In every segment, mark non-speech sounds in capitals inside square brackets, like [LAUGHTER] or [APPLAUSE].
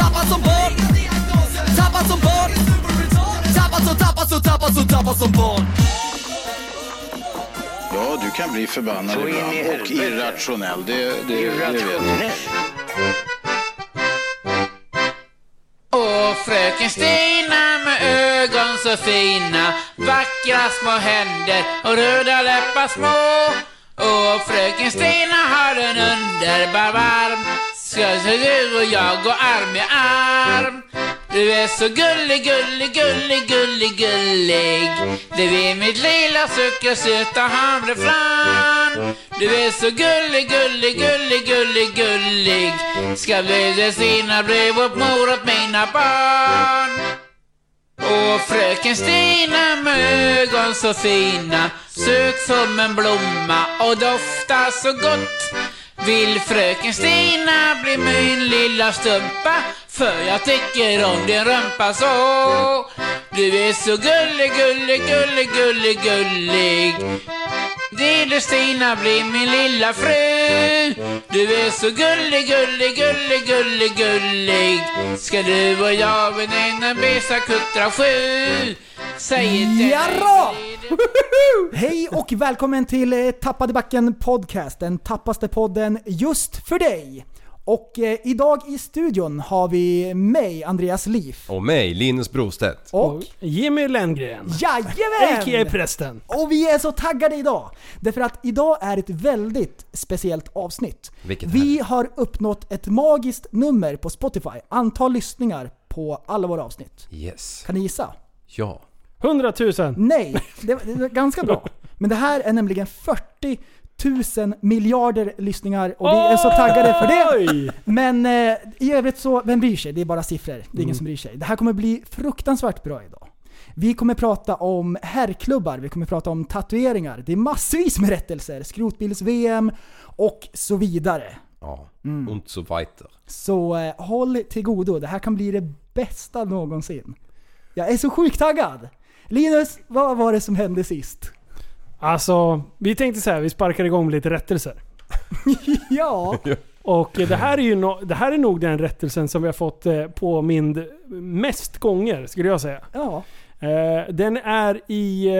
Tappad som barn Tappad som barn Tappad som, tappad som, tappad som, tappad som barn Ja, du kan bli förbannad Så in i ibland och helvete. irrationell. Det, det, det vet jag. Åh, fröken Stina med ögon så fina Vackra små händer och röda läppar små Åh, fröken Stina har en underbar varm Ska så du och jag gå arm i arm Du är så gullig, gullig, gullig, gullig, gullig Du är mitt lilla sockersöta havreflarn Du är så gullig, gullig, gullig, gullig, gullig Ska bjuda sina brev och mor åt mina barn och fröken Stina med ögon så fina Sök som en blomma och doftar så gott Vill fröken Stina bli min lilla stumpa För jag tycker om din rumpa så Du är så gullig, gullig, gullig, gullig, gullig Lille Stina blir min lilla fru Du är så gullig, gullig, gullig, gullig, gullig Ska du och jag med en bästa kuttra sju Säg inte [LAUGHS] Jarra! Hej och välkommen till eh, Tappade backen podcast, den tappaste podden just för dig. Och eh, idag i studion har vi mig, Andreas Liv. Och mig, Linus Brostedt. Och Jimmy Lenngren. A.k.a. jajamän! prästen. Och vi är så taggade idag! Därför att idag är ett väldigt speciellt avsnitt. Vilket vi har uppnått ett magiskt nummer på Spotify, antal lyssningar på alla våra avsnitt. Yes. Kan ni gissa? Ja. 100 000. Nej, det var, det var ganska bra. Men det här är nämligen 40 000 miljarder lyssningar och vi är så taggade för det. Oj! Men eh, i övrigt så, vem bryr sig? Det är bara siffror. Det är ingen som bryr sig. Det här kommer bli fruktansvärt bra idag. Vi kommer prata om herrklubbar, vi kommer prata om tatueringar, det är massvis med rättelser, skrotbils-VM och så vidare. Ja. Mm. Und so weiter. Så eh, håll till godo, det här kan bli det bästa någonsin. Jag är så sjukt taggad! Linus, vad var det som hände sist? Alltså, vi tänkte så här, vi sparkar igång med lite rättelser. [LAUGHS] Ja, Och eh, det här är ju no, det här är nog den rättelsen som vi har fått eh, påmind mest gånger, skulle jag säga. ja. Eh, Den är i... eh, Det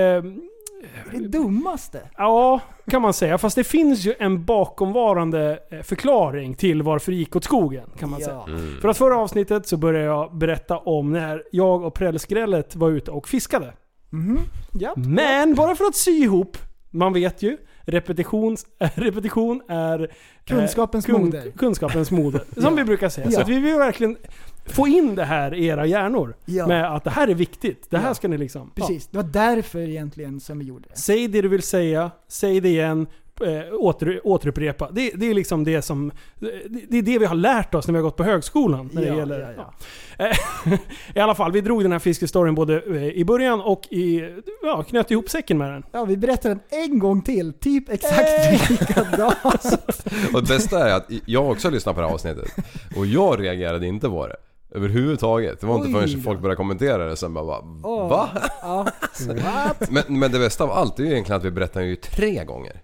är det dummaste. Ja, kan man säga. Fast det finns ju en bakomvarande eh, förklaring till varför det gick åt skogen, kan man säga. Ja. För att förra avsnittet så började jag berätta om när jag och Prällskrället var ute och fiskade. Mhm. Japp. Men bara för att sy ihop, man vet ju. Repetition, [LAUGHS] repetition är eh, Kunskapens Eh, moder. Kunskapens moder. [LAUGHS] Som vi brukar säga. Så Ja. att vi vill verkligen få in det här i era hjärnor. Ja. Med att det här är viktigt. Det här Ja. ska ni liksom... ja. Precis, det var därför egentligen som vi gjorde det. Säg det du vill säga, säg det igen, eh, åter, återupprepa. Det, det är liksom det som... Det, det är det vi har lärt oss när vi har gått på högskolan. När Ja, det gäller, ja, ja. ja. Eh, [LAUGHS] I alla fall, vi drog den här fiskehistorien både eh, i början och i... Ja, knöt ihop säcken med den. Ja, vi berättar den en gång till, typ exakt [LAUGHS] likadant. Och det bästa är att jag också har lyssnat på det här avsnittet. Och jag reagerade inte på det. Överhuvudtaget. Det var Oj inte förrän då. folk började kommentera det sen bara, bara Åh. Va? Ja, så what? Men, men det bästa av allt är ju egentligen att vi berättar ju tre gånger.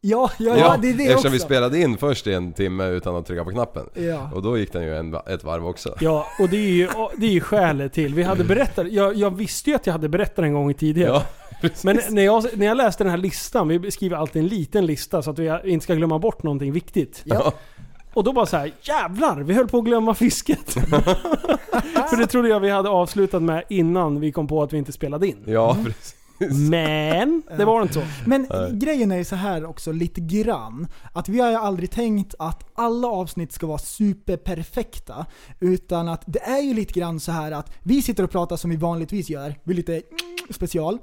Ja, ja, ja, det är det eftersom också. vi spelade in först i en timme utan att trycka på knappen. Ja. Och då gick den ju en, va- ett varv också. Ja, och det är ju, och det är ju skälet till. Vi hade berättat, jag, jag visste ju att jag hade berättat en gång tidigare. Ja, Men när jag, när jag läste den här listan, vi skriver alltid en liten lista så att vi inte ska glömma bort någonting viktigt. Ja. Och då bara så här, jävlar! Vi höll på att glömma fisket. För det trodde jag vi hade avslutat med innan vi kom på att vi inte spelade in. Ja, precis. Men det var inte så. Men grejen är ju så här också lite grann. Att vi har ju aldrig tänkt att alla avsnitt ska vara superperfekta. Utan att det är ju lite grann så här att vi sitter och pratar som vi vanligtvis gör. Vi är lite special.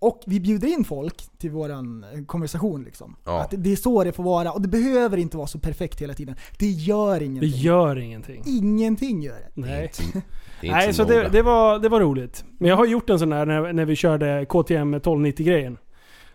Och vi bjuder in folk till våran eh, konversation liksom. Ja. Att det- det är så det får vara och det behöver inte vara så perfekt hela tiden. Det gör Det ingenting. gör ingenting. Ingenting gör det. Nej. Det är inte Nej, så det, noga. det, var, det var roligt. Men jag har gjort en sån där när, när vi körde KTM 1290-grejen.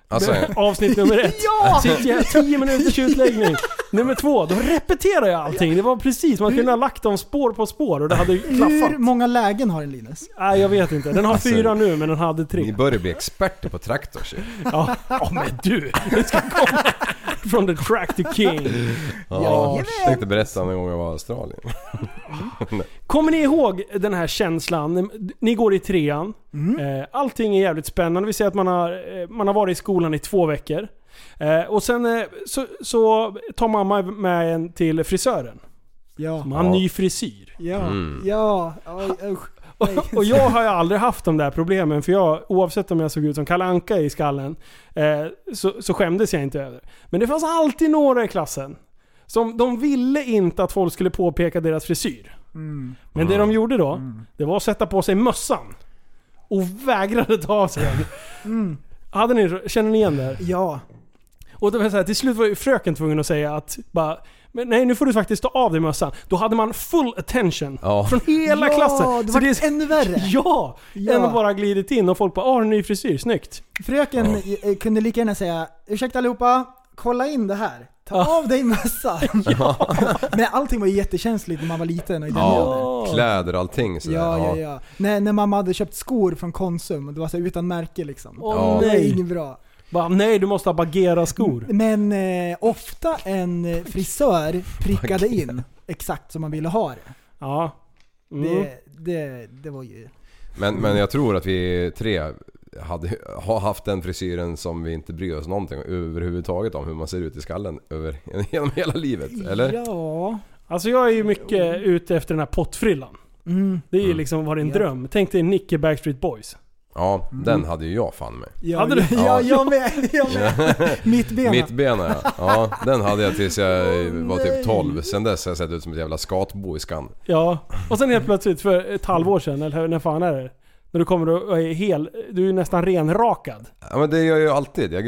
Alltså, Avsnitt nummer ett. Ja! Sitter jag 10 minuters utläggning. Nummer två, då repeterar jag allting. Det var precis, man kunde ha lagt dem spår på spår och det hade Äh, Hur klaffat. många lägen har en Linus? Nej, jag vet inte. Den har Alltså, fyra nu, men den hade ni tre. börjar bli experter på traktors ju. Ja, ja men du! Det ska komma från the track to king. Ja, jag tänkte berätta om en gång jag var i Australien. Kommer ni ihåg den här känslan? Ni går i trean. Eh, Allting är jävligt spännande. Vi säger att man har, eh, man har varit i skolan i två veckor. Eh, Och sen eh, så, så tar mamma med en till frisören. Ja. Man har Ja. ny frisyr. Ja. Ja. Oj, usch. Och, och jag har ju aldrig haft de där problemen för jag, oavsett om jag såg ut som Kalle Anka i skallen, eh, så, så skämdes jag inte över. Men det fanns alltid några i klassen som de ville inte att folk skulle påpeka deras frisyr. Men det de gjorde då, det var att sätta på sig mössan. Och vägrade ta av sig den. Hade ni, känner ni igen det? här? Ja. Och det var så här, till slut var ju fröken tvungen att säga att bara, men nej nu får du faktiskt ta av dig mössan. Då hade man full attention. Ja. Från hela ja, klassen. Det Så var det är- ännu värre. Ja! Ja. Än att bara glidit in och folk bara “Åh, har du en ny frisyr, snyggt”. Fröken eh, kunde lika gärna säga Ursäkta allihopa, kolla in det här. Ta Ja. av dig mössan. [LAUGHS] Men allting var ju jättekänsligt när man var liten och i den åldern. Ja, kläder och allting sådär. Ja, ja, ja. När, när mamma hade köpt skor från Konsum och det var så här utan märke liksom. Åh Ja. Det var nej! inget bra. Bara, nej, du måste ha Bagheera-skor. Men eh, ofta en eh, frisör prickade in exakt som man ville ha det. Ja. Mm. Det, det, det var ju... Men, men jag tror att vi tre hade, har haft den frisyren som vi inte bryr oss någonting överhuvudtaget om hur man ser ut i skallen över, [LAUGHS] genom hela livet. Eller? Ja. Alltså jag är ju mycket ute efter den här pottfrillan. Mm, Det är ju liksom varit en Ja. dröm. Tänk dig Nicke Backstreet Boys. Ja, den hade ju jag fan med. ja, Hade du- ja, jag med. Jag med. Mittbena. Mittbena ja. ja. Den hade jag tills jag var typ 12. Sen dess har jag sett ut som ett jävla skatbo i skan. Ja. Och sen helt plötsligt för ett halvår sedan, eller när fan är det? När du kommer och är hel, du är nästan renrakad. Ja men det gör jag ju alltid. Jag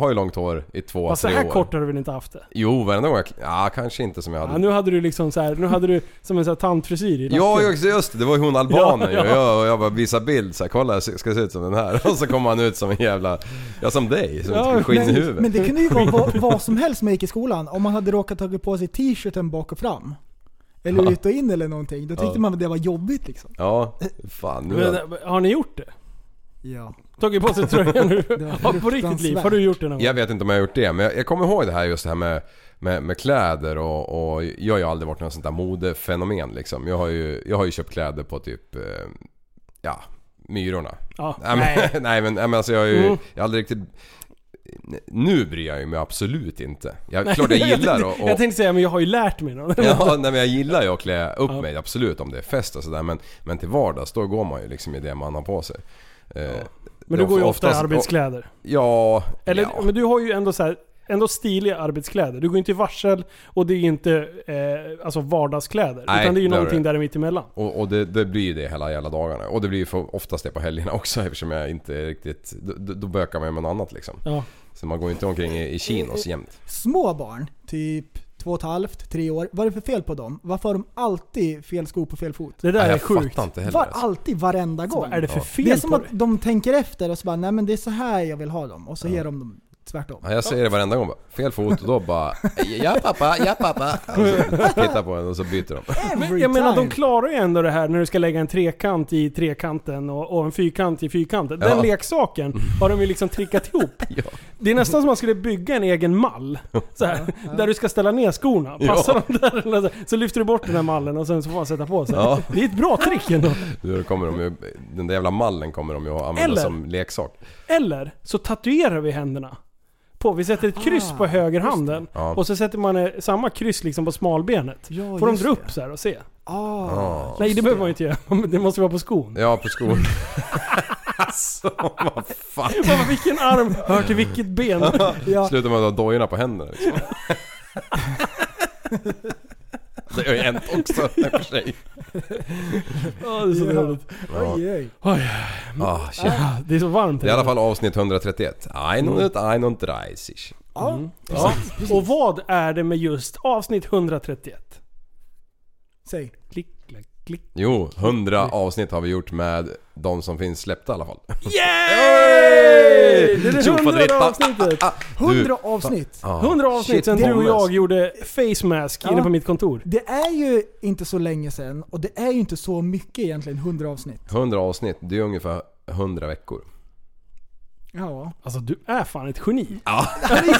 har ju långt hår i två, Fast så tre här år. kort har du väl inte haft det? Jo, varenda gång jag... Ja, kanske inte som jag Ja, hade. nu hade du liksom så här, nu hade du som en sån här tantfrisyr i Ja nacken. just- just det, det var ju hon albanen Ja, ja, ja. Jag, och jag bara visade bild så här, kolla jag ska se ut som den här. [LAUGHS] Och så kom han ut som en jävla, ja som dig, som Ja, ett skinn i huvudet. Men det kunde ju vara [LAUGHS] vad, vad som helst man gick i skolan. Om man hade råkat tagit på sig t-shirten bak och fram. Eller ut och in eller någonting. Då tyckte Ja. man att det var jobbigt liksom. Ja, fan nu Men, har- äh, har ni gjort det? Ja. Tagit på sig [LAUGHS] tröjan nu? Ja, på riktigt liv. fruktansvärt. Har du gjort det någon gång? Jag vet inte om jag har gjort det, men jag, jag kommer ihåg det här just det här med, med, med kläder och, och jag har ju aldrig varit någon sånt där modefenomen liksom. Jag har ju, jag har ju köpt kläder på typ, eh, ja, Myrorna. Ja. Nej men, [LAUGHS] nej, men, nej, men alltså jag har ju, Mm. jag har aldrig riktigt... Nu bryr jag mig absolut inte. Jag, klart jag gillar [LAUGHS] jag, och, tänkte- jag och, tänkte säga, men jag har ju [LAUGHS] lärt mig något. [LAUGHS] Ja, nej, men jag gillar ju att klä upp Ja. mig absolut om det är fest och sådär men, men till vardags då går man ju liksom i det man har på sig. Eh, Men du det går ju of- ofta i oftast- arbetskläder. Ja, Eller, ja. Men du har ju ändå så här, ändå stiliga arbetskläder. Du går inte i varsel och det är ju inte eh, alltså vardagskläder. Nej, utan det är ju det har någonting du. där mitt emellan. Och, och det, det blir ju det hela jävla dagarna. Och det blir ju för oftast det på helgerna [LAUGHS] också eftersom jag inte är riktigt... Då, då då bökar man ju med något annat liksom. Ja. Så man går ju inte omkring i, i chinos jämt. Små barn, typ två och ett halvt, tre år. Vad är det för fel på dem? Varför har de alltid fel sko på fel fot? Det där Nej, är jag sjukt. fattar inte heller. Var Alltså. alltid, varenda gång. Vad är det för Ja. fel Det är som på att dig? de tänker efter och så bara nej men det är så här jag vill ha dem. Och så ger de dem tvärtom. Ja, jag säger det varenda gång bara. Fel fot och då bara... Ja pappa, ja pappa. [LAUGHS] Och så tittar på en och så byter de. Every Men jag menar, de time. klarar ju ändå det här när du ska lägga en trekant i trekanten och, och en fyrkant i fyrkanten. Den Ja. leksaken har de ju liksom trickat ihop. Ja. Det är nästan som man skulle bygga en egen mall. Så här, Där du ska ställa ner skorna. Passar Ja. de där? eller så- Så lyfter du bort den här mallen och sen så får man sätta på sig. Ja. Det är ett bra trick ändå. Du, då kommer de ju, den där jävla mallen kommer de ju att använda Eller? som leksak. Eller så tatuerar vi händerna. På, vi sätter ett kryss på högerhanden Ja. och så sätter man eh, samma kryss liksom på smalbenet. Ja, Får de just dra upp det. så här och se? Ah, Ja, Nej det behöver man ju inte göra, [LAUGHS] men det måste vara på skon. ja på skon. [LAUGHS] alltså vad fan. Bara, vilken arm hör till vilket ben? ja. Sluta med att ha dojorna på händerna liksom. [LAUGHS] Det har ju hänt också i och för sig. Åh, det är så Ja. roligt. Ja. Oj, oj. Ah, shit. Ah, Det är så varmt Det är i alla fall avsnitt 131. 131. Ja, Mm. Ja. Och vad är det med just avsnitt 131? säg. Klick, klack, klick. Jo, 100 avsnitt har vi gjort med de som finns släppta i alla fall. Yay! Det är det Tjofaderittan. hundrade avsnittet. ah, Du- 100 avsnitt. Ja. 100 avsnitt Shit, sen du och Thomas. jag gjorde face mask Ja. inne på mitt kontor. Det är ju inte så länge sedan och det är ju inte så mycket egentligen, 100 avsnitt. 100 avsnitt, det är ungefär 100 veckor. Ja. Alltså du är fan ett geni.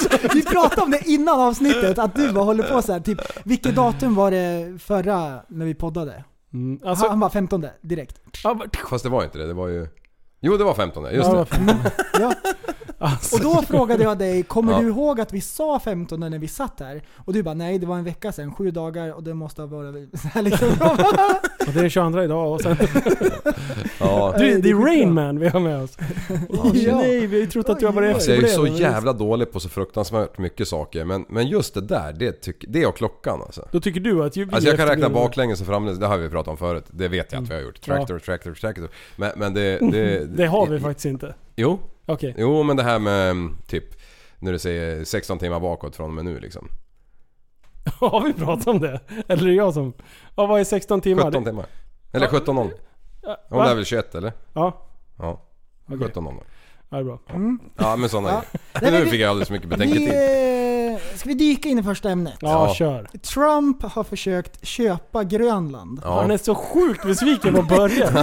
[LAUGHS] Vi pratade om det innan avsnittet, att du bara håller på så här. typ vilket datum var det förra när vi poddade? Mm, alltså, han var 15 direkt. ja, vart- Fast det var inte det, det var ju... Jo, det var 15 just Ja, det. vad fan. [LAUGHS] Ja. Alltså, Och då frågade jag dig, kommer Ja. du ihåg att vi sa 15 när vi satt här? Och du bara, nej det var en vecka sedan, sju dagar och det måste ha varit... Så här liksom. och det är den 22 idag och sen... Ja. Du, det är Rain Man vi har med oss. shit. Nej, vi har ju trott att du har varit Alltså, jag efter är på ju [LAUGHS] det, så men- jävla dålig på så fruktansvärt mycket saker, men, men just det där, det, tyck, det och klockan alltså. Då tycker du att ju vi Alltså jag kan efter räkna det- baklänges och framlänges, det har vi pratat om förut. Det vet jag att vi har gjort. Tractor, tractor, tractor. Men, men det, det... Mm. Det har vi faktiskt inte. Jo, Okej. [LAUGHS] jo men det här med mm, typ, när du säger 16 timmar bakåt från och med nu liksom. Har vi pratat om det? Eller är det jag som... Ja, vad är 16 timmar? 17 timmar. Eller 17 0. Ja, Hon är va? väl 21 eller? Ja, Ja. okej. 17 0. Ja, det är bra. Ja men sådana Ja. Nej, grejer. men Nu vi- fick jag alldeles för mycket Vi, betänketid. eh, ska vi dyka in i första ämnet? Ja, Ja. kör. Trump har försökt köpa Grönland. Ja. Han är så sjukt besviken på början.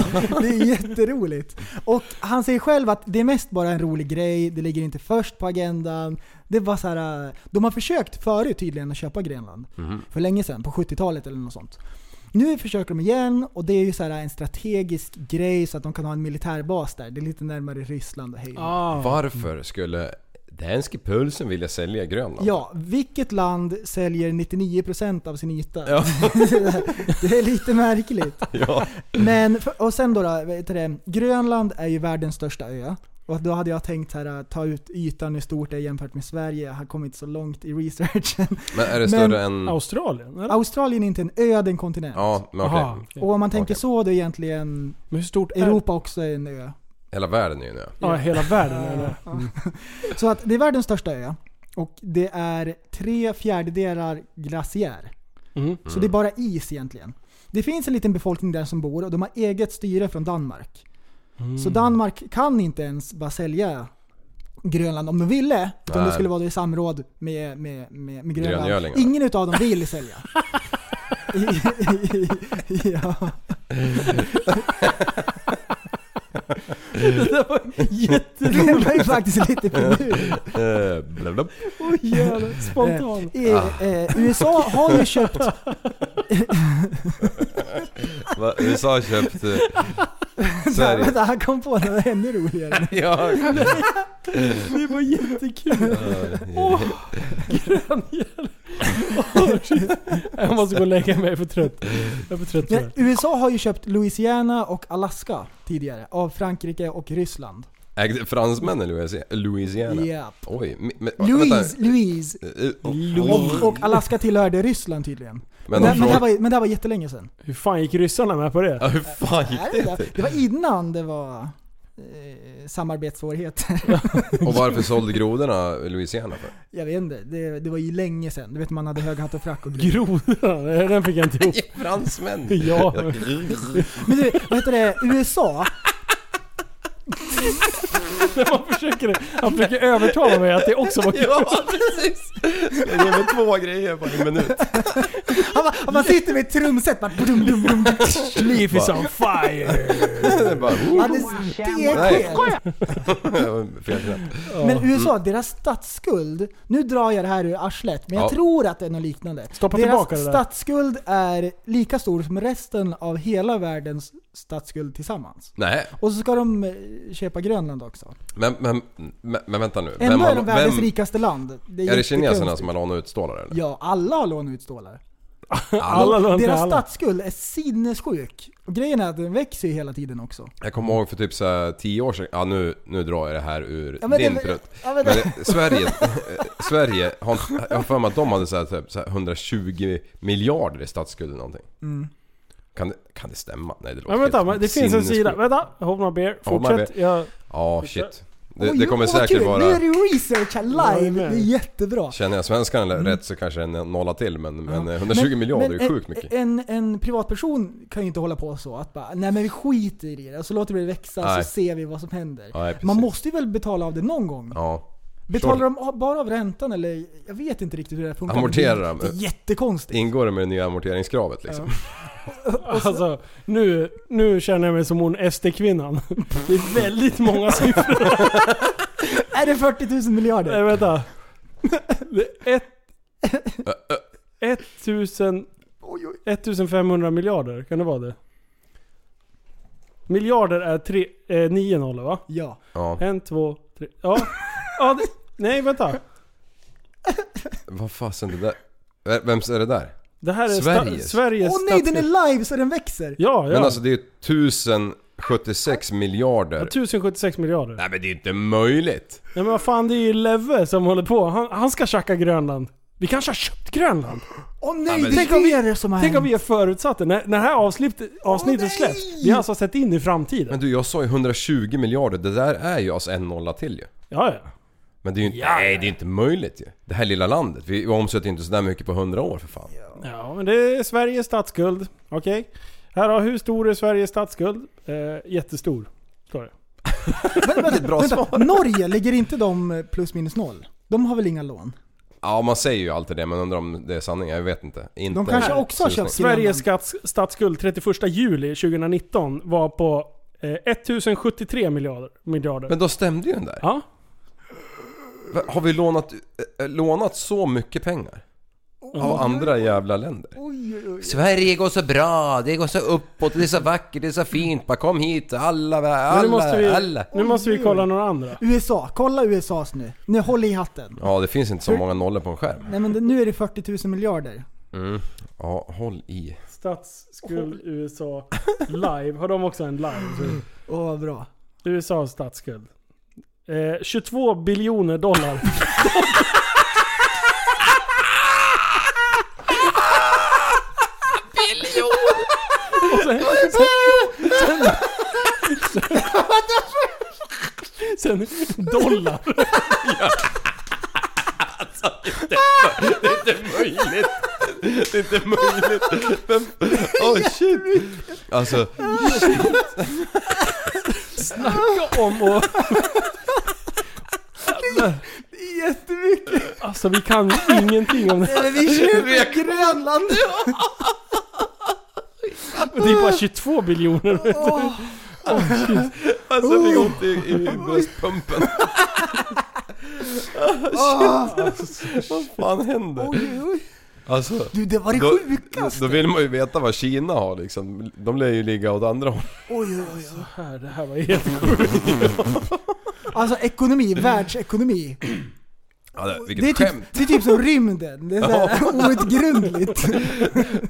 Det är jätteroligt. Och han säger själv att det är mest bara en rolig grej, det ligger inte först på agendan. Det var så här, eh, de har försökt förut tydligen att köpa Grönland. För länge sedan, på 70-talet eller något sånt. Nu försöker de igen och det är ju så här en strategisk grej så att de kan ha en militärbas där. Det är lite närmare Ryssland och hej. Ah. Varför skulle danske pulsen vilja sälja Grönland? Ja, vilket land säljer 99% av sin yta? [LAUGHS] det är lite märkligt. [LAUGHS] Ja. Men, för- och sen då, då vet du det, Grönland är ju världens största ö. Och då hade jag tänkt så här, ta ut ytan hur stort det är jämfört med Sverige. Jag har kommit så långt i researchen. Men är det Men- större än... Australien? Eller? Australien är inte en ö, det är en kontinent. Mm. Ja, men okej. Aha, okej. Och om man tänker Okej. så, då är egentligen Men hur stort är Europa också en ö. Hela världen är ju en ö. Ja, hela världen Mm. är [LAUGHS] det. Så att det är världens största ö. Och det är tre fjärdedelar glaciär. Mm. Så det är bara is egentligen. Det finns en liten befolkning där som bor och de har eget styre från Danmark. Mm. Så Danmark kan inte ens bara sälja Grönland om de ville. Utan det Nej. skulle vara i samråd med, med, med, med Grönland. Gröngölingarna. Ingen utav dem vill sälja. ja. Det där var Det var ju faktiskt lite finurligt. Eh, blablabla. jävla spontant. I, eh, USA har ju köpt... Va, USA har köpt... eh, [LAUGHS] Sverige. Vänta, han kom på något ännu roligare. Ja. Det var jättekul. Åh, Åh, shit. Jag måste gå och lägga mig, jag är för trött. Jag är för trött för Men det. USA har ju köpt Louisiana och Alaska tidigare av Frankrike och Ryssland. Ägde fransmännen Louisiana? Louisiana? Japp. Oj, mi- men, Louise, Louise. vänta. Eh, oh. Lol. Och, och Alaska tillhörde Ryssland tydligen. Men de men, men, det här frågar... var, men det här var jättelänge sedan. Hur fan gick ryssarna med på det? Ja, hur fan gick Nej, det till? det var innan det var eh, samarbetssvårigheter. Och varför sålde grodorna Louisiana för? [LAUGHS] Jag vet inte, det, det var ju länge sedan. Du vet man hade hög hatt och frack och grejer. Grodan, [LAUGHS] den fick jag inte ihop. Fransmän! Ja. Men du, vad heter det? USA? Man försöker, han försöker övertala mig att det också var kul. Ja, precis! Jag ger mig två grejer på en minut. Han, bara- han bara sitter med ett trumset bara... Brum, brum, brum. Life is on fire. [LAUGHS] Det är bara... oh. Han är Nej. stekhel. oh, Fel knapp. Men Mm. USA, deras statsskuld. Nu drar jag det här ur arslet, men jag Ja. tror att det är något liknande. Stoppa deras tillbaka det där. statsskuld är lika stor som resten av hela världens statsskuld tillsammans. Nej, Och så ska de eh, köpa Grönland också. men, men, men, men vänta nu. Ändå är har- de världens rikaste land. Det Är det jättekonstigt. kineserna som har lånat ut stålar eller? Ja, alla har lånat ut stålar. Alla lånar till Deras alla. statsskuld är sinnessjuk. Och grejen är att den växer ju hela tiden också. Jag kommer ihåg för typ så här 10 år sedan, ja nu, nu drar jag det här ur Ja, men din det- prutt. ja, men men det- det- Sverige, [LAUGHS] Sverige har, Mm. jag har för mig att de hade så här, typ, så här 120 miljarder i statsskuld eller någonting. Kan det, kan det stämma? Nej det låter Men vänta, helt men det finns en sinnessjukt. sida. Vänta, hold my beer. Hold my Fortsätt. Jag, Ja, shit. Det, Oj, det kommer åh, vad säkert kul. Nu är vara... det research här live, det är jättebra. Känner jag svenskan rätt så kanske en nolla till men, men eh, 120 miljarder är en- sjukt mycket. En, en privatperson kan ju inte hålla på så att bara, nej men vi skiter i det och så låter vi det växa Nej. så ser vi vad som händer. Nej, precis. Man måste ju väl betala av det någon gång? Ja. Betalar de bara av räntan eller? Jag vet inte riktigt hur det här funkar. Amorterar Det är- de? Det är jättekonstigt. Ingår det med det nya amorteringskravet liksom? alltså, nu, nu känner jag mig som hon SD-kvinnan. Det är väldigt många siffror. Är det 40 000 miljarder? Nej, vänta. Det är ett, 1000 1500 miljarder, kan det vara det? Miljarder är tre, eh, nio nollor va? Ja. Ja. En, två, tre. Ja. ja det, nej, vänta. Vad fasen det där? V- Vems är det där? Det här är sta- Sveriges. Sveriges Åh nej, den statsskuld. är live så den växer! Ja, ja. Men alltså det är ju 1076 Ja, miljarder. 1076 miljarder. Nej Nej men det är ju inte möjligt! men vad fan, det är ju Leve som håller på. Han, han ska tjacka Grönland. Vi kanske har köpt Grönland? Åh nej, men- det Tänk om vi- är det som har Tänk om hänt. vi har förutsatt det. När, när det här avsnittet, avsnittet nej! släpps. Vi har alltså sett in i framtiden. Men du jag sa ju 120 miljarder, det där är ju alltså en nolla till ju. ja, ja. Men det är ju inte, nej det är inte möjligt ju. Det här lilla landet, vi omsätter ju inte sådär mycket på 100 år för fan. Ja, men det är Sveriges statsskuld. Okej. Här har hur stor är Sveriges statsskuld? Eh, jättestor. Står det. Väldigt bra svar. Norge, ligger inte de eh, plus minus noll? De har väl inga lån? Ja man säger ju alltid det men undrar om det är sanning, jag vet inte. inte De kanske en också har susning. köpt Sveriges skats, statsskuld 31 juli 2019 var på eh, 1073 miljarder. miljarder. Men då stämde ju den där. ja. Va, Har vi lånat, eh, eh, lånat så mycket pengar? Av andra jävla länder? Sverige går så bra, det går så uppåt, det är så vackert, det är så fint. Bara kom hit, alla, Men nu alla, måste vi, alla. nu måste vi kolla några andra. USA, kolla USAs nu. Nu håll i hatten. Ja, det finns inte så många nollor på en skärm. Nej men det, nu är det 40 000 miljarder. Ja, håll i. Statsskuld USA live. Har de också en live? Åh vad bra. USAs statsskuld. Eh, 22 biljoner dollar. Biljon! sen, sen, sen, sen dollar. Det är möjligt! Det är inte möjligt! Vem? Oh shit! Alltså, Snacka om och... Jättemycket! Alltså vi kan ingenting om det. Eller vi köper Grönland! Det är bara 22 biljoner. alltså jag fick ont i, i bröstpumpen. Shit! Vad fan händer? Oj, oj. Alltså... Du det var det Då- sjukaste! Då vill man ju veta vad Kina har liksom. De lär ju ligga åt andra hållet. Oj, oj, oj. Här, det här var helt Alltså ekonomi, världsekonomi. Ja, det, vilket Det är, typ, skämt! det är typ som rymden. Det är såhär [LAUGHS] outgrundligt.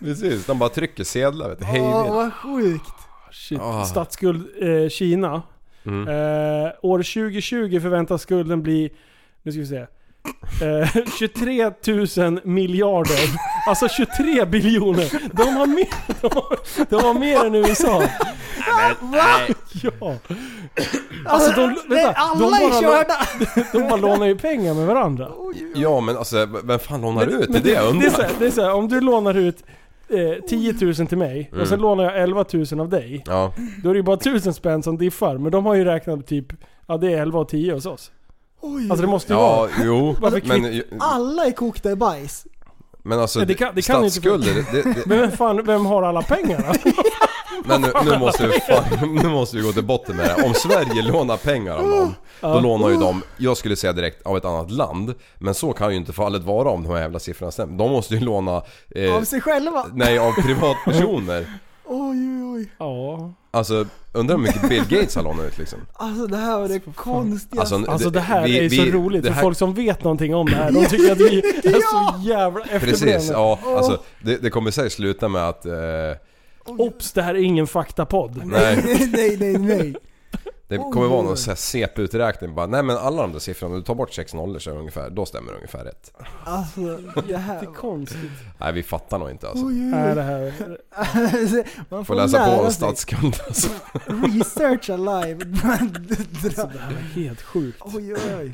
Precis, de bara trycker sedlar vet du. Hej Åh vilt. vad sjukt. Shit. Ah. Mm. Statsskuld eh, Kina. Eh, år 2020 förväntas skulden bli, nu ska vi se. Eh, [LAUGHS] 23 000 miljarder. Alltså 23 biljoner. De har mer, de har, de har mer än USA. Ja. Alltså de, Nej, vänta, de, alla är bara, körda! de bara lånar ju pengar med varandra. Ja men alltså, v- vem fan lånar ut? Det är det jag det, är så undrar. här, det är så här, om du lånar ut eh, 10 000 till mig och Mm. sen lånar jag 11 000 av dig. Ja, Då är det ju bara 1000 spänn som diffar, men de har ju räknat typ, ja det är 11 och 10 hos oss. Alltså det måste ju ja vara. jo. [LAUGHS] Varför Men, ju- Alla är kokta i bajs. men alltså, Ja, det kan- det kan ju inte- statsskulder. Det, det, Men det, vem fan, vem har alla pengarna? [LAUGHS] men nu, nu, måste vi fan, [LAUGHS] nu måste vi gå till botten med det här. Om Sverige lånar pengar av [LAUGHS] någon, då lånar ju de, jag skulle säga direkt, av ett annat land. Men så kan ju inte fallet vara om de här jävla siffrorna stämmer. De måste ju låna... eh, Av sig själva. Nej, av privatpersoner. Oj, oj, oj. ja. Alltså, undrar hur mycket Bill Gates har lånat ut [LAUGHS] liksom. Alltså det här var det konstigaste. [LAUGHS] Alltså det här är ju så roligt, det för här- folk som vet någonting om det här, de tycker [LAUGHS] att vi är så jävla Precis, efterblivna. ja. Alltså, det, det kommer säkert sluta med att... Eh, Ops, det här är ingen faktapodd. nej. nej, nej, nej. Det [LAUGHS] Oh, kommer vara någon så här CP-uträkning bara, nej men alla de där siffrorna, du tar bort sex nollor så är det ungefär, då stämmer det ungefär rätt. [LAUGHS] Alltså, det här... Konstigt. Nej vi fattar nog inte alltså. Nej, det här. [LAUGHS] Man Får läsa på lära om sig. statsskuld alltså. Researcha live. [LAUGHS] Dra- Det här var helt sjukt. oj, oj, oj.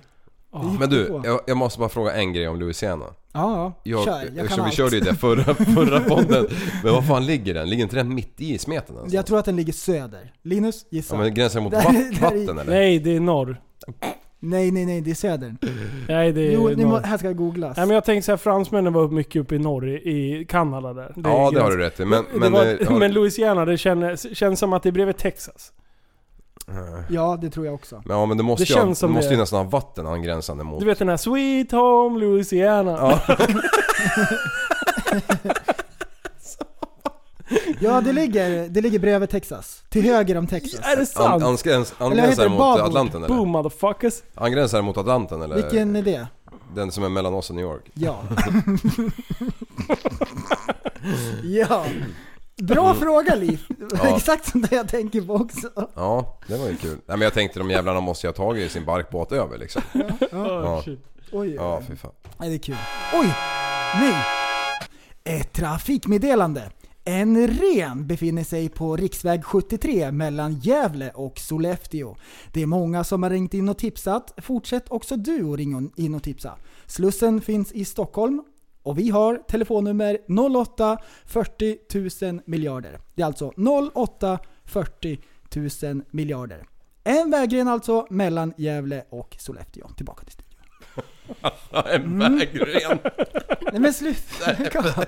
Men du, jag, jag måste bara fråga en grej om Louisiana. Ja, ja. Jag, Kör, jag kan vi allt. körde ju det [LAUGHS] förra, förra podden. Men var fan ligger den? Ligger inte den mitt i smeten ens? Jag tror att den ligger söder. Linus, gissa. Ja, men gränsen [LAUGHS] mot Där- vatt- där i- vatten eller? Nej, det är norr. Nej, nej, nej, det är södern. Nej, det är Jo, ni norr. må, här ska googlas. Nej men jag tänkte såhär, fransmännen var upp- mycket uppe i norr i, i Kanada där. är Ja det gräns- har du rätt i. Men, det men, var, eh, har- [LAUGHS] men Louisiana, det känns, känns som att det är bredvid Texas. Ja, det tror jag också. men, ja, men det måste, det ju, ha- känns som måste ju det. nästan ha vatten angränsande mot. Du vet den här Sweet Home Louisiana. Ja, det ligger, det ligger bredvid Texas. Till höger om Texas. [LAUGHS] Är det An- sant? angräns, Eller heter angränsar det mot babord? Atlanten eller? Boom motherfuckers. Angränsar mot Atlanten eller? Vilken är det? Den som är mellan oss och New York. [LAUGHS] Ja. ja. Bra fråga Liv. Mm. [LAUGHS] Ja. Exakt som det jag tänker på också. Ja, det var ju kul. Nej men jag tänkte de jävlarna måste ju ha tagit sin barkbåt över liksom. Oh, Ja, Oj, oj, ja oj. fy fan. [LAUGHS] Nej, det är kul. Oj! Nej! Ett trafikmeddelande. En ren befinner sig på riksväg 73 mellan Gävle och Sollefteå. Det är många som har ringt in och tipsat. Fortsätt också du att ringa in och tipsa. Slussen finns i Stockholm och vi har telefonnummer 08 40 000 miljarder. Det är alltså 08 40 000 miljarder. En vägren alltså mellan Gävle och Sollefteå. Tillbaka till studion. Mm. En vägren. Nej men sluta! Lägg av.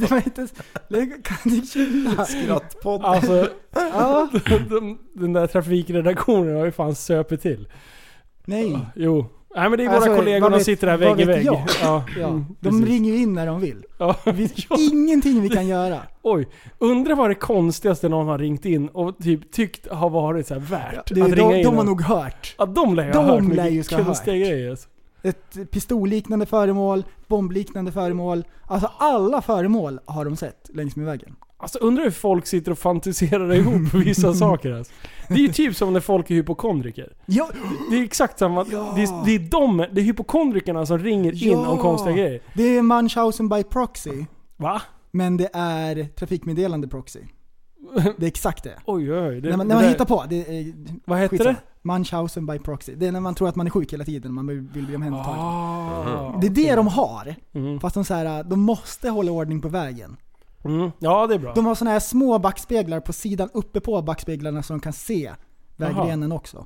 Det var inte ens... Lägg Kan du chilla? Skrattpodd. Alltså, [LAUGHS] Ja. de, den där trafikredaktionen har ju fan söpit till. Nej. Jo. Nej men det är våra Alltså, kollegor, vad de vet- sitter här vad vägg i vet vägg. jag? Ja. [LAUGHS] Ja. De Mm, precis. ringer ju in när de vill. Ja. Ingenting vi kan göra. Oj, undrar vad det konstigaste någon har ringt in och typ tyckt har varit så här värt Du, att ringa de, in. de har och- nog hört. ja, de lär ju de ha hört lär ju mycket ska ha konstiga hört. grejer. Alltså. Ett pistolliknande föremål, bombliknande föremål. Alltså alla föremål har de sett längs med vägen. alltså undrar hur folk sitter och [LAUGHS] fantiserar ihop vissa saker alltså. Det är ju typ som när folk är hypokondriker. Ja, Det är exakt samma. Ja. Det, är, det är de, det är hypokondrikerna som ringer in Ja. om konstiga grejer. det är Munchausen by proxy. Va? Men det är trafikmeddelande proxy. Det är exakt det. Oj oj, oj. Det, när man, det när man där- hittar på. Det är, Vad heter skitsamma. det? Munchausen by proxy. Det är när man tror att man är sjuk hela tiden, man vill bli omhändertagen. Ah. Det är det de har. Mm. Fast de, så här, de måste hålla ordning på vägen. Mm. Ja det är bra. De har såna här små backspeglar på sidan uppe på backspeglarna så de kan se vägrenen också.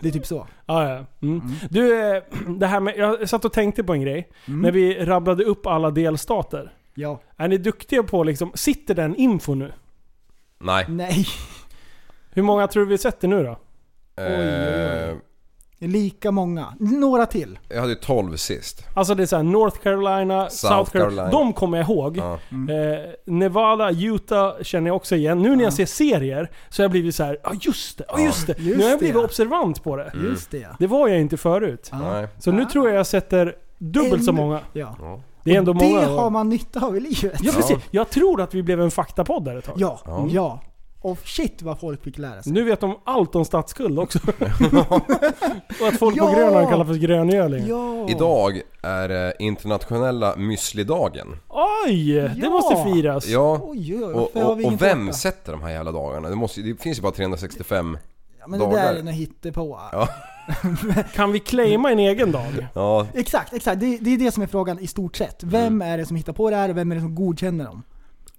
Det är typ så. Ja, ja. Mm. Du, eh, det här med, jag satt och tänkte på en grej. Mm. När vi rabblade upp alla delstater. Ja. Är ni duktiga på liksom, sitter den info nu? Nej. Nej. Hur många tror du vi sätter nu då? Eh, Lika många. Några till. jag hade ju 12 sist. Alltså det är såhär North Carolina, South, Carolina. Carolina. De kommer jag ihåg. Ja. Mm. Eh, Nevada, Utah känner jag också igen. Nu när jag ser serier så har jag blivit så här, ja just det, ja just det. Just nu har jag blivit det. observant på det. Mm. Just det. Det var jag inte förut. Ja. Nej. Så nu tror jag jag sätter dubbelt så En- många. Ja. Det är ändå många. Det har man nytta av i livet. Ja precis. Jag tror att vi blev en faktapodd där ett tag. Ja. Ja. ja. Och shit vad folk fick lära sig. Nu vet de allt om [LAUGHS] statsskuld också. Och att folk Ja. på Grönland kallar för gröngöling. Ja. Idag är det internationella müslidagen. Oj! Det Ja. måste firas. Ja. Oj, oj, oj. Och, Varför har och, vi ingen och vem tårta? sätter de här jävla dagarna? Det, måste, ju- det finns ju bara 365. ja, men det där dagar? är något på. Kan vi claima en egen dag? Ja, Exakt, exakt. Det, det är det som är frågan i stort sett. Mm. Vem är det som hittar på det här och vem är det som godkänner dem?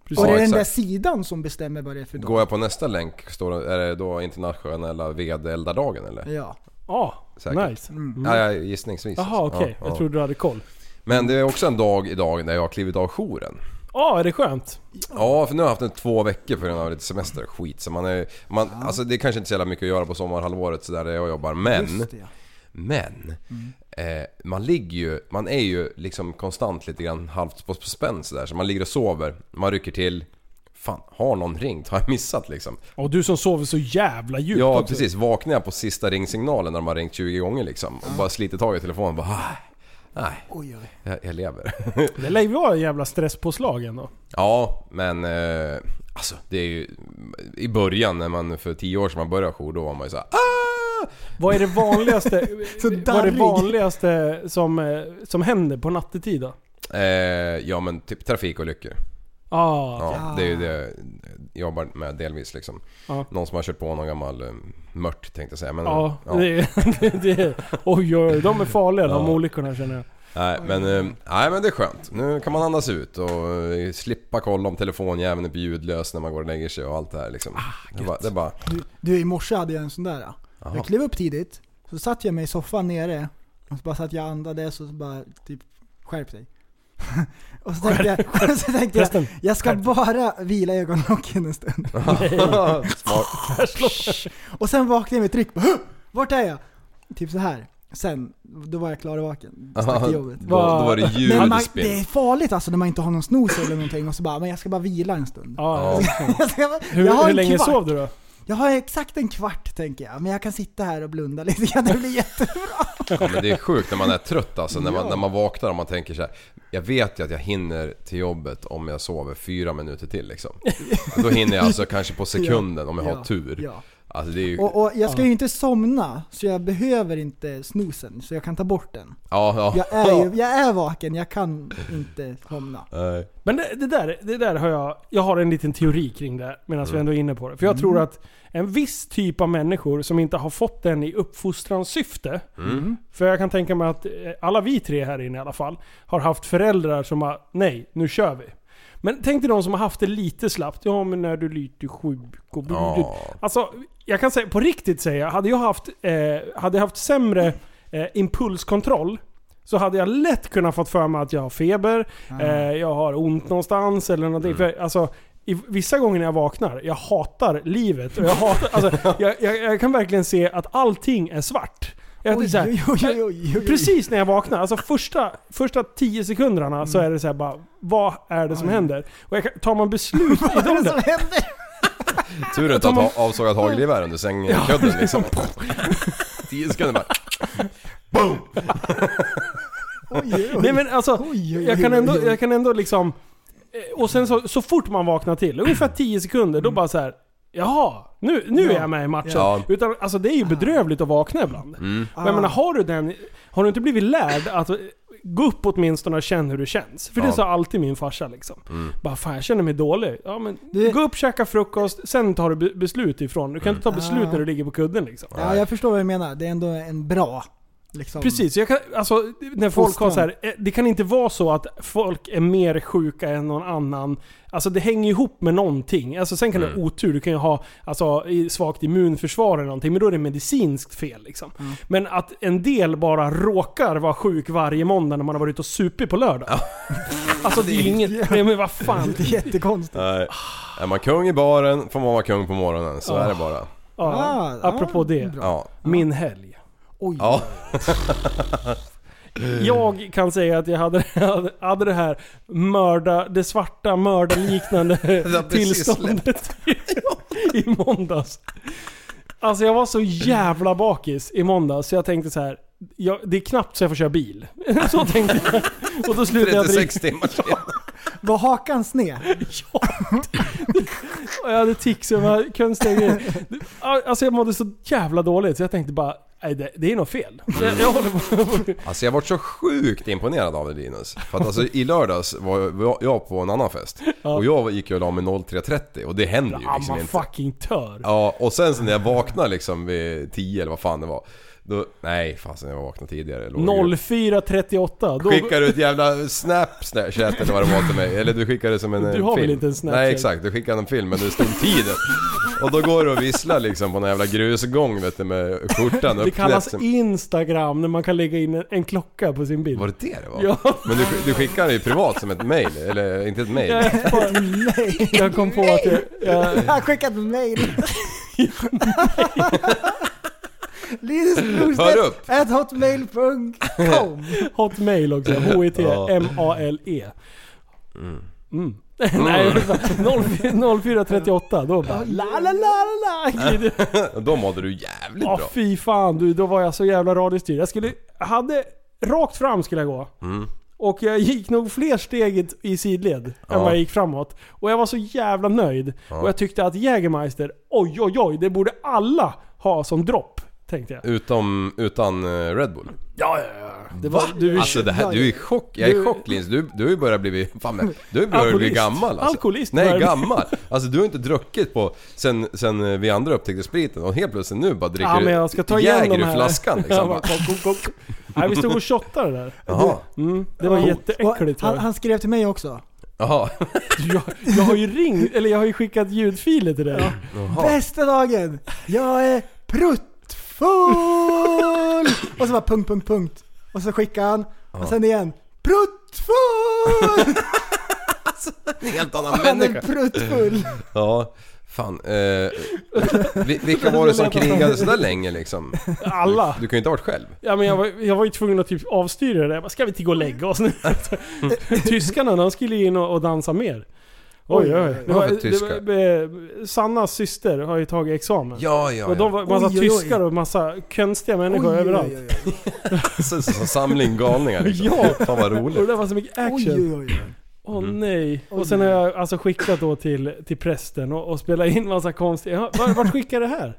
precis. Och det är Ja, den där exakt. sidan som bestämmer vad det är för dag. Går jag på nästa länk, står det, är det då internationella vedeldardagen eller? Ja. Ja, Säkert. nice. Mm. Ja, ja, gissningsvis. Mm. Jaha okej, Ja, jag ja. trodde du hade koll. Men det är också en dag idag när jag har klivit av jouren. Ja, är det skönt? Ja, för nu har jag haft en två veckor på grund av lite semester och skit. Så man är, man, alltså, det är kanske inte så jävla mycket att göra på sommarhalvåret sådär där jag jobbar. Men, Just det. men. Mm. Eh, man ligger ju, man är ju liksom konstant lite grann halvt på, på spänn sådär. Så man ligger och sover, man rycker till. Fan, har någon ringt? Har jag missat liksom? Och du som sover så jävla djupt Ja också. precis, vaknar jag på sista ringsignalen när de har ringt 20 gånger liksom. Och bara sliter tag i telefonen och bara "Ah, Nej, Oj, oj. jag, jag lever. Det lär ju vara en jävla stresspåslag ändå. Ja, men eh, alltså det är ju... I början när man för tio år sedan man började jour, då var man ju såhär ah! Vad är det vanligaste, [LAUGHS] Så vad är darrig. det vanligaste som, eh, som händer på nattetid då? Eh, ja men typ trafikolyckor. Ah, Ja, Ja. Det är ju det jag jobbar med delvis liksom. Ja. Någon som har kört på någon gammal eh, mört tänkte jag säga. Men, ja. ja. Det, [LAUGHS] är- det, det, är- oj, oj, oj, de är farliga de Ja. olyckorna känner jag. Nej, men, eh, nej men det är skönt. Nu kan man andas ut och eh, slippa kolla om telefonjäveln är på ljudlös när man går och lägger sig och allt det här liksom. Ah, det, är bara, det är bara... Du, du i morse hade jag en sån där. Jag klev upp tidigt, så satt jag mig i soffan nere. Och så bara satt jag och andades och så bara typ skärp dig. [LAUGHS] och så tänkte jag, så tänkte jag, Förresten, jag ska bara vila ögonlocken en [LAUGHS] stund. Smart. Och sen vaknade jag med ett ryck. Bara, "Huh! Vart är jag? Typ så här. Sen, då var jag klar och vaken. Stack till jobbet. Då, då var det Men ljud man, i det är spinn. farligt alltså när man inte har någon snus eller någonting och så bara, men jag ska bara vila en stund. ja. [LAUGHS] Jag ska bara- Hur, jag har hur en länge kvart. sov du då? Jag har exakt en kvart tänker jag, men jag kan sitta här och blunda [LAUGHS] lite grann. Det blir jätte... Ja, men det är sjukt när man är trött alltså. När man, när man vaknar och man tänker så här. Jag vet ju att jag hinner till jobbet om jag sover fyra minuter till liksom. Då hinner jag alltså kanske [LAUGHS] på sekunden om jag Ja, har tur. ja. Alltså det är ju... Och, och jag ska ju inte somna, så jag behöver inte snusen, så jag kan ta bort den. Ja, ja. Jag är, [LAUGHS] ju, jag är vaken, jag kan inte somna. Nej. Men det, det, där, det där har jag, jag har en liten teori kring det här, medan vi ändå är inne på det. För jag tror att en viss typ av människor som inte har fått den i uppfostrans syfte. För jag kan tänka mig att eh, alla vi tre här inne i alla fall har haft föräldrar som har nej, nu kör vi. Men tänk dig de som har haft det lite slappt. Ja men när du är lite sjuk och Ja. Alltså, jag kan säga, på riktigt säga, hade jag haft, eh, hade jag haft sämre eh, impulskontroll så hade jag lätt kunnat fått för mig att jag har feber, Ah. eh, jag har ont någonstans eller någonting. För, alltså, i, vissa gånger när jag vaknar, jag hatar livet. Och jag, hatar, [LAUGHS] alltså, jag, jag, jag kan verkligen se att allting är svart. Jag, Oj, så här, oj, oj, oj, oj, oj. Precis när jag vaknar, alltså första, första tio sekunderna så Mm. är det så här bara, vad är det som händer? Och jag kan, tar [LAUGHS] man beslut i Vad är de det där, som [LAUGHS] händer? Tur inte att ha avsågat hagelgevär under sängkudden liksom. Tio sekunder bara... Oj, oj, oj. Nej men alltså, Oj, oj, jag kan oj, ändå, oj, oj. jag kan ändå liksom... eh, Och sen så, så fort man vaknar till, ungefär 10 sekunder, Mm. då bara så här. Jaha, nu, nu är jag med i matchen. Ja. Mm. Utan, alltså Ah. det är ju bedrövligt att vakna ibland. Men jag menar, har du den... Har du inte blivit lärd att eh, gå upp åtminstone och känna hur det känns? För det Ja. Mm. sa alltid min farsa liksom. Bara fan jag känner mig dålig. Ja men Du- gå upp, käka frukost, sen tar du be- beslut ifrån. Du kan Mm. inte ta beslut Ah. när du ligger på kudden liksom. Ja, jag förstår vad du menar. Det är ändå en bra... Liksom. Precis, jag kan, alltså, när folk har så här, eh, det kan inte vara så att folk är mer sjuka än någon annan. Alltså det hänger ihop med någonting. Alltså, sen kan Mm. du ha otur, du kan ju ha alltså, i- svagt immunförsvar eller någonting, men då är det medicinskt fel. Liksom. Mm. Men att en del bara råkar vara sjuk varje måndag när man har varit ute och supit på lördag. [LAUGHS] alltså det är ju inget... Nej men vad fan. [LAUGHS] Det är jättekonstigt. Nej. Är man kung i baren får man vara kung på morgonen. Så är det bara. Ja, Ah, apropå ah, det. bra. Ja. Min helg. Oj. Ja. Eh. Jag kan säga att jag hade, [LAUGHS] hade, hade det här mörda, det [LAUGHS] svarta mördarliknande har precis tillståndet i, [LAUGHS] i måndags. Alltså jag var så jävla bakis i måndags så jag tänkte så här. Jag, det är knappt så jag får köra bil. [LAUGHS] Så tänkte jag. Och då slutade jag dricka. 36 timmar senare. Var hakan [LAUGHS] sned? Ja. [LAUGHS] Och jag hade tics över könsstänger. Alltså jag mådde så jävla dåligt så jag tänkte bara, nej det, det är något fel. Mm. Jag, jag håller på. Alltså jag har varit så sjukt imponerad av dig Linus. För att alltså i lördags var var jag på en annan fest. Och jag gick ju och la mig 03.30 och det händer ju Ah, liksom man inte. fucking tör. Ja, och sen så när jag vaknade liksom vid 10 eller vad fan det var. Då, nej fasen jag vaknade tidigare. Låg ju- 0438. Då, Skickar du ett jävla Snapchat eller vad det var till mig? Eller du skickade som en eh, Du har väl film? inte en Snapchat? Nej exakt, du skickade en film men det stod tiden. Och då går du och visslar liksom på någon jävla grusgång vet du med skjortan det kallas uppknäppt. Instagram när man kan lägga in en, en klocka på sin bild. [LAUGHS] Var det det det var? Ja. Men du, du skickade det ju privat som ett mail, eller inte ett mail. Jag, bara, [LAUGHS] jag kom på att jag, jag, Jag har skickat [LAUGHS] mail. Linus Brostedt, Hör upp. at hotmail.com. Hotmail också. Ja. H-I-T-M-A-L-E. E. Mm. [LAUGHS] Nej, 0438. Då bara la la la la la. glider- Och Då mådde du jävligt Ja bra. fy fan du, då var jag så jävla radiostyrd. Jag skulle, hade, rakt fram skulle jag gå. Mm. Och jag gick nog fler steg i- i sidled än Ja. vad jag gick framåt. Och jag var så jävla nöjd. Och jag tyckte att Jägermeister, oj oj oj, det borde alla ha som dropp. tänkte jag. Utom, utan eh, Red Bull. Ja, ja, ja. Det var, du är Alltså det här, du är i chock. Jag är i chock Linus. Du, du har ju börjat bli... Fan, men, du har ju börjat bli Alkoholist. gammal alltså. Alkoholist börjar Nej, bli. gammal. Alltså du har inte druckit på... Sen, sen eh, vi andra upptäckte spriten och helt plötsligt nu bara dricker Ja, men jag ska ta igen Jäger de ur här. flaskan [LAUGHS] Ja, liksom. bara, Bara, kock, kock, kock. Nej, vi stod och shottade där. Jaha. Mm, det var Coolt. jätteäckligt. Och Han, var det. han skrev till mig också. Jaha. jag, jag har ju ringt, eller jag har ju skickat ljudfiler till dig. Jaha. Bästa dagen! Jag är pruttfull! och så bara punkt, punkt, punkt. Och så skickade han. Och sen igen. Pruttfull! En [LAUGHS] helt annan Han är människa. pruttfull. Ja. Fan. Eh, vi- vilka var det som krigade sådär länge liksom? Alla. Du kan ju inte ha varit själv. Ja, men jag, var, jag var ju tvungen att typ avstyra det där. Jag bara, Ska vi inte gå och lägga oss nu? [LAUGHS] Tyskarna, de skulle ju in och, och dansa mer. Oj, oj, oj. Det Vad var, för det var, eh, Sannas syster har ju tagit examen. Ja, ja, Och de ja. var massa Oj, oj, oj. tyskar och massa konstiga människor Oj, oj, överallt. oj, oj. Så- så- så Samling galningar liksom. [LAUGHS] Ja. Fan vad Och det roligt. där var så mycket Oj, action. oj, oj, oj. Åh nej. Och sen har jag alltså skickat då till, till prästen och, och spelat in massa konstiga... Ja, Vart, vart skickar jag det här?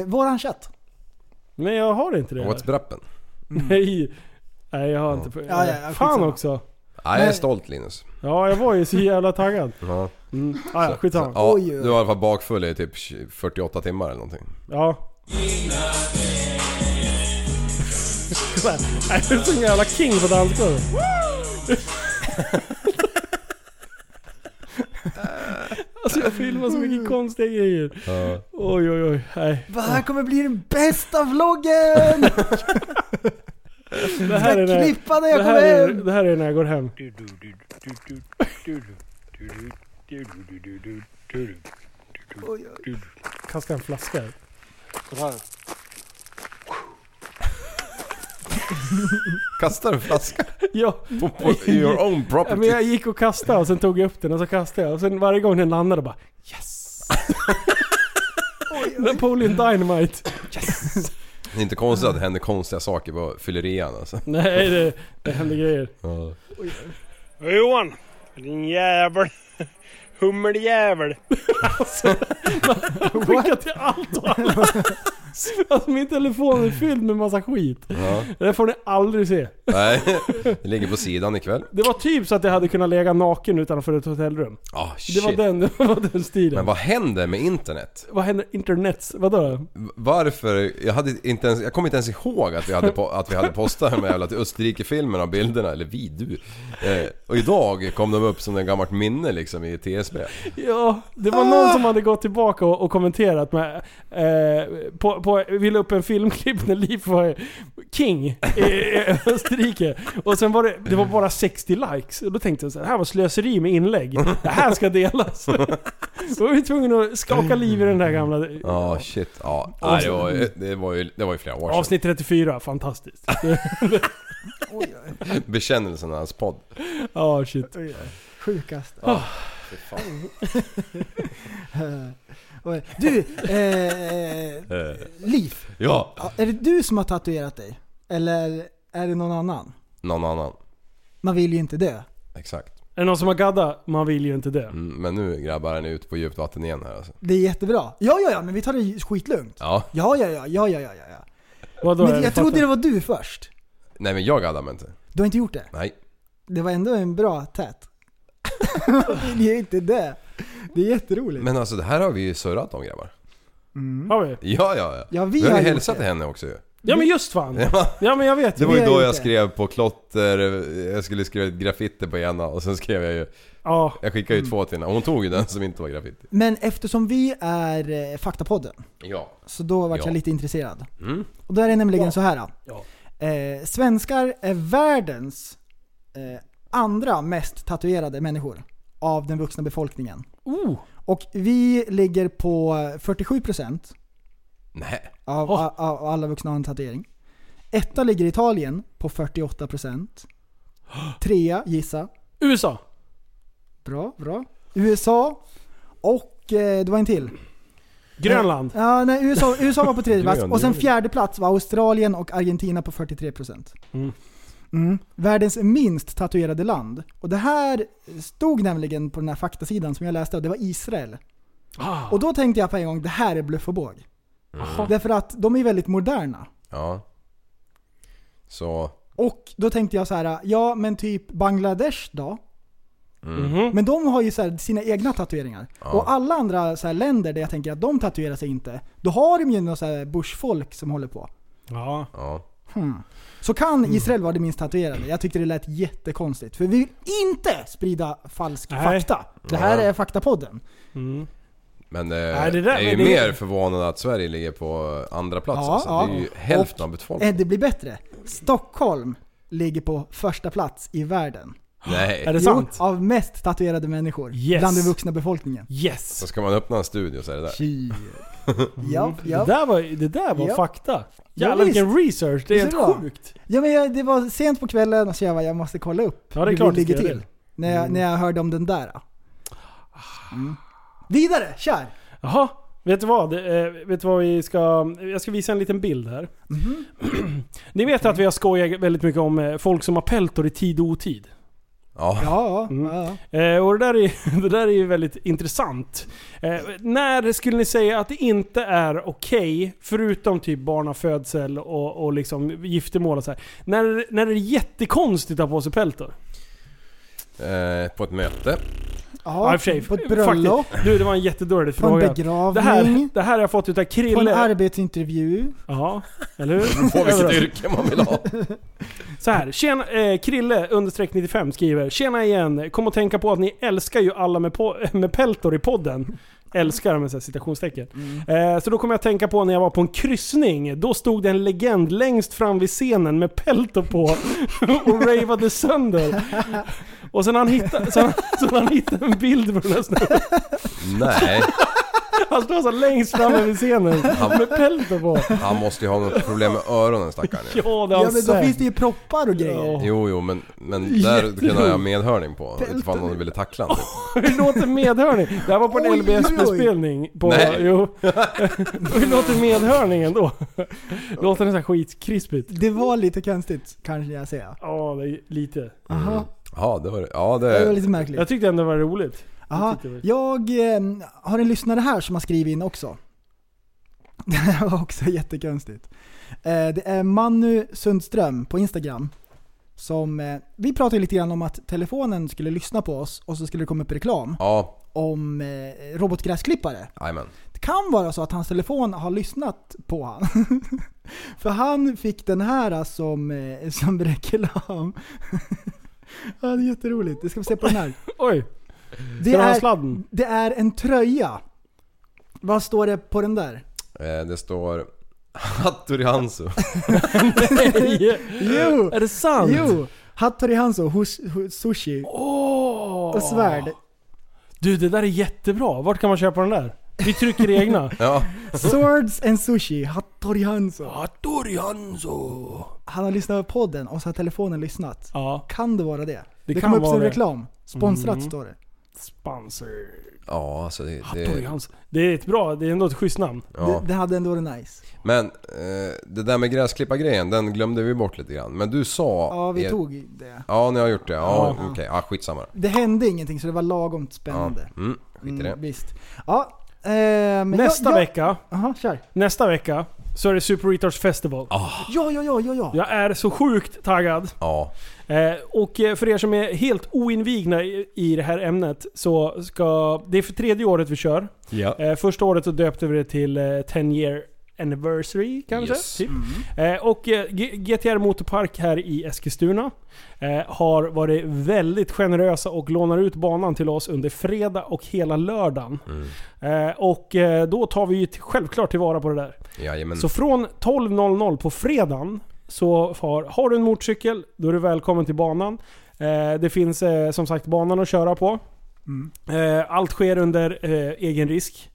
Eh, våran chatt. Men jag har inte det här. What's brappen? Nej. Nej jag har inte på... Ja, ja, ja, Fan skitsamma. också. Nej, jag är stolt Linus. Ja jag var ju så jävla taggad. Ja. Mm. Ah, ja, skitsamma. Ja, Oj, oj, du oj. var i alla fall bakfull i typ 48 timmar eller någonting. Ja. Kolla, Jag är som en jävla king på dansgolvet. Alltså jag filmar så mycket konstiga grejer. Ja. Oj oj oj. Nej. Det här kommer bli den bästa vloggen! [LAUGHS] Det här är när, Klippa när det jag här kommer är, hem! det här är när jag går hem. Kasta en flaska. här. Kastar en [LAUGHS] flaska Ja, på, på your own men property. jag gick och kastade och sen tog jag upp den och så kastade jag. Och sen varje gång den landade bara yes. Napoleon Dynamite. Det är inte konstigt att det händer konstiga saker på fyllerian alltså. Nej det, det händer grejer. Ja. Johan, din jävel. Hummeljävel. Skicka till allt och alla. Alltså min telefon är fylld med massa skit. Ja. Det där får ni aldrig se. Nej, det ligger på sidan ikväll. Det var typ så att jag hade kunnat lägga naken utanför ett hotellrum. Ah Det var shit. den, [LAUGHS] det var den stilen. Men vad händer med internet? Vad händer? Internets? Vadå? Varför? Jag, hade inte ens, jag kommer inte ens ihåg att vi hade, po- att vi hade postat de här jävla till Österrike-filmerna och bilderna, eller vi, du. Eh, och idag kom de upp som en gammalt minne liksom i TSB. Ja, det var någon som hade gått tillbaka och, och kommenterat med... Eh, på, på, vi la upp en filmklipp när Liv var king i, i Österrike. Och sen var det, det var bara 60 likes. Och då tänkte jag så här, det här var slöseri med inlägg. Det här ska delas. Då var vi tvungna att skaka liv i den där gamla... Ja, Ah, shit. Ja, nej, det, var ju, det, var ju, det var ju flera år sedan. Avsnitt 34, fantastiskt. Bekännelsen av hans podd. Ja, Ah, shit. Oj, oj. Sjukast. Fy fan. Eh, Oj. Du, eh, Eh, Liv. Ja, Ja, Är det du som har tatuerat dig? Eller är det någon annan? någon annan. Man vill ju inte dö. Exakt. Är det någon som har gadda? Man vill ju inte dö. Mm, Men nu grabbar är ni ute på djupt vatten igen här alltså. Det är jättebra. Ja, ja, ja, men vi tar det skitlugnt. Ja. Ja, ja, ja, ja, ja, ja, ja, ja. Vadå? Men jag trodde det fattar. var du först. Nej men jag gaddar mig inte. Du har inte gjort det? Nej. Det var ändå en bra tät. [LAUGHS] Man vill ju inte dö. Det är jätteroligt. Men alltså det här har vi ju surrat om grabbar. Har vi? Ja, ja, ja. Ja, vi har har ju gjort hälsat det. till henne också ju. Ja men just fan. Ja men jag vet Det ju. var ju har då gjort jag det. skrev på klotter, eh, jag skulle skriva ett graffiti på ena och sen skrev jag ju... Ja. Jag skickade ju Mm. två till henne och hon tog ju den som inte var graffiti. Men eftersom vi är eh, Faktapodden, Ja. så då vart Ja. jag lite intresserad. Mm. Och då är det nämligen så här. Ja. Eh, svenskar är världens eh, andra mest tatuerade människor av den vuxna befolkningen. Oh. Och vi ligger på eh, 47% Nej. av, Oh. av, av alla vuxna har en tatuering. Etta ligger Italien på 48%. Trea, gissa. USA. Bra, bra. USA. Och eh, det var en till. Grönland. Ja, nej, USA, USA var på tredje plats. Grön, Och sen grön. fjärde plats var Australien och Argentina på 43%. Mm. Mm. Världens minst tatuerade land. Och det här stod nämligen på den här faktasidan som jag läste och det var Israel. Ah. Och då tänkte jag på en gång, det här är bluff och båg. Därför att de är väldigt moderna. Ja. Så... Och då tänkte jag så här, ja men typ Bangladesh då? Mhm. Men de har ju så här sina egna tatueringar. Och alla andra så här länder där jag tänker att de tatuerar sig inte, då har de ju något så här bushfolk som håller på. Ja. Ja. Så kan Israel vara det minst tatuerade. Jag tyckte det lät jättekonstigt. För vi vill inte sprida falsk Nej. fakta. Det här Nej. är faktapodden. Men eh, Nej, det där- jag är ju men det- mer förvånad att Sverige ligger på andra plats. Ja, alltså. ja. Det är ju hälften Och- av befolkningen. Eh, Det blir bättre. Stockholm ligger på första plats i världen. Nej. Är det Jo, sant? Av mest tatuerade människor. Yes. Bland den vuxna befolkningen. Yes! Så ska man öppna en studio så är det där. Ja, Det ja. där var, det där var Ja. fakta. Ja, Jävlar visst. vilken research, det är Visst är det helt bra? sjukt. ja men jag, det var sent på kvällen och så jag bara, jag måste kolla upp Ja, det är klart du det ska ligger göra till. När jag, när jag hörde om den där. Mm. Vidare, kör! Jaha, vet du vad? Eh, vet du vad vi ska... Jag ska visa en liten bild här. Mhm. [CLEARS THROAT] Ni vet att vi har skojat väldigt mycket om eh, folk som har peltor i tid och otid. Ja. Ja, ja. Eh, och det där, är, det där är ju [LAUGHS] väldigt intressant. Eh, när skulle ni säga att det inte är okej, förutom typ barnafödsel och, och liksom giftermål och så här. När, när det är jättekonstigt att ha på sig peltor? Eh, på ett möte. ja, Ja, i och för sig. på ett bröllop, Faktiskt. Du, det var en jättedålig på en fråga. Det här, eh, begravning, det här har jag fått utav på en Krille. arbetsintervju. Ja, eller hur? På vilket Överallt. yrke man vill ha. Så här, tjena, eh, Krille understreck 95 skriver Tjena igen, kom och tänka på att ni älskar ju alla med, po- [LAUGHS] med peltor i podden. Älskar med så här citationstecken. Mm. Eh, så då kommer jag att tänka på när jag var på en kryssning. Då stod det en legend längst fram vid scenen med peltor på [LAUGHS] och ravade sönder. Och sen han hittade, sen, sen han hittade en bild på den här snubben. Nej. Han står så här längst framme vid scenen med peltor på. Han måste ju ha något problem med öronen stackaren ju. Ja, det har Ja han men då sett. finns det ju proppar och grejer. Ja. Jo, jo, men, men där Jätteroligt. kunde jag ha medhörning på. Ifall någon ville tackla honom. Hur låter medhörning? Det här var på en Oj, LBS-bespelning. På, Nej. [LAUGHS] Jo. Hur låter medhörningen då? Låter den så här skitkrispigt? Det var lite konstigt, kanske jag säger. Ja, det är lite. Mm. Aha. Ja, det var det. Ja, Det var det... lite märkligt. Jag tyckte ändå det var roligt. Aha. tyckte det var- Jag eh, har en lyssnare här som har skrivit in också. [LAUGHS] Det här var också jättekonstigt. Eh, det är Manu Sundström på Instagram. Som, eh, vi pratade lite grann om att telefonen skulle lyssna på oss och så skulle det komma upp reklam Ja, om eh, robotgräsklippare. jajamän. Det kan vara så att hans telefon har lyssnat på han. [LAUGHS] För han fick den här som, eh, som reklam. [LAUGHS] ja, det är jätteroligt. Det ska vi se på den här. Oj, Det den ha är, [LAUGHS] sladden? [LAUGHS] det är en tröja. Vad står det på den där? Eh, det står... [LAUGHS] Hattori Hansu. Jo! är det sant? Jo! Hattori Hanzo, hus, hus, sushi Åh. och svärd. Du, det där är jättebra. Vart kan man köpa den där? Vi trycker egna. Ja. Swords and sushi, Hattori Hanzo. Hattori Hanzo. Han har lyssnat på podden och så har telefonen lyssnat. Ja, Kan det vara det? Det Det, kan kom upp vara som det. Mm. reklam. Sponsrat står det. sponsor. Ja, alltså det... Hattori det Hanzo. Det är ett bra, det är ändå ett schysst namn. ja. Det, det hade ändå varit nice. Men eh, det där med gräsklippargrejen, den glömde vi bort lite grann. Men du sa... Ja, vi er- tog det. Ja, ni har gjort det. Ja, okej. Ja, skitsamma. Det hände ingenting så det var lagom Ja. spännande. Mm, skit i det. Mm, visst. Ja, eh, men Nästa jag, jag, vecka, Aha, kör. nästa vecka, så är det Super Retards Festival. Ja, ja, ja, ja, ja. Jag är så sjukt taggad. Ja. Eh, och eh, för er som är helt oinvigna i, i det här ämnet så ska... Det är för tredje året vi kör. Ja. Eh, första året så döpte vi det till eh, 10 year anniversary kanske. Yes. Typ. Eh, och eh, G- GTR Motorpark här i Eskilstuna eh, har varit väldigt generösa och lånar ut banan till oss under fredag och hela lördagen. Mm. Eh, och eh, då tar vi ju t- självklart tillvara på det där. Jajamän. Så från 12.00 på fredagen så har, har du en motorcykel, då är du välkommen till banan. Eh, det finns eh, som sagt banan att köra på. Eh, allt sker under eh, egen risk.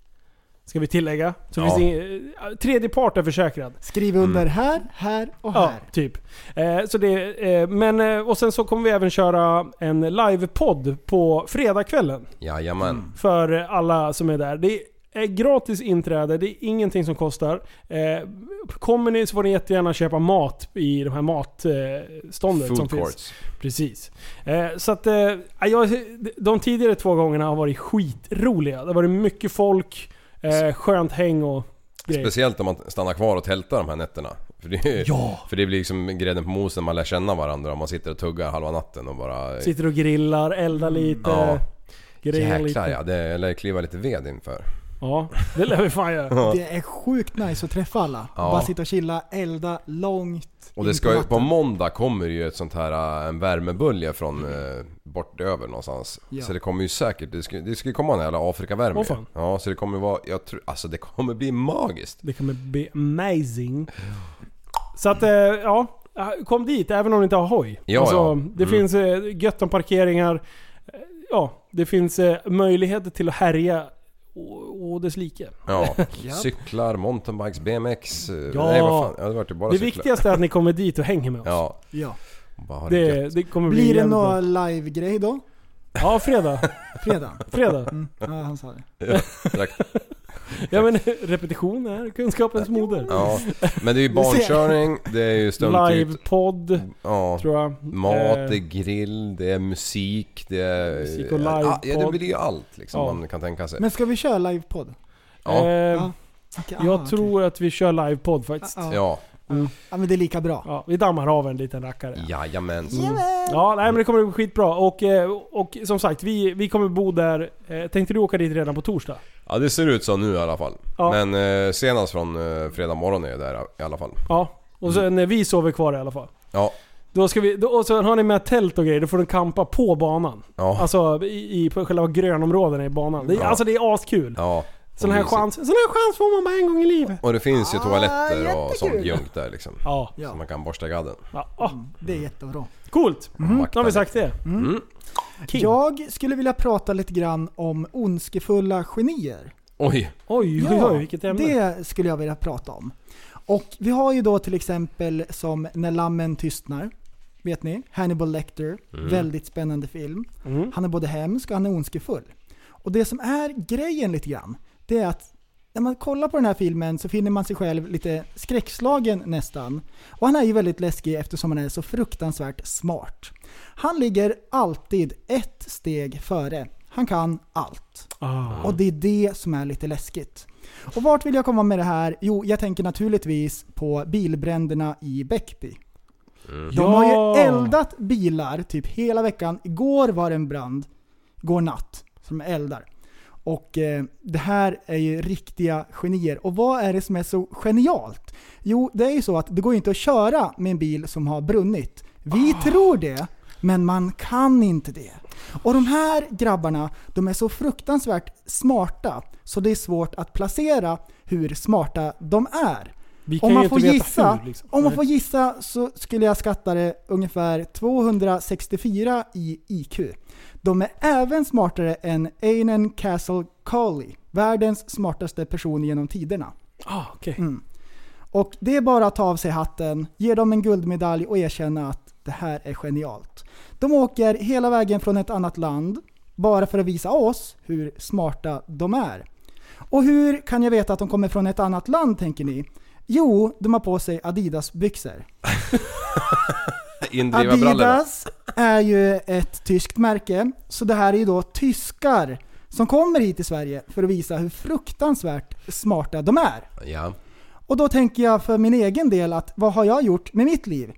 Ska vi tillägga. Så Ja. finns det ing- eh, tredje part är försäkrad. Skriv under Mm. här, här och Ja, här. typ. Eh, så det, eh, men, eh, och sen så kommer vi även köra en livepodd på fredagskvällen. Jajamän. För eh, alla som är där. Det är gratis inträde, det är ingenting som kostar. Eh, kommer ni så får ni jättegärna köpa mat i de här matståndet eh, ståndet som Food finns. courts. Precis. Eh, så att, eh, jag, de tidigare två gångerna har varit skitroliga. Det har varit mycket folk, eh, skönt häng och grej. Speciellt om man stannar kvar och tältar de här nätterna. För det, Ja. för det blir liksom grädden på moset, man lär känna varandra. Man sitter och tuggar halva natten och bara... Sitter och grillar, eldar lite. Mm, Ja. Grejer lite. Jäklar ja, det lär kliva lite ved inför. ja. Det lär vi fan göra. Det är sjukt nice att träffa alla. Ja. Bara sitta och chilla, elda långt Och det in ska ju, natten. på måndag kommer ju ett sånt här, äh, en värmebölja från eh, bort över någonstans. Ja. Så det kommer ju säkert, det ska, det ska ju komma en jävla Afrikavärme Åh, ju. fan. Ja, så det kommer vara, jag tror, alltså det kommer bli magiskt. Det kommer bli amazing. Så att, eh, ja. Kom dit, även om ni inte har hoj. Alltså, Ja, ja. Det Mm. finns eh, gött om parkeringar. Eh, Ja, det finns eh, möjligheter till att härja och, och dess like. [LAUGHS] Ja, cyklar, mountainbikes, BMX. eh, Ja. Nej vad fan, ja, det vart ju bara det cyklar. viktigaste är att ni kommer dit och hänger med oss. Ja, Ja. bara ha det, gött. Det, det kommer bli Blir det jävligt bra. någon live-grej då? Ja, fredag. Fredag? [LAUGHS] Fredag. Mm. Ja, han sa det. Direkt. Ja men repetition är kunskapens moder. Ja. Men [LAUGHS] det är ju barnkörning, det är ju stumtut. Livepodd, Ja. tror jag. Mat, det är Eh, grill, det är musik, det är... Musik och ja, ja, det livepodd. blir ju allt liksom Ja. man kan tänka sig. Men ska vi köra live-podd? ja. eh, Ja. Okej, Jag ah, okej. tror att vi kör livepodd faktiskt. Ja, ja. Ja, ja, men det är lika bra. Ja, vi dammar av en liten rackare. jajamensan. Ja, nej men det kommer bli skitbra. Och, eh, och som sagt, vi, vi kommer bo där. Eh, Tänkte du åka dit redan på torsdag? Ja det ser ut så nu i alla fall. Ja. Men eh, senast från eh, fredag morgon är jag där i alla fall. Ja. Och Mm. sen när vi sover kvar i alla fall. Ja, Då ska vi, då, och sen har ni med tält och grejer, då får ni kampa på banan. ja, Ah. Alltså i, i på själva grönområdena i banan. Det, är- Ja. Alltså det är askul. ja. Sån här, Och mysigt. chans, sån här chans får man bara en gång i livet. Och det finns ju Ah, toaletter och sånt jättekul. junk där liksom. Ja. Ja. Så man kan borsta gadden. ja. Ah, Det är jättebra. coolt! Mm. Då har vi sagt det. Mm. King. Jag skulle vilja prata lite grann om ondskefulla genier. Oj! Oj, oj, oj, vilket ämne. det skulle jag vilja prata om. Och vi har ju då till exempel som När lammen tystnar. Vet ni? Hannibal Lecter. Väldigt spännande film. Mm. Han är både hemsk och han är ondskefull. Och det som är grejen lite grann, det är att när man kollar på den här filmen så finner man sig själv lite skräckslagen nästan. Och han är ju väldigt läskig eftersom han är så fruktansvärt smart. Han ligger alltid ett steg före. Han kan allt. Ah. Och det är det som är lite läskigt. Och vart vill jag komma med det här? Jo, jag tänker naturligtvis på bilbränderna i Bäckby. De har ju eldat bilar typ hela veckan. Igår var det en brand, igår natt, som eldar. Och eh, det här är ju riktiga genier. Och vad är det som är så genialt? Jo, det är ju så att det går ju inte att köra med en bil som har brunnit. Vi tror det, men man kan inte det. Och de här grabbarna, de är så fruktansvärt smarta så det är svårt att placera hur smarta de är. Vi kan Om ju man inte får veta gissa, hur, liksom. om man Nej. får gissa så skulle jag skatta det ungefär 264 i IQ. De är även smartare än Einen Castle Collie, världens smartaste person genom tiderna. Ah, okej. Mm. Och det är bara att ta av sig hatten, ge dem en guldmedalj och erkänna att det här är genialt. De åker hela vägen från ett annat land bara för att visa oss hur smarta de är. Och hur kan jag veta att de kommer från ett annat land tänker ni? Jo, de har på sig Adidas-byxor. Indriva brallorna. Adidas är ju ett tyskt märke, så det här är ju då tyskar som kommer hit till Sverige för att visa hur fruktansvärt smarta de är. Ja. Och då tänker jag för min egen del att vad har jag gjort med mitt liv?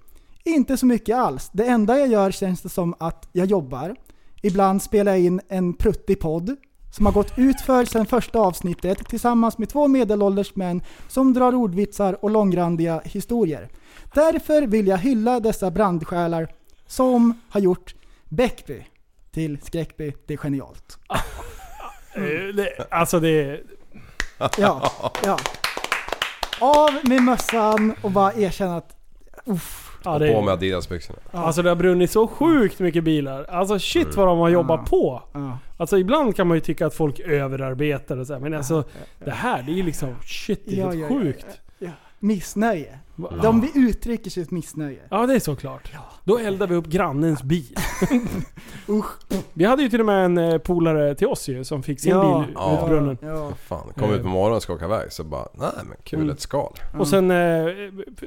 Inte så mycket alls. Det enda jag gör känns det som att jag jobbar. Ibland spelar jag in en pruttig podd som har gått ut för sedan första avsnittet tillsammans med två medelålders män som drar ordvitsar och långrandiga historier. Därför vill jag hylla dessa brandsjälar som har gjort Bäckby till Skräckby. Det är genialt. Eh, det- Alltså det... Ja, ja. Av med mössan och bara erkänna att uff, Ja, det På med Adidas-byxorna. Alltså det har brunnit så sjukt mycket bilar. Alltså shit vad de har jobbat på. Ja. Alltså ibland kan man ju tycka att folk överarbetar och så här, men alltså det här det är ju liksom shit det är Ja, helt ja, ja, sjukt. missnöje. De vi uttrycker sitt missnöje. Ja, det är såklart. Då eldar vi upp [LAUGHS] grannens bil. Usch. Vi hade ju till och med en eh, polare till oss ju som fick sin Ja. bil ut Ja. på brunnen. Ja. Fan, kom ut på morgonen och skakade iväg så bara, nej men kul, Mm. ett skal. Och sen eh,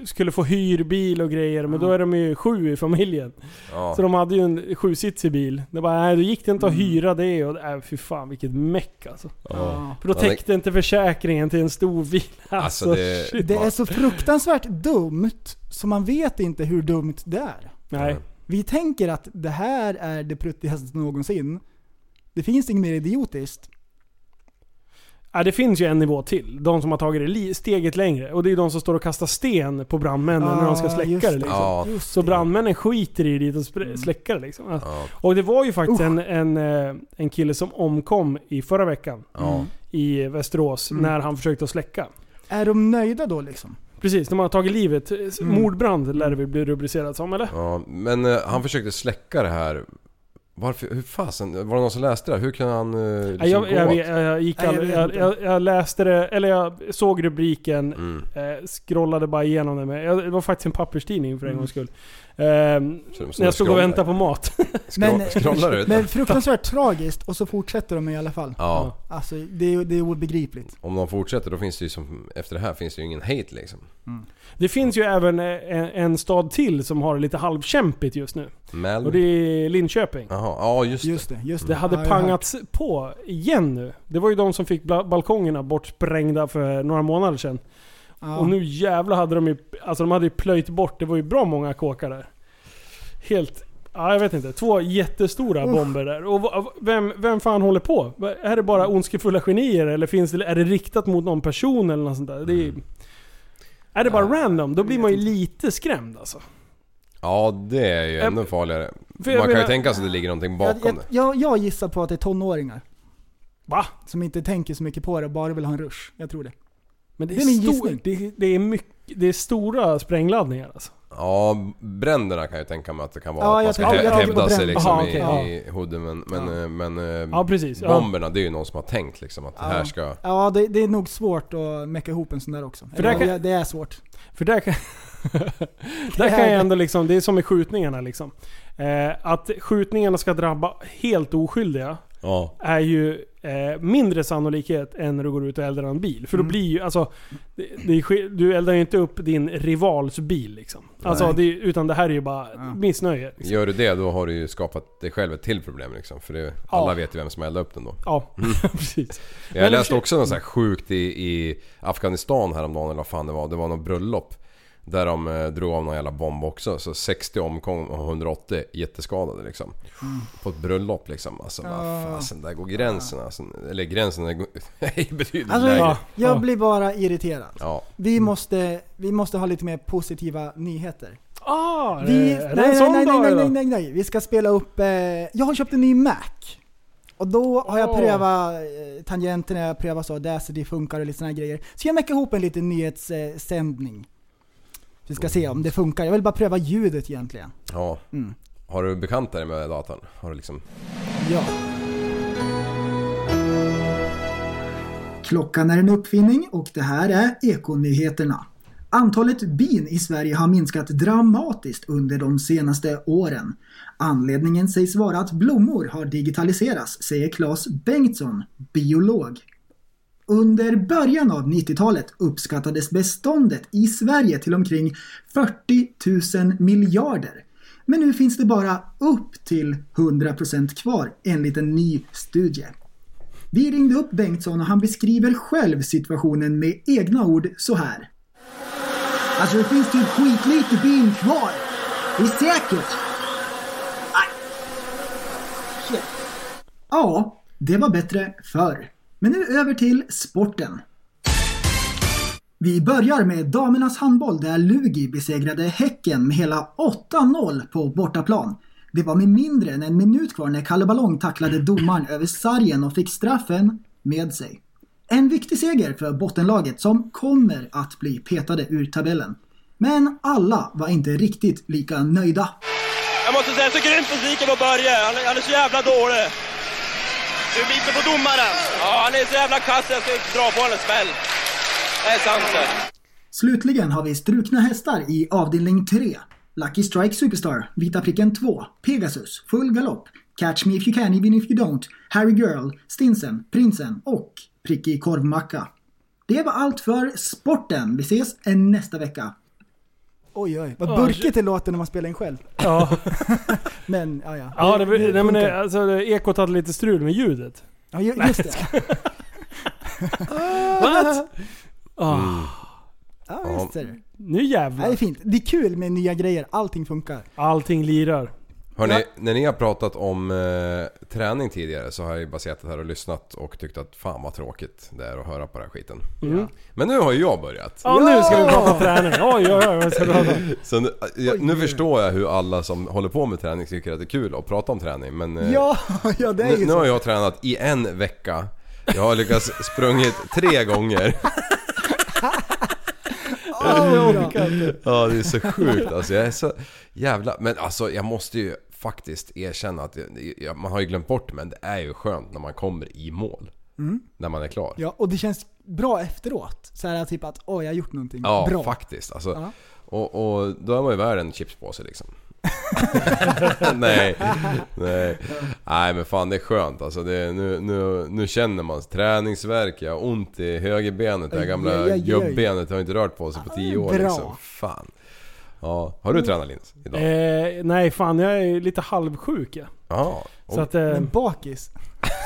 skulle få hyrbil och grejer, men då är de ju sju i familjen. Ja. Mm. Så de hade ju en sjusitsig bil. Det bara, nej då gick det inte att hyra det och äh, fy fan vilket meck alltså. Ja. För då Ja, det- täckte inte försäkringen till en stor bil. Alltså, Alltså det... shit. Det är så fruktansvärt dumt, så man vet inte hur dumt det är. Nej. Vi tänker att det här är det pruttigaste någonsin. Det finns inget mer idiotiskt. Ja, det finns ju en nivå till. De som har tagit det li- steget längre. Och det är ju de som står och kastar sten på brandmännen när de ska Ah, släcka just det liksom. Ja. Just Så det. Mm. brandmännen skiter i det och spr- släcker det liksom. Alltså. Ja. Och det var ju faktiskt en, en, eh, en kille som omkom i förra veckan Ja. i Västerås Mm. när han försökte att släcka. Är de nöjda då liksom? Precis, de har tagit livet. Eh, Mm. Mordbrand lär det väl bli rubricerat som eller? ja. Men eh, han försökte släcka det här. Varför, hur fasen, var det någon som läste det? här? Hur kan han eh, liksom Nej, jag, gå jag, åt? vet- jag, jag, gick Nej, jag aldrig, vet jag, inte. jag, jag läste det, eller jag såg rubriken, Mm. eh, scrollade bara igenom det. Med. Jag, det var faktiskt en papperstidning för en gångs skull. Eh, Så de när jag stod och scrollar. väntade på mat. [LAUGHS] Skroll- scrollar du? men fruktansvärt tragiskt och så fortsätter de i alla fall. Ja, Alltså det är, det är obegripligt. om de fortsätter då finns det ju som, efter det här finns det ju ingen hate liksom. Det finns ju även eh, en, en stad till som har det lite halvkämpigt just nu. Malmö? Och det är Linköping. Jaha, ja just, Just det, just det. Det hade Ja, jag har hört. pangats på igen nu. Det var ju de som fick bla- balkongerna bortsprängda för några månader sedan. Ja. Och nu jävlar hade de ju, alltså de hade ju plöjt bort, det var ju bra många kåkar där. Helt, ja jag vet inte, två jättestora bomber där. Och va- vem, vem fan håller på? Va- Är det bara ondskefulla genier eller finns det, är det riktat mot någon person eller något sånt där? Det är, är det bara random, då blir man ju lite skrämd alltså. det. Ja det är ju Jag- ännu farligare. För Man jag kan ju menar- tänka sig att det ligger någonting jag, bakom jag, det. jag, jag gissar på att det är tonåringar. Va? Som inte tänker så mycket på det, bara vill ha en rush. Jag tror det. Men det är, Det är min stor, gissning. det, det är mycket, det är stora sprängladdningar alltså. Mm. Ja, bränderna kan jag tänka mig att det kan vara. Ja, att man jag ska tänker- hä- jag tänker på hävda sig bränder. liksom Aha, okej, i, ja. i hooden. Men, men, eh, men eh, Ja precis. Ja. bomberna det är ju någon som har tänkt liksom att det här Ja. ska... Ja, det, det är nog svårt att mecka ihop en sån där också. där Eller, kan- ja, det är svårt. För där kan, [LAUGHS] där kan jag ändå liksom, det är som med skjutningarna liksom. Eh, att skjutningarna ska drabba helt oskyldiga Ja. är ju eh, mindre sannolikhet än när du går ut och eldar en bil. Mm. För då blir ju, alltså, det, det, sker- du eldar ju inte upp din rivals bil liksom. Alltså, det, är- utan det här är ju bara missnöje. Liksom. Gör du det då har du ju skapat dig själv ett till problem liksom. För det, alla vet ju vem som eldade upp den då. Ja, [LAUGHS] precis. Mm. Jag Men- läste också något så här sjukt i, i Afghanistan häromdagen eller vad fan det var. Det var något bröllop. Där de eh, drog av någon jävla bomb också. Så 60 omkom och 180 jätteskadade liksom. På ett bröllop liksom. Alltså vad fasen, där går gränsen alltså. Eller gränsen, där går, [LAUGHS] i betydligt Alltså, lägre. jag, Ja. jag Ja. blir bara irriterad. Ja. Vi måste, vi måste ha lite mer positiva nyheter. Ah, Vi, nej, är det en nej, sån nej, dag nej, nej, idag? nej, nej. Vi ska spela upp... Eh, jag har köpt en ny Mac. Och då har jag Åh. prövat eh, tangenterna, jag har prövat så, Dacity funkar och lite såna här grejer. Så jag mäcker ihop en liten nyhetssändning. Eh, sändning. vi ska se om det funkar. Jag vill bara pröva ljudet egentligen. ja. Har du bekantat dig med datorn? Har du liksom... Ja. Klockan är en uppfinning och det här är Ekonyheterna. Antalet bin i Sverige har minskat dramatiskt under de senaste åren. Anledningen sägs vara att blommor har digitaliserats, säger Claes Bengtsson, biolog. Under början av 90-talet uppskattades beståndet i Sverige till omkring 40 000 miljarder. Men nu finns det bara upp till 100% kvar enligt en ny studie. Vi ringde upp Bengtsson och han beskriver själv situationen med egna ord så här. Alltså det finns typ skitlite bin kvar. Det är säkert. Aj! Shit. Ja, det var bättre förr. Men nu över till sporten. Vi börjar med damernas handboll där Lugi besegrade Häcken med hela 8-0 på bortaplan. Det var med mindre än en minut kvar när Kalle Ballong tacklade domaren över sargen och fick straffen med sig. En viktig seger för bottenlaget som kommer att bli petade ur tabellen. Men alla var inte riktigt lika nöjda. Jag måste säga, jag är så grymt besviken på Börje. Han, är- han är så jävla dålig. Du biter på domaren. Ja, han är så jävla kass. Jag ska dra på honom en smäll. Det är sant det. Slutligen har vi strukna hästar i avdelning 3. Lucky Strike Superstar, Vita pricken 2, Pegasus, Full Galopp, Catch Me If You Can Even If You Don't, Harry Girl, Stinsen, Prinsen och Prickig Korvmacka. Det var allt för sporten. Vi ses nästa vecka. Oj, oj. Vad burkigt det låter när man spelar in själv. Ja, Men, ja, ja. ja det, nej, men funkar. det, alltså, det, ekot hade lite strul med ljudet. Ja, ju- just det. What? Ah, Ja, visst är det. Nu Ja, det är jävlar. fint. Det är kul med nya grejer. Allting funkar. Allting lirar. Hörni, när ni har pratat om eh, träning tidigare så har jag ju bara suttit här och lyssnat och tyckt att fan vad tråkigt det är att höra på den här skiten. Ja. Men nu har ju jag börjat. Mm. Ja, nu ska vi prata träning. Oj, oj, oj. Vad ska vi prata om? Så nu, jag, nu förstår jag hur alla som håller på med träning tycker att det är kul att prata om träning men... eh, Ja, [LAUGHS] ja det är nu, ju nu har så. jag tränat i en vecka. Jag har lyckats sprungit tre gånger. Ja det är så sjukt alltså. Jag är så jävla... Men alltså jag måste ju faktiskt erkänna att jag, jag, man har ju glömt bort men det är ju skönt när man kommer i mål. När man är klar. Ja, och det känns bra efteråt. Så här typ att åh, jag har gjort någonting Ja, bra. faktiskt. Alltså, Ja. och, och då är man ju värd en chipspåse [LAUGHS] liksom. nej, nej. Nej men fan det är skönt alltså. Det, nu, nu, nu känner man träningsvärk, jag har ont i högerbenet. Det här Aj, gamla aj, aj. gubbbenet har inte rört på sig på tio år bra. Mm. liksom. Fan. Ja. Har du tränat Linus? Idag? Eh, nej fan, jag är lite halvsjuk ja. Ja. Så att, eh, Men bakis.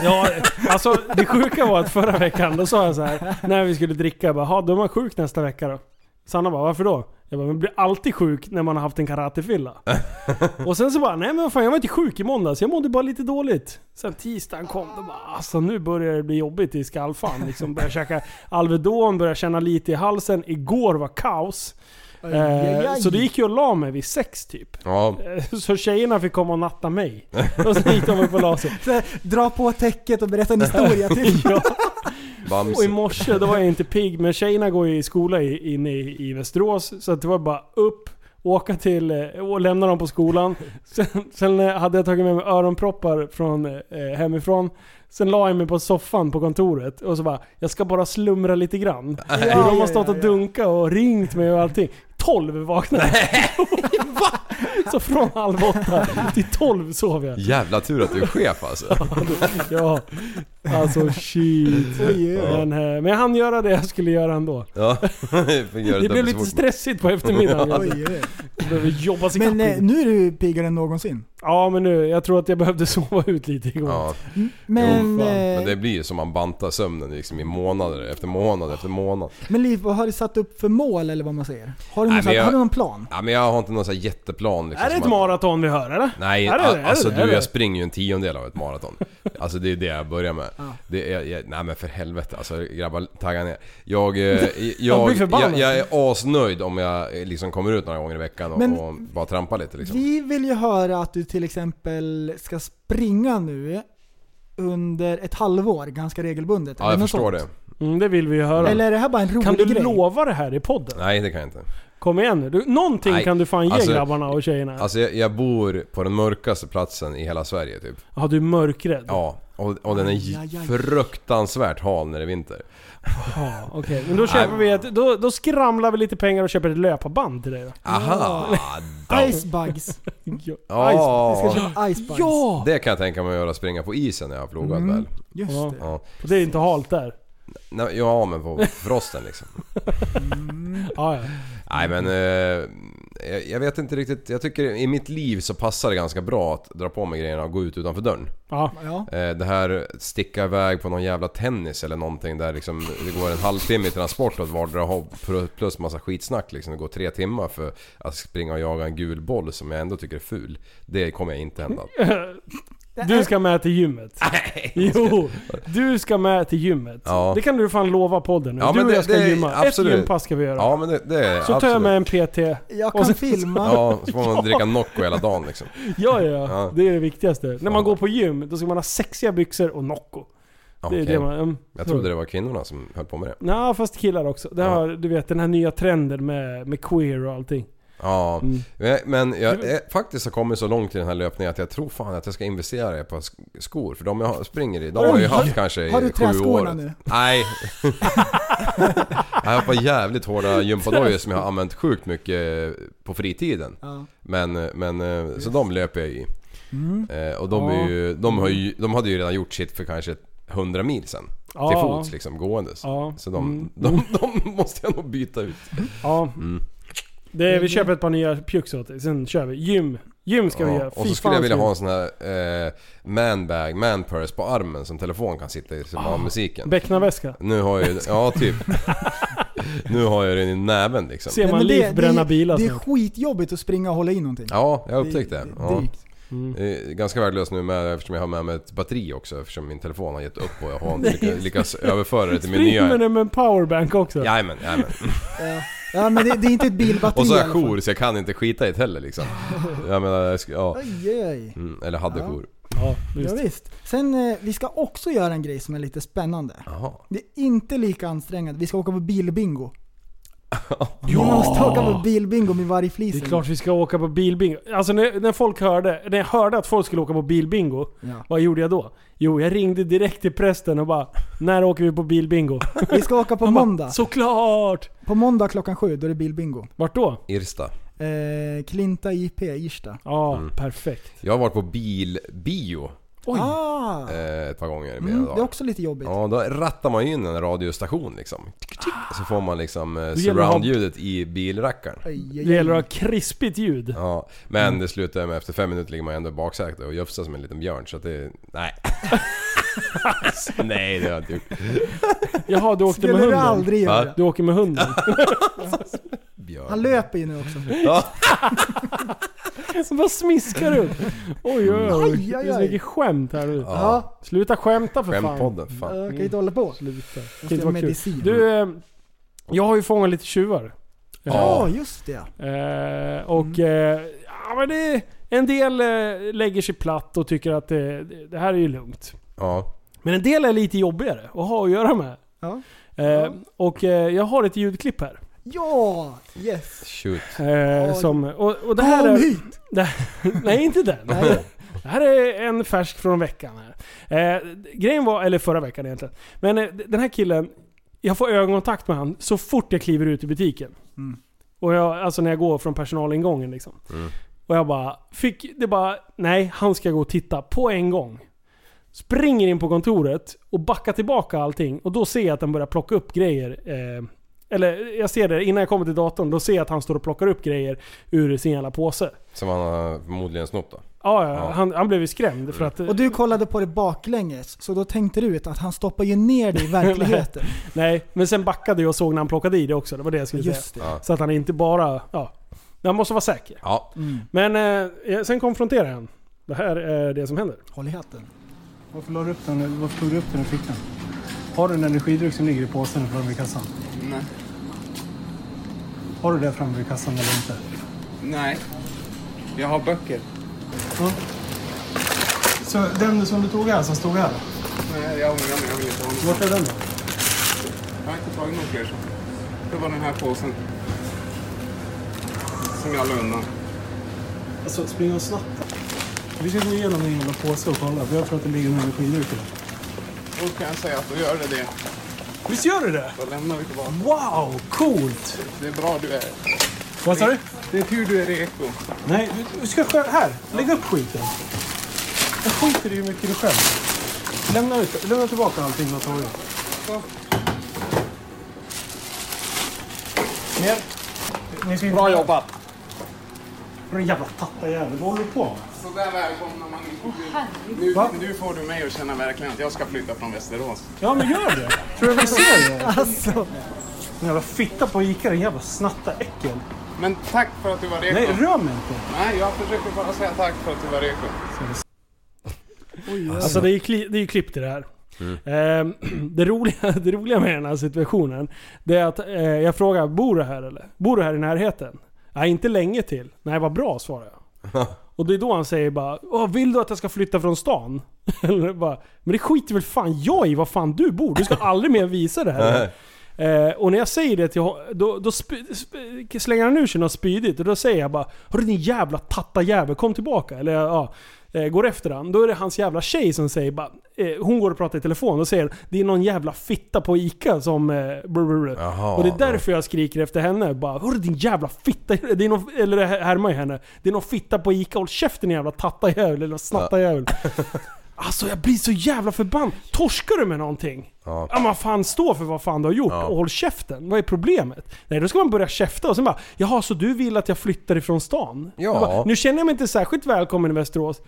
ja, alltså det sjuka var att förra veckan, då sa jag så här när vi skulle dricka, jag bara "Ha, då är man sjuk nästa vecka då. Sanna bara, varför då? Jag bara, man blir alltid sjuk när man har haft en karatefylla. och sen så bara, nej men vad fan jag var inte sjuk i måndags, jag mådde bara lite dåligt. Sen tisdagen kom, då bara, alltså nu börjar det bli jobbigt i skallfan. Liksom börjar käka Alvedon, börjar känna lite i halsen. Igår var kaos. Aj, aj, Eh, aj. så det gick ju och la mig vid sex typ. [LAUGHS] Ja. Eh, Så tjejerna fick komma och natta mig. Och sen gick de upp och la sig. Så här, dra på täcket och berätta en historia till. [LAUGHS] Ja, och i Bamse. morse då var jag inte pigg, men tjejerna går ju i skola i- inne i, i Västerås. Så att det var bara upp, åka till eh, och lämna dem på [LAUGHS] skolan. Sen, sen eh, hade jag tagit med mig öronproppar från, eh, hemifrån. Sen la jag mig på soffan på kontoret och så bara, jag ska bara slumra lite grann. Hur de har stått och dunkat och ringt mig och allting. 12 vaknade [LAUGHS] jag. Va? Så från halv åtta till 12 sov jag. Jävla tur att du är chef alltså. Ja, alltså shit. Men, eh, men jag hann göra det jag skulle göra ändå. Ja. Fick göra Det blev dubbelt så lite fort. stressigt [LAUGHS] på eftermiddagen. Jag alltså. Oj, oj. behöver jobba sig Men ikapp. eh, nu är du piggare än någonsin. Ja men nu, jag tror att jag behövde [LAUGHS] sova ut lite igår. Ja. Men, fan. eh, Men det blir ju som man bantar sömnen liksom i månader efter månad efter månad. men Liv, vad har du satt upp för mål eller vad man säger? Har du någon, Nej, men satt, jag- har du någon plan? Ja men jag har inte någon sån här jätteplan liksom, Är det som ett att- maraton vi hör eller? Nej, är det, a- det? Är alltså det, du är det? jag springer ju en tiondel av ett [LAUGHS] maraton. Alltså det är det jag börjar med. Det är, jag, nej men för helvete alltså grabbar, tagga ner. [LAUGHS] Jag, eh, jag, blir jag, förbannad. jag, är asnöjd om jag eh, liksom kommer ut några gånger i veckan och, Men- och bara trampar lite liksom. Vi vill ju höra att du till exempel ska springa nu under ett halvår ganska regelbundet. Ja eller jag något förstår det. sånt. Mm, det vill vi ju höra. Eller är det här bara en rolig kan du grej? lova det här i podden? Nej det kan jag inte. Kom igen nu. Du, någonting Nej, kan du fan ge alltså- grabbarna och tjejerna. Alltså jag, jag bor på den mörkaste platsen i hela Sverige typ. ja, du är mörkrädd. Ja, och, och den är Aj, aj, aj. fruktansvärt hal när det är vinter. Ja, Okej, men då köper vi ett, då, då skramlar vi lite pengar och köper ett löparband till dig då. Aha! Icebugs. [LAUGHS] Ja. Vi ska Ja, köra icebugs. ja! Mm. det kan jag tänka mig att göra, springa på isen när jag har plogat väl. Just det. Ja. Det är inte halt där. Nej, ja men på frosten liksom. Ja, ja. Nej men... Eh, jag- jag vet inte riktigt. Jag tycker i mitt liv så passar det ganska bra att dra på mig grejerna och gå ut utanför dörren. ja. Ja. Eh, det här sticka iväg på någon jävla tennis eller någonting där liksom det går en halvtimme i transport åt vardera hopp plus massa skitsnack liksom. Det går tre timmar för att springa och jaga en gul boll som jag ändå tycker är ful. Det kommer jag inte [LAUGHS] hända. Du ska med [LAUGHS] till gymmet. Jo, du ska med till gymmet. Ja. Det kan du fan lova podden nu. Ja, du men och det- jag ska det är- gymma. absolut. Ett gympass ska vi göra. Ja men det, det är så tar jag med en PT. Jag Och kan [LAUGHS] sen- filma. Ja, så får man dricka Nocco hela dagen liksom. Ja, ja, ja. Ja. Det är det viktigaste. När man går på gym, då ska man ha sexiga byxor och Nocco. Det är Okej. det man... mm. Jag trodde det var kvinnorna som höll på med det. Nej, fast killar också. Det Ja. har, du vet den här nya trenden med, med queer och allting. Ja, Mm. men- men jag jag faktiskt har kommit så långt i den här löpningen att jag tror fan att jag ska investera i ett par sk- skor. För de jag har- springer i, de har jag ju Oj, har- haft kanske i har du sju träskorna år. nu? [LAUGHS] Nej. jag har ett par jävligt hårda gympadojor som jag har använt sjukt mycket på fritiden. Men, men eh, så de löper jag i. Mm. Eh, Och de, är ju, de, har ju, de hade ju redan gjort sitt för kanske 100 mil sen. Till Ja. fots liksom, gåendes. Ja. Så Mm. de, de, de måste jag nog byta ut. Ja. Mm. Det, är- vi köper ett par nya pjucks åt dig, sen kör vi. Gym. Gym ska vi Ja, göra. och Fy så skulle jag fan, vilja ska vi- ha en sån här eh, manbag, manpurse på armen som telefon kan sitta i som Ah. har musiken. Becknarväska. Nu har jag ja [LAUGHS] typ. nu har jag den i näven liksom. Ser man Men liv bränna bilar Det är snart. skitjobbigt att springa och hålla i någonting. Ja, jag upptäckte det. Det är Ja. drygt. Det är Ganska värdelöst nu med, eftersom jag har med mig ett batteri också eftersom min telefon har gett upp och jag har inte lyckats, lyckats överföra det till min Spring med nya. den med en powerbank också. Jajamän, jajamän. Ja men det, det är inte ett bilbatteri [LAUGHS] Och så har i jag alla fall. jour så jag kan inte skita i det heller liksom. Jag menar, jag ska, ja. Aj, aj. Mm, eller hade Ja. jour. Ja, Ja, visst. visst. Sen, eh, vi ska också göra en grej som är lite spännande. Jaha. Det är inte lika ansträngande. Vi ska åka på [LAUGHS] bilbingo. Vi måste åka på bilbingo med Det vargflisen. är klart vi ska åka på bilbingo. Alltså när, när folk hörde, när jag hörde att folk skulle åka på bilbingo, Ja. vad gjorde jag då? Jo, jag ringde direkt till prästen och bara När åker vi på bilbingo? Vi ska åka [LAUGHS] på Han bara, måndag. Såklart! På måndag klockan sju, då är det bilbingo. Vart då? Irsta. Eh, Klinta IP, Irsta. Ja, perfekt. Jag har varit på bilbio Oj. Ah, eh, ett par gånger. i mina mm, det är dagar. också lite jobbigt. Ja, då rattar man ju in en radiostation liksom. Tick, tick. Så får man liksom eh, gäller det att ha- surround-ljudet i bilrackaren. Aj, Det aj, gäller aj. att ha krispigt ljud. Ja, men det slutar med efter fem minuter ligger man ändå i baksätet och jufsar som en liten björn så att det... Nej. nej, det har jag inte gjort. Jaha, du åkte med Skulle du hunden? aldrig Va? göra. Du åker med hunden? Han Björn. löper ju nu också. Vad smiskar du? Oj, oj, Aj, oj. aj, Det är så aj. mycket skämt här ute. Ja, Sluta skämta för fan. Skämtpodden, jag fan. kan ju inte hålla på. Sluta. Det kan Måste Mm. inte ha vara kul. medicin. Du, eh, jag har ju fångat lite tjuvar. Ja, Ja. just det. Eh, Mm. och eh, ja, men det, en del eh, lägger sig platt och tycker att det, det här är ju lugnt. Ja. Men en del är lite jobbigare att ha att göra med. Ja. Eh, Och eh, jag har ett ljudklipp här. Ja! Yes! Shoot. Eh, Oj. som, och, och det här Kom är, hit! [LAUGHS] nej, inte den. Nej. Det här är en färsk från veckan. Här. Eh, grejen var, eller förra veckan egentligen. Men eh, d- den här killen, jag får ögonkontakt med han så fort jag kliver ut i butiken. Mm. Och jag, alltså när jag går från personalingången liksom. Och jag bara, fick, det bara, nej han ska gå och titta på en gång. Springer in på kontoret och backar tillbaka allting och då ser jag att han börjar plocka upp grejer. Eh, eller jag ser det innan jag kommer till datorn, då ser jag att han står och plockar upp grejer ur sin jävla påse. Som han har förmodligen snott då. Ja, ja, Ja. Han, han blev ju skrämd för att... Och du kollade på det baklänges, så då tänkte du ut att han stoppar ju ner [LAUGHS] dig i verkligheten. Nej, men sen backade jag och såg när han plockade i det också. Det var det jag skulle Just det. säga. Så att han inte bara... Ja. Han måste vara säker. Ja. Men eh, sen konfronterar han. Det här är det som händer. Håll i hatten. Varför la du upp den? Varför tog du upp den i fickan? Har du en energidryck som ligger i påsen framme vid kassan? Nej. Har du det framme vid kassan eller inte? Nej, jag har böcker. Ja. Så den som du tog här, som stod här? Nej, jag ångrar mig. Jag vill inte ha någon. Vart är den då? Jag har inte tagit någon fler. sån. Det var den här påsen. Som jag la undan. Alltså, spring och snatta. Vi ska gå igenom din jävla påse och kolla. för Jag tror att det ligger en energidryck i den. Då kan jag säga att då gör det det. Visst gör du det? Då lämnar vi tillbaka. Wow, coolt! Det är bra du är. Vad sa du? Det är tur du är eko. Nej, du, du ska själv... Här! Lägg upp skiten. Jag skiter i hur mycket du själv. Lämna, ut, lämna tillbaka allting du har tagit. Ner. Ni ska inte... Bra jobbat. Den jävla tattarjävel. Vad håller du på med? Så där välkomnar man inte. Nu, Va? nu får du mig att känna verkligen att jag ska flytta från Västerås. Ja, men gör det. Tror du jag vill se det? [LAUGHS] Alltså. Den jävla fitta på Ica. Den jävla snattaräckel. Men tack för att du var reko. Nej, Nej, rör mig inte. jag försöker bara säga tack för att du var reko. Alltså det är ju kli, det är ju klippt i det här. Eh, [CLEARS THROAT] det, roliga, [LAUGHS] det roliga med den här situationen, det är att eh, jag frågar bor du här eller? Bor du här i närheten? Nej, inte länge till. Nej, vad bra svarar jag. Och det är då han säger bara Åh, vill du att jag ska flytta från stan? [LAUGHS] Eller bara, Men det skiter väl fan jag i var fan du bor? Du ska aldrig mer visa det här. Eh, och när jag säger det till honom, då, då spy, sp- slänger han ur sig något spydigt. Och då säger jag bara Hörru din jävla tattarjävel, kom tillbaka. Eller ja, eh, går efter han. Då är det hans jävla tjej som säger bara, eh, Hon går och pratar i telefon och säger Det är någon jävla fitta på Ica som... Eh, brr, brr, brr. Jaha, och det är därför jag skriker efter henne. Bara Hörru din jävla fitta. Det är någon, eller det härmar ju henne. Det är någon fitta på Ica. Håll käften din jävla tattarjävel eller snattarjävel. Alltså jag blir så jävla förbannad. Torskar du med någonting? Ja. Ja men fan stå för vad fan du har gjort och håll käften. Vad är problemet? Nej då ska man börja käfta och sen bara Jaha så du vill att jag flyttar ifrån stan? Ja. Jag Bara, nu känner jag mig inte särskilt välkommen i Västerås.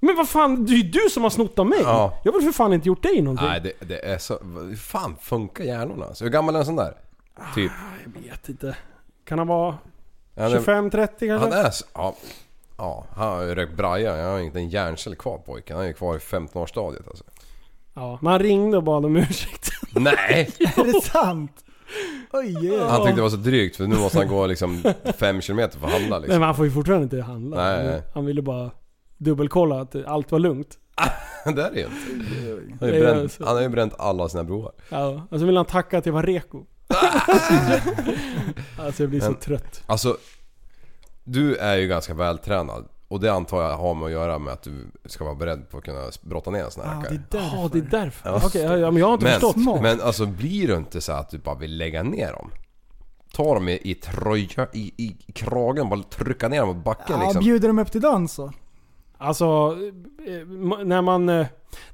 Men vad fan, det är ju du som har snott av mig. Ja. Jag har väl för fan inte gjort dig någonting. Nej, det, det är så... Hur fan funkar hjärnorna? Så hur gammal är en sån där? Typ. Jag vet inte. Kan han vara Han är- 25-30 kanske? Han är Alltså. så- ja, ja, han har ju rökt braja. Jag har inte en hjärncell kvar pojken. Han är ju kvar i 15-årsstadiet alltså. Ja, men han ringde och bad [LAUGHS] om ursäkt. [LAUGHS] Nej! Är det sant? Oj, yeah. Han tyckte det var så drygt för nu måste han gå liksom 5 km för att handla Nej, liksom. men han får ju fortfarande inte handla. Nej, nej. Han ville bara dubbelkolla att allt var lugnt. [LAUGHS] det är det ju inte. Han har Det ju är bränt, alltså. så. han har ju bränt alla sina broar. Ja, och så vill han tacka att jag var [LAUGHS] reko. alltså jag blir så Men- trött. Alltså, du är ju ganska vältränad. Och det antar jag har med att göra med att du ska vara beredd på att kunna brotta ner en sån här Ja, rackare. det är därför. Ja, det är därför. Ja. Okej, ja, ja, men jag har inte förstått. Men, men alltså blir du inte så att du bara vill lägga ner dem? Ta dem i, i tröja, i, i kragen, bara trycka ner dem på backen Ja, liksom. bjuder de upp till dans så. Alltså, eh, m- när man... eh,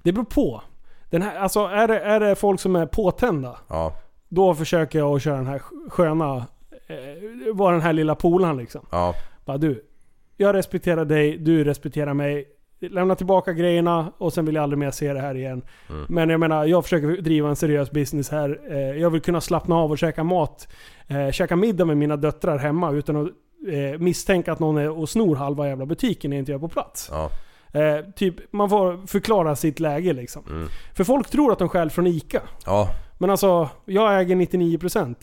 Det beror på. Den här, alltså är det, är det folk som är påtända, Ja, då försöker jag att köra den här sk- sköna... Eh, vara den här lilla polaren liksom. ja, Bara du, jag respekterar dig, du respekterar mig. Lämna tillbaka grejerna och sen vill jag aldrig mer se det här igen. Men jag menar, jag försöker driva en seriös business här. Eh, Jag vill kunna slappna av och käka mat. eh, Käka middag med mina döttrar hemma utan att eh, misstänka att någon är och snor halva jävla butiken när inte jag är på plats. ja. Eh, Typ, man får förklara sitt läge liksom. För folk tror att de stjäl från ICA. Ja, Men alltså, jag äger 99%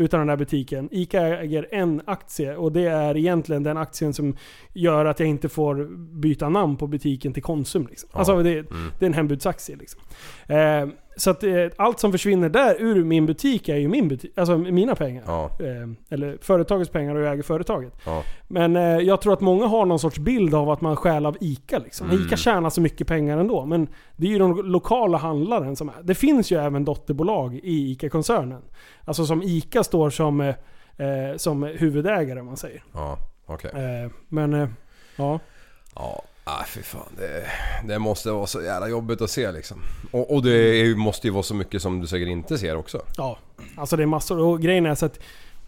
utav den här butiken. ICA äger en aktie och det är egentligen den aktien som gör att jag inte får byta namn på butiken till Konsum. Liksom. Alltså det, Mm. det är en hembudsaktie. Liksom. Eh, så att eh, allt som försvinner där ur min butik är ju min butik, alltså mina pengar. ja, Eh, eller företagets pengar och jag äger företaget. ja. Men eh, jag tror att många har någon sorts bild av att man stjäl av ICA. Liksom. Mm. ICA tjänar så mycket pengar ändå. Men det är ju den lokala handlaren som är. Det finns ju även dotterbolag i ICA-koncernen. Alltså som ICA står som, eh, eh, som huvudägare om man säger. ja. Okej. Eh, men eh, ja. Ja, ah, fy fan. Det, det måste vara så jävla jobbigt att se liksom. Och, och det är, ju- måste ju vara så mycket som du säkert inte ser också. ja. Alltså det är massor. Och grejen är så att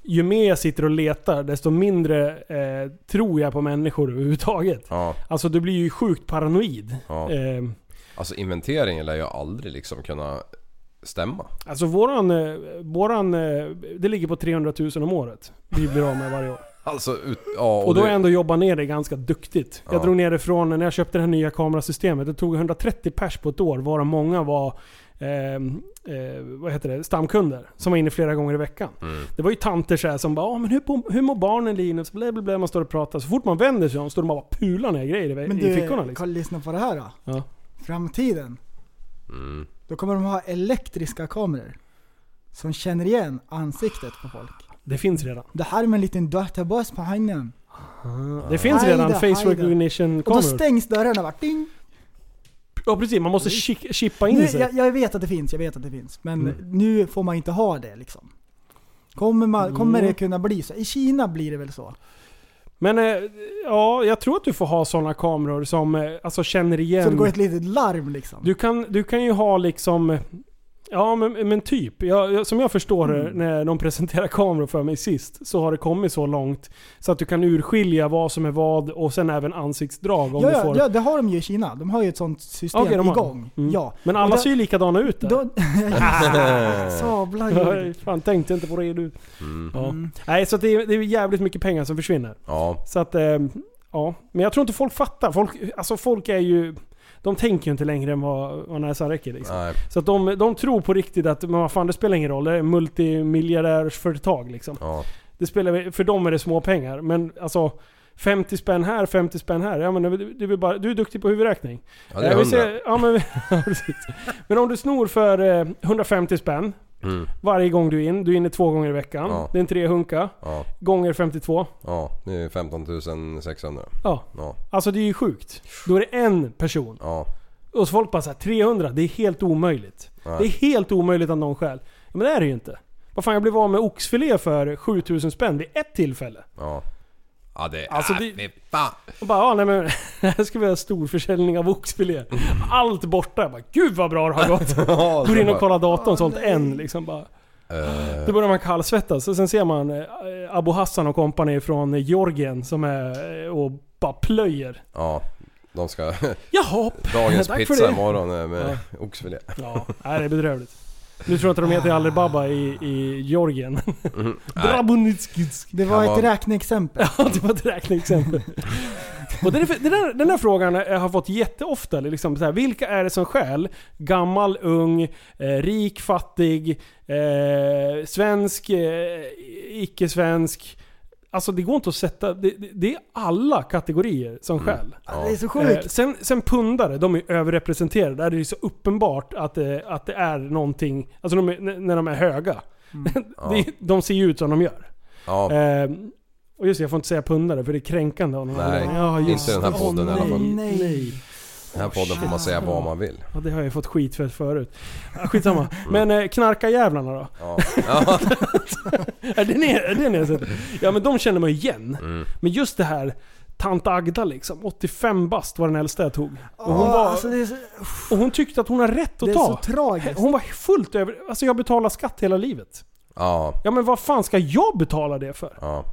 ju mer jag sitter och letar desto mindre eh, tror jag på människor överhuvudtaget. Ja, Alltså du blir ju sjukt paranoid. ja. Eh, Alltså inventeringen lär ju aldrig liksom kunna stämma. Alltså våran, eh, våran... eh, Det ligger på 300 000 om året. Vi blir av med varje år. Alltså, ut, ja, och, Och då har jag [LAUGHS] [LAUGHS] det, ändå jobbat ner det ganska duktigt. Ja. Jag drog ner det från när jag köpte det här nya kamerasystemet. Det tog 130 pers på ett år, varav många var eh, eh, vad heter det? stamkunder. Som var inne flera gånger i veckan. Mm. Det var ju tanter så här som bara "Ah, men hur, på- hur mår barnen Linus? Bla, bla, bla. Man står och pratar. Så fort man vänder sig om står de och bara pular ner grejer i, Men i du, fickorna. Carl, Liksom. lyssna på det här då. Ja. Framtiden. mm, Då kommer de ha elektriska kameror. Som känner igen ansiktet på folk. Det finns redan. Det här med en liten databas på handen. Ah. Det finns redan Hajda, face hajda. Och då recognition-kameror. stängs dörrarna bara. Ding. Ja precis, man måste chi- chippa in Nu, sig. jag, jag vet att det finns, jag vet att det finns. Men Mm. nu får man inte ha det liksom. Kommer, man, kommer Mm. det kunna bli så? I Kina blir det väl så? Men eh, ja, jag tror att du får ha sådana kameror som eh, alltså, känner igen... Så det går ett litet larm liksom. du, kan, du kan ju ha liksom... eh, Ja men, men typ. Jag, jag, som jag förstår Mm. det när de presenterade kameror för mig sist så har det kommit så långt så att du kan urskilja vad som är vad och sen även ansiktsdrag om ja, du ja, får... ja, det har de ju i Kina. De har ju ett sånt system Okej, de har- igång. Mm. Ja. Men alla Och ser ju likadana ut där. [LAUGHS] Då, Äh. [LAUGHS] sablar jag ju. fan, tänkte inte på det du. mm, Ja. Nej så att det, är, det är jävligt mycket pengar som försvinner. ja, Så att, eh, ja. Men jag tror inte folk fattar. Folk, alltså folk är ju... De tänker ju inte längre än vad, vad näsan räcker liksom. nej. Så att de, de tror på riktigt att, men vad fan det spelar ingen roll. Det är multimiljardärsföretag liksom. Ja, Det spelar, för dem är det små pengar. Men alltså, 50 spänn här, 50 spänn här. Ja, men du, du, är väl bara, du är duktig på huvudräkning. Eh, ja det är Jag vill [LAUGHS] hundra. säga- ja, men, ja, precis. men om du snor för eh, 150 spänn Mm. Varje gång du är in, du är inne två gånger i veckan. Ja. Det är en trehunka. Ja. Gånger 52. Ja, det är 15 600. Ja. Ja. Alltså det är ju sjukt. Då är det en person. Ja. Och så folk bara såhär, 300, det är helt omöjligt. Nej. Det är helt omöjligt av någon skäl. Ja, men det är det ju inte. Vad fan, jag blev av med oxfilé för 7000 spänn vid ett tillfälle. Ja. Ja det är... äh, Alltså, det- fy fan. Och bara, ja nej men, [LAUGHS] här ska vi ha storförsäljning av oxfilé. Allt borta. Jag bara, gud vad bra det har gått. [LAUGHS] Ja, Går in och bara- kollar datorn, sålt en liksom bara. Eh, Då börjar man kallsvettas. Och Sen ser man eh, Abu Hassan och kompani från Georgien som är eh, och bara plöjer. ja. De ska... [LAUGHS] Jaha! Dagens Tack för pizza det. imorgon är med oxfilé. Ja, nej, det är bedrövligt. Nu tror jag inte de heter Alibaba i, i Georgien. [LAUGHS] Mm. Nej. Drabunitskitsk. Det var Kan ett vara- räkneexempel. Ja, det var ett räkneexempel. Och den, den, där, den där frågan har jag fått jätteofta. Liksom, så här, vilka är det som stjäl? Gammal, ung, eh, rik, fattig, eh, svensk, eh, icke-svensk. Alltså det går inte att sätta... Det, det, det är alla kategorier som Mm. stjäl. Ja, Det är så Eh, sjukt. sen, sen pundare, de är överrepresenterade. Där är det ju så uppenbart att, eh, att det är någonting... Alltså de är, n- när de är höga. Mm. Ja. [LAUGHS] Det, de ser ju ut som de gör. Ja. Eh, och just det, jag får inte säga pundare för det är kränkande av någon Nej, annan. ja, just inte den här det. podden i Åh, alla fall. nej, Nej. nej. Den här podden får man säga vad man vill. Ja, det har jag ju fått skit för förut. Ja, [LAUGHS] skitsamma. Men eh, knarkarjävlarna då? Mm. Ja. [LAUGHS] Är det ner, är det ner så- Ja men de känner man ju igen. Mm. Men just det här Tant Agda liksom, 85 bast var den äldsta jag tog. Eh, Och hon, Åh, var, alltså, det är så, och hon tyckte att hon har rätt det att är så ta. tragiskt. Hon var fullt över... Alltså jag betalar skatt hela livet. Ja. Ja men vad fan ska jag betala det för? Ja.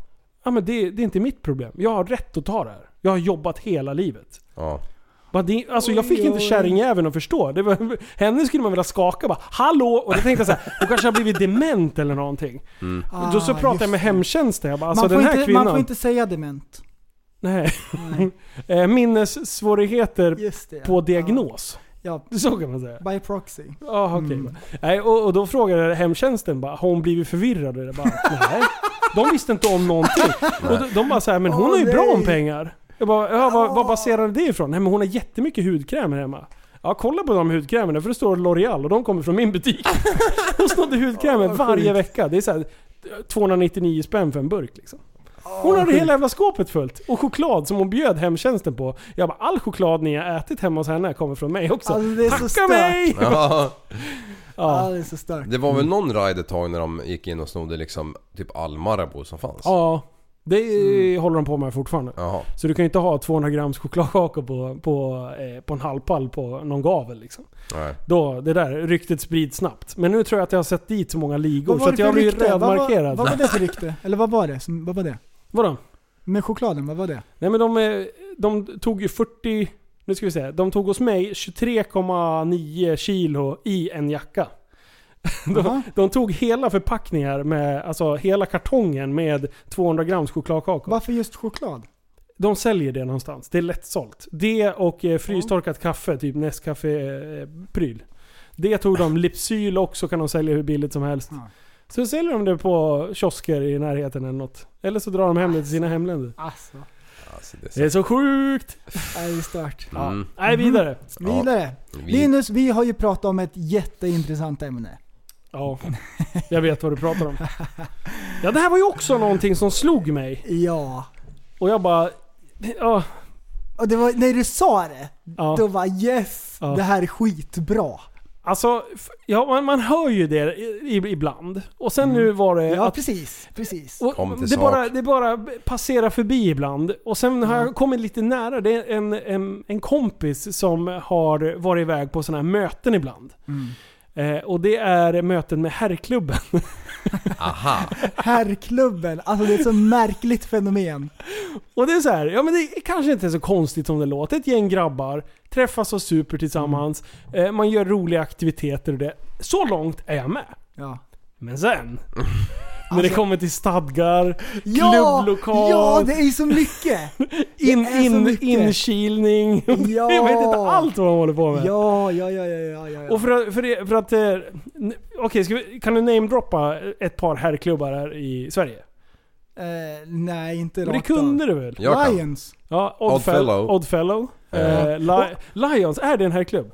Ja men det, det är inte mitt problem. Jag har rätt att ta det här. Jag har jobbat hela livet. Ja. Bara, det, alltså jag fick Oj, inte oj. kärringjäveln att förstå. Det var, henne skulle man vilja skaka bara Hallå! Och då tänkte jag såhär, hon kanske har blivit dement eller någonting. Ah, då så just pratade jag med det. hemtjänsten. Jag bara, alltså man, får den här inte, kvinnan. man får inte säga dement. Nej. [LAUGHS] Eh, Minnessvårigheter Just det. på diagnos. Ja, Så kan man säga. by proxy. Ja, okej. Mm. Nej, och, och då frågade hemtjänsten bara, har hon blivit förvirrad? Och jag bara, nej. De visste inte om någonting. Och de, de bara så här, men hon Åh, har ju bra om nej. pengar. Jag bara, ja, vad, vad baserar du det ifrån? Nej men hon har jättemycket hudkrämer hemma. Ja kolla på de hudkrämerna för det står L'Oreal och de kommer från [LAUGHS] min butik. Hon snodde hudkrämer varje vecka. Det är så här 299 spänn för en burk liksom. Hon hade hela jävla skåpet fullt. Och choklad som hon bjöd hemtjänsten på. Jag bara, all choklad ni har ätit hemma hos henne kommer från mig också. Alltså, det är så Tacka stört. mig! ja. [LAUGHS] Ja, Ja. det är så stört. Det var väl någon ride ett tag när de gick in och snodde liksom typ all Marabou som fanns? Ja, det Mm. håller de på med fortfarande. Jaha. Så du kan ju inte ha 200 grams chokladkakor på, på, eh, på en halvpall på någon gavel liksom. Nej. Då, det där ryktet sprids snabbt. Men nu tror jag att jag har sett dit så många ligor Vad så var att det för jag blir rykte? Vad var- rödmarkerad. Vad var det för rykte? Eller vad var det? som- Vad var det? Vadå? Med chokladen, vad var [LAUGHS] det? Nej men de, eh, de tog ju 40... Nu ska vi se. De tog hos mig 23,9 kilo i en jacka. Jaha. De, de tog hela förpackningar med, alltså hela kartongen med 200 grams chokladkakor. Varför just choklad? De säljer det någonstans. Det är lättsålt. Det och eh, frystorkat kaffe, typ Nescafé-pryl. Det tog de. Lipsyl också kan de sälja hur billigt som helst. Ja. Så säljer de det på kiosker i närheten eller något. Eller så drar de hem det till sina hemländer. Alltså, Alltså, det är Det är så sjukt! det är ju stört. Ja. Mm. Nej, Mm-hmm. vidare. Vidare. Vi- Linus, vi har ju pratat om ett jätteintressant ämne. Ja, jag vet vad du pratar om. Ja, det här var ju också någonting som slog mig. Ja. Och jag bara... Ja, Och det var, när du sa det, ja. då var yes, Ja. det här är skitbra. Alltså, f- ja, man, man hör ju det i- i- ibland. Och sen nu var det Mm. Ja, Eh, att precis. Precis. Och Kom till det, sak. bara, det bara passerar förbi ibland. Och sen har Ja. jag kommit lite nära. Det är en, en, en kompis som har varit iväg på sådana här möten ibland. Mm. Eh, och det är möten med herrklubben. [LAUGHS] Aha! Herrklubben, alltså det är ett så märkligt fenomen. Och det är så här, ja men det är kanske inte så konstigt som det låter. Ett gäng grabbar träffas och super tillsammans. Mm. Eh, man gör roliga aktiviteter och det. Så långt är jag med. Ja. [LAUGHS] Men sen. När det kommer till stadgar, Alltså- Ja, klubblokal, ja, det är ju så [LAUGHS] mycket! in, det är så in, mycket. inkilning. [LAUGHS] Ja. Jag vet inte allt vad man håller på med. Ja, ja, ja, ja, ja, ja. Och för, att- för, det- för att... eh, n- Okej, ska vi- kan du namedroppa ett par herrklubbar här i Sverige? Eh, nej, inte Men det rakt av. kunde du väl? Jag kan. Lions. Ja, Oddfellow. Oddfellow. Oddfellow. Eh. Eh, Li- Lions, är det en herrklubb?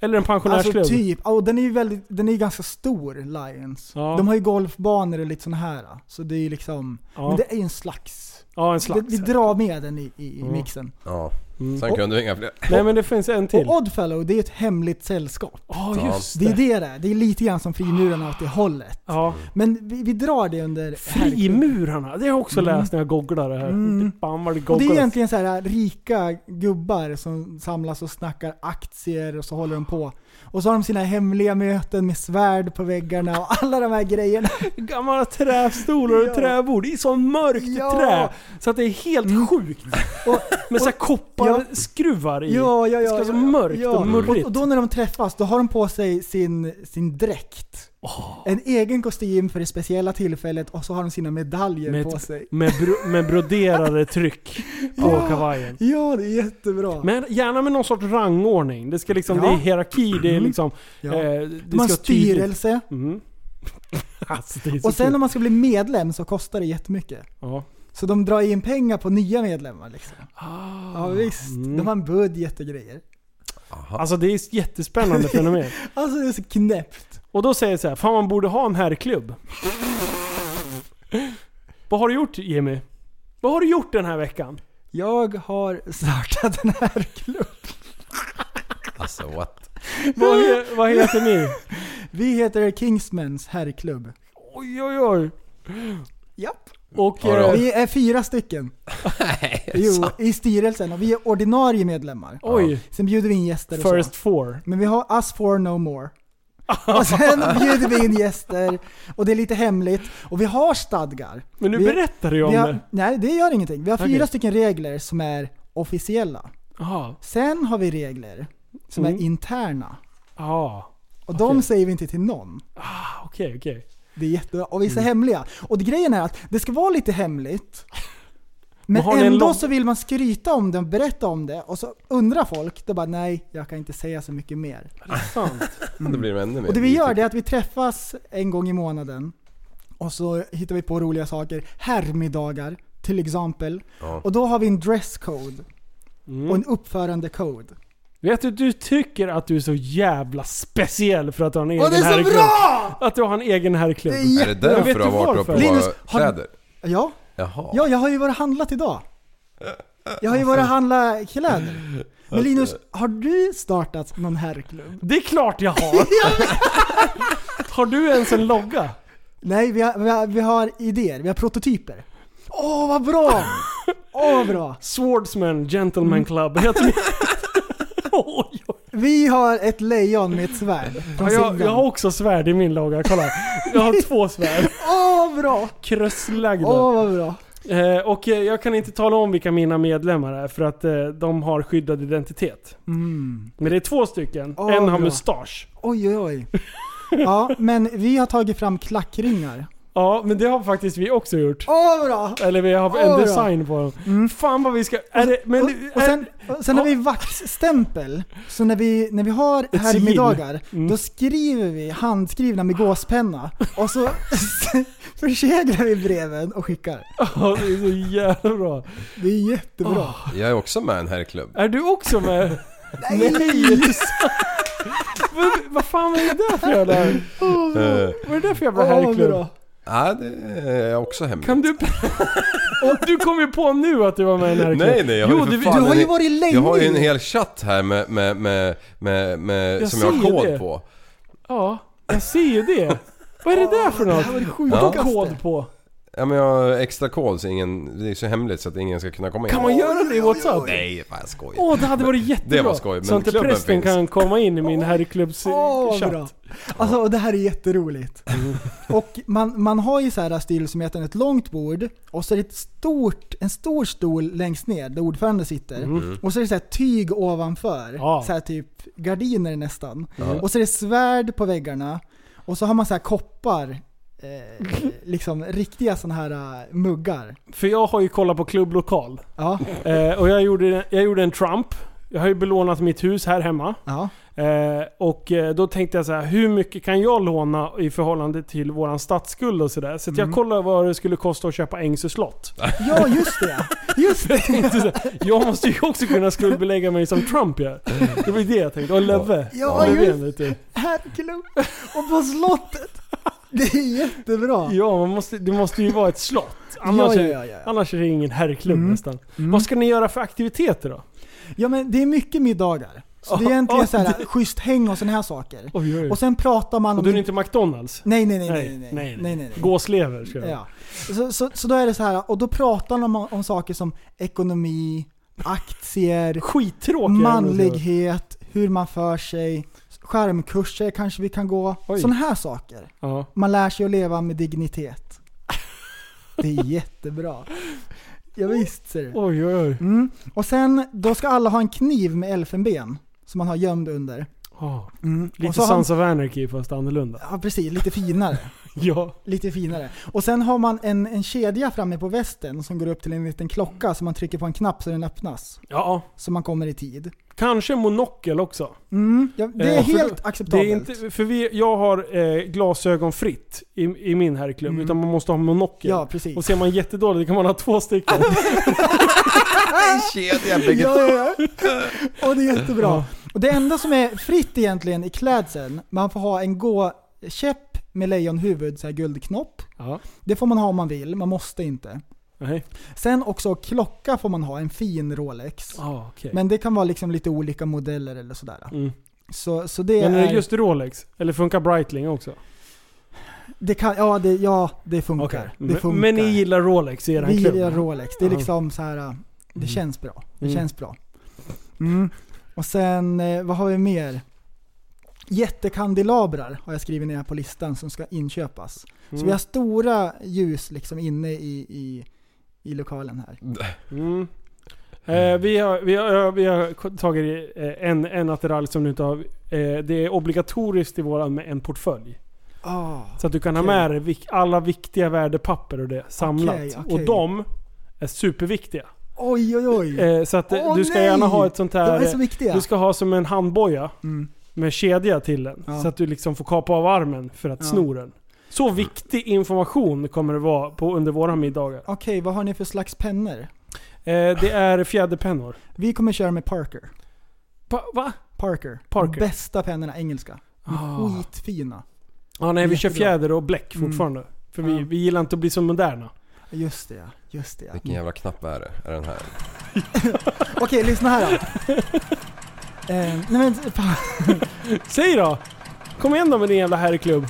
Eller en pensionärsklubb. Alltså typ. Och den är ju väldigt, den är ju ganska stor, Lions. Ja. De har ju golfbanor och lite sådana här. Så det är ju liksom... Ja. Men det är ju en slags... Ja, en slags. Det- Vi drar med den i, i mixen. Ja. Mm. Sen kunde vi inga fler. Nej men det finns en till. Och Oddfellow, det är ju ett hemligt sällskap. Ja just Det är det. det det är. Det är lite grann som frimurarna åt det hållet. Ja. Men vi, vi drar det under... Frimurarna, det har jag också läst när jag googlar det här. Mm. Bammal Och det är googlar. egentligen så här äh, rika gubbar som samlas och snackar aktier och så håller de på. Och så har de sina hemliga möten med svärd på väggarna och alla de här [LAUGHS] grejerna. Gamla trästolar och Ja. träbord i sån mörkt Ja. Mm. trä. Så att det är helt sjukt. [LAUGHS] Med såhär kopparskruvar i. Ja, ja, ja. det ska vara så ja, mörkt ja. och murrigt. Och, och då när de träffas, då har de på sig sin, sin dräkt. En egen kostym för det speciella tillfället och så har de sina medaljer Med- på sig. Med, bro, med broderade [LAUGHS] tryck på Ja. kavajen. Ja, det är jättebra. Men gärna med någon sorts rangordning. Det ska liksom, Ja. Mm. det är hierarki, det är liksom... Ja. Eh, det de har en ska vara tydligt. styrelse. Mm. [LAUGHS] alltså, det är så Och sen kul. om man ska bli medlem så kostar det jättemycket. Ja. Så de drar in pengar på nya medlemmar liksom. ja visst, mm. de har en budget och grejer. Alltså det är [LAUGHS] ett jättespännande fenomen. Alltså det är så knäppt. Och då säger jag så här, fan man borde ha en herrklubb. Vad har du gjort Jimmy? Vad har du gjort den här veckan? Jag har startat en här klubb. [LAUGHS] Alltså what? Vad, he- vad heter ni? Vi heter Kingsmans herrklubb. Oj oj oj. Japp. Och Har du eh, haft- Vi är fyra stycken. Jo, i styrelsen. Och vi är ordinarie medlemmar. oj. Sen bjuder vi in gäster och First så. four. Men vi har us for no more. Och sen bjuder vi in gäster och det är lite hemligt. Och vi har stadgar. Men nu Vi- berättar du ju om Vi har, det. nej, det gör ingenting. Vi har fyra Okej. stycken regler som är officiella. Jaha. Sen har vi regler som Mm. är interna. Ja. Och Okej. de säger vi inte till någon. Ah, Okej okej. Det är jättebra. Och vi är så hemliga. Och det, grejen är att det ska vara lite hemligt. Men Men har ni en ändå lång- så vill man skryta om det och berätta om det. Och så undrar folk, då bara nej, jag kan inte säga så mycket mer. Sant. Då blir det ännu mer Och det vi gör det är att vi träffas en gång i månaden. Och så hittar vi på roliga saker. Herrmiddagar till exempel. Ja. Och då har vi en dresscode och Mm. en uppförandekod. Vet du, du tycker att du är så jävla speciell för att du har en egen Och det är så herrklubb. bra! Att du har en egen herrklubb. Det är Är det jättebra. vet därför du har du varit uppe varför? på Linus, har- kläder? Ja, Jaha. ja, jag har ju varit och handlat idag. Jag har ju varit och handlat kläder. Men Linus, har du startat någon herrklubb? Det är klart [LAUGHS] jag har! har du ens en logga? Nej, vi har, vi, har, vi har idéer. Vi har prototyper. Åh, vad bra! Åh, vad bra! Swordsman Gentleman Club heter min. [LAUGHS] Oj, oj. Vi har ett lejon med ett svärd. Ja, från jag, Finland. jag har också svärd i min logga, kolla. Jag har två svärd. Åh, vad bra! Kröslagda. Åh, vad bra. Eh, och eh, jag kan inte tala om vilka mina medlemmar är för att eh, de har skyddad identitet. Mm. Men det är två stycken. Åh, en har bra. mustasch. Oj, oj, oj. Ja, men vi har tagit fram klackringar. Ja, men det har faktiskt vi också gjort. Åh, vad bra! Eller vi har Åh, en då. design på dem. Fan vad vi ska... Är det, men, och, och sen, och sen har vi vaxstämpel. Så när vi, när vi har Ett herrmiddagar, sigill. Mm. då skriver vi handskrivna med gåspenna. Och så [LAUGHS] förseglar vi breven och skickar. [LAUGHS] Ja, det är så jävla bra. Det är jättebra. Jag är också med i en herrklubb. Är du också med? Nej! Vad- Vad fan var det där för jävla... Eh, Vad är det där för jävla Åh, vad herrklubb? bra. Nej, det är också hemligt. Kan [LAUGHS] du... Du kom ju på nu att du var med i en herrklubb. Nej nej, jag Jo, har ju du- för fan du har en ju he- varit länge Jag har ju en nu. hel chatt här med, med, med, med, med Jag som jag har ser kod det. på. Ja, jag ser ju det. Vad är det där för något? Vad sjukaste. har kod på? Ja men jag har extra kod så ingen, det är så hemligt så att ingen ska kunna komma in. Kan man göra det i WhatsApp? Nej, fan jag skojar. Åh, det hade varit jättebra. var skoj, men Så inte klubben prästen finns. kan komma in i min Åh, vad bra. herrklubbschatt. Alltså och det här är jätteroligt. Mm. Och man, man har ju så här styrelsemöten, ett långt bord och så är det ett stort, en stor stol längst ner där ordföranden sitter. Och så är det så här tyg ovanför, Mm. Ja. så här typ gardiner nästan. Och så är det svärd på väggarna och så har man så här koppar, eh, liksom riktiga sådana här eh, muggar. För jag har ju kollat på klubblokal. Ja, Eh, och jag gjorde, jag gjorde en Trump. Jag har ju belånat mitt hus här hemma. ja. Eh, och eh, då tänkte jag så här, hur mycket kan jag låna i förhållande till våran statsskuld och sådär? Så att jag Mm. kollade vad det skulle kosta att köpa Ängsö slott. Ja, just det! Just Jag tänkte så här, jag måste ju också kunna skuldbelägga mig som Trump gör. Det var ju det jag tänkte. Och Löfve. Ja, Löfven, just vet du. Herrklubb! Och på slottet! Det är jättebra! Ja, man måste, det måste ju vara ett slott. Annars, Ja, är- ja, ja, Mm. ja. annars är det ingen herrklubb nästan. Vad ska ni göra för aktiviteter då? Ja men det är mycket middagar. Så det är egentligen så här, schysst häng och sådana här saker. Oj, oj. Och sen pratar man Och om... då är det inte McDonalds? Nej, nej, nej, Nej, nej, nej, nej, nej, nej, nej. Gåslever ska jag Ja. Så, så, så då är det så här, och då pratar de om, om saker som ekonomi, aktier, Skittråkiga manlighet, hur man för sig, skärmkurser kanske vi kan gå. Oj. Sådana här saker. Ja. Man lär sig att leva med dignitet. Det är jättebra. Ja, visst ser du. Oj, oj, oj. Mm. Och sen, då ska alla ha en kniv med elfenben som man har gömd under. Ah. Mm. Lite Och så har- Sons of Anarchy fast annorlunda. Ja precis, lite finare. Ja. Lite finare. Och sen har man en, en kedja framme på västen som går upp till en liten klocka som man trycker på en knapp så den öppnas. Ja. Så man kommer i tid. Kanske monokel också. Mm, ja, det är Eh, för helt då- acceptabelt. Det är inte, för vi, jag har eh, glasögon fritt i, i min herrklubb, utan man måste ha monokel. Mm. Ja, precis. Och ser man jättedåligt kan man ha två stycken. [LAUGHS] Kedja Ja, ja, ja. Och det är jättebra. Ja. Och det enda som är fritt egentligen i klädseln, man får ha en gå-käpp med lejonhuvud, så här guldknopp. Ja. Det får man ha om man vill, man måste inte. Nej. Sen också klocka får man ha, en fin Rolex. Ah, okej. Men det kan vara liksom lite olika modeller eller sådär. Mm. Så, så det Men är det är... just Rolex? Eller funkar Breitling också? det kan, ja, det, ja, det funkar. Okej. Det funkar. Men, men ni gillar Rolex i eran Vi klubb? gillar Rolex. Det är Ja. liksom så här. äh, det Mm. känns bra. Det Mm. känns bra. Mm. Och sen, eh, vad har vi mer? Jättekandelabrar har jag skrivit ner på listan som ska inköpas. Så Mm. vi har stora ljus liksom inne i, i, i lokalen här. Mm. Eh, vi, har, vi, har, vi har tagit eh, en, en attiralj som du inte har. Eh, det är obligatoriskt i våran med en portfölj. Ah, Så att du kan ha Okej. med dig vik- alla viktiga värdepapper och det samlat. Okej, okej. Och de är superviktiga. Oj, oj, oj. Eh, så att eh, Mm. Åh, du ska nej! gärna ha ett sånt här... De är så eh, viktiga. Du ska ha som en handboja Mm. med kedja till den. Ja. Så att du liksom får kapa av armen för att Ja. sno den. Så viktig information kommer det vara på, under våra middagar. Okej, vad har ni för slags pennor? Eh, det är fjäderpennor. Vi kommer köra med Parker. Pa, va? Parker. Parker. Bästa pennorna, engelska. Ah. Skitfina. Ja, nej, vi kör Jättebra. fjäder och bläck Mm. fortfarande. För vi, Ja. vi gillar inte att bli så moderna. Just det ja, just det Vilken ja. jävla knapp är det? Är det den här? Okej, lyssna här då. [LAUGHS] Eh, nej men, fan. Säg då! Kom igen då med din jävla herrklubb.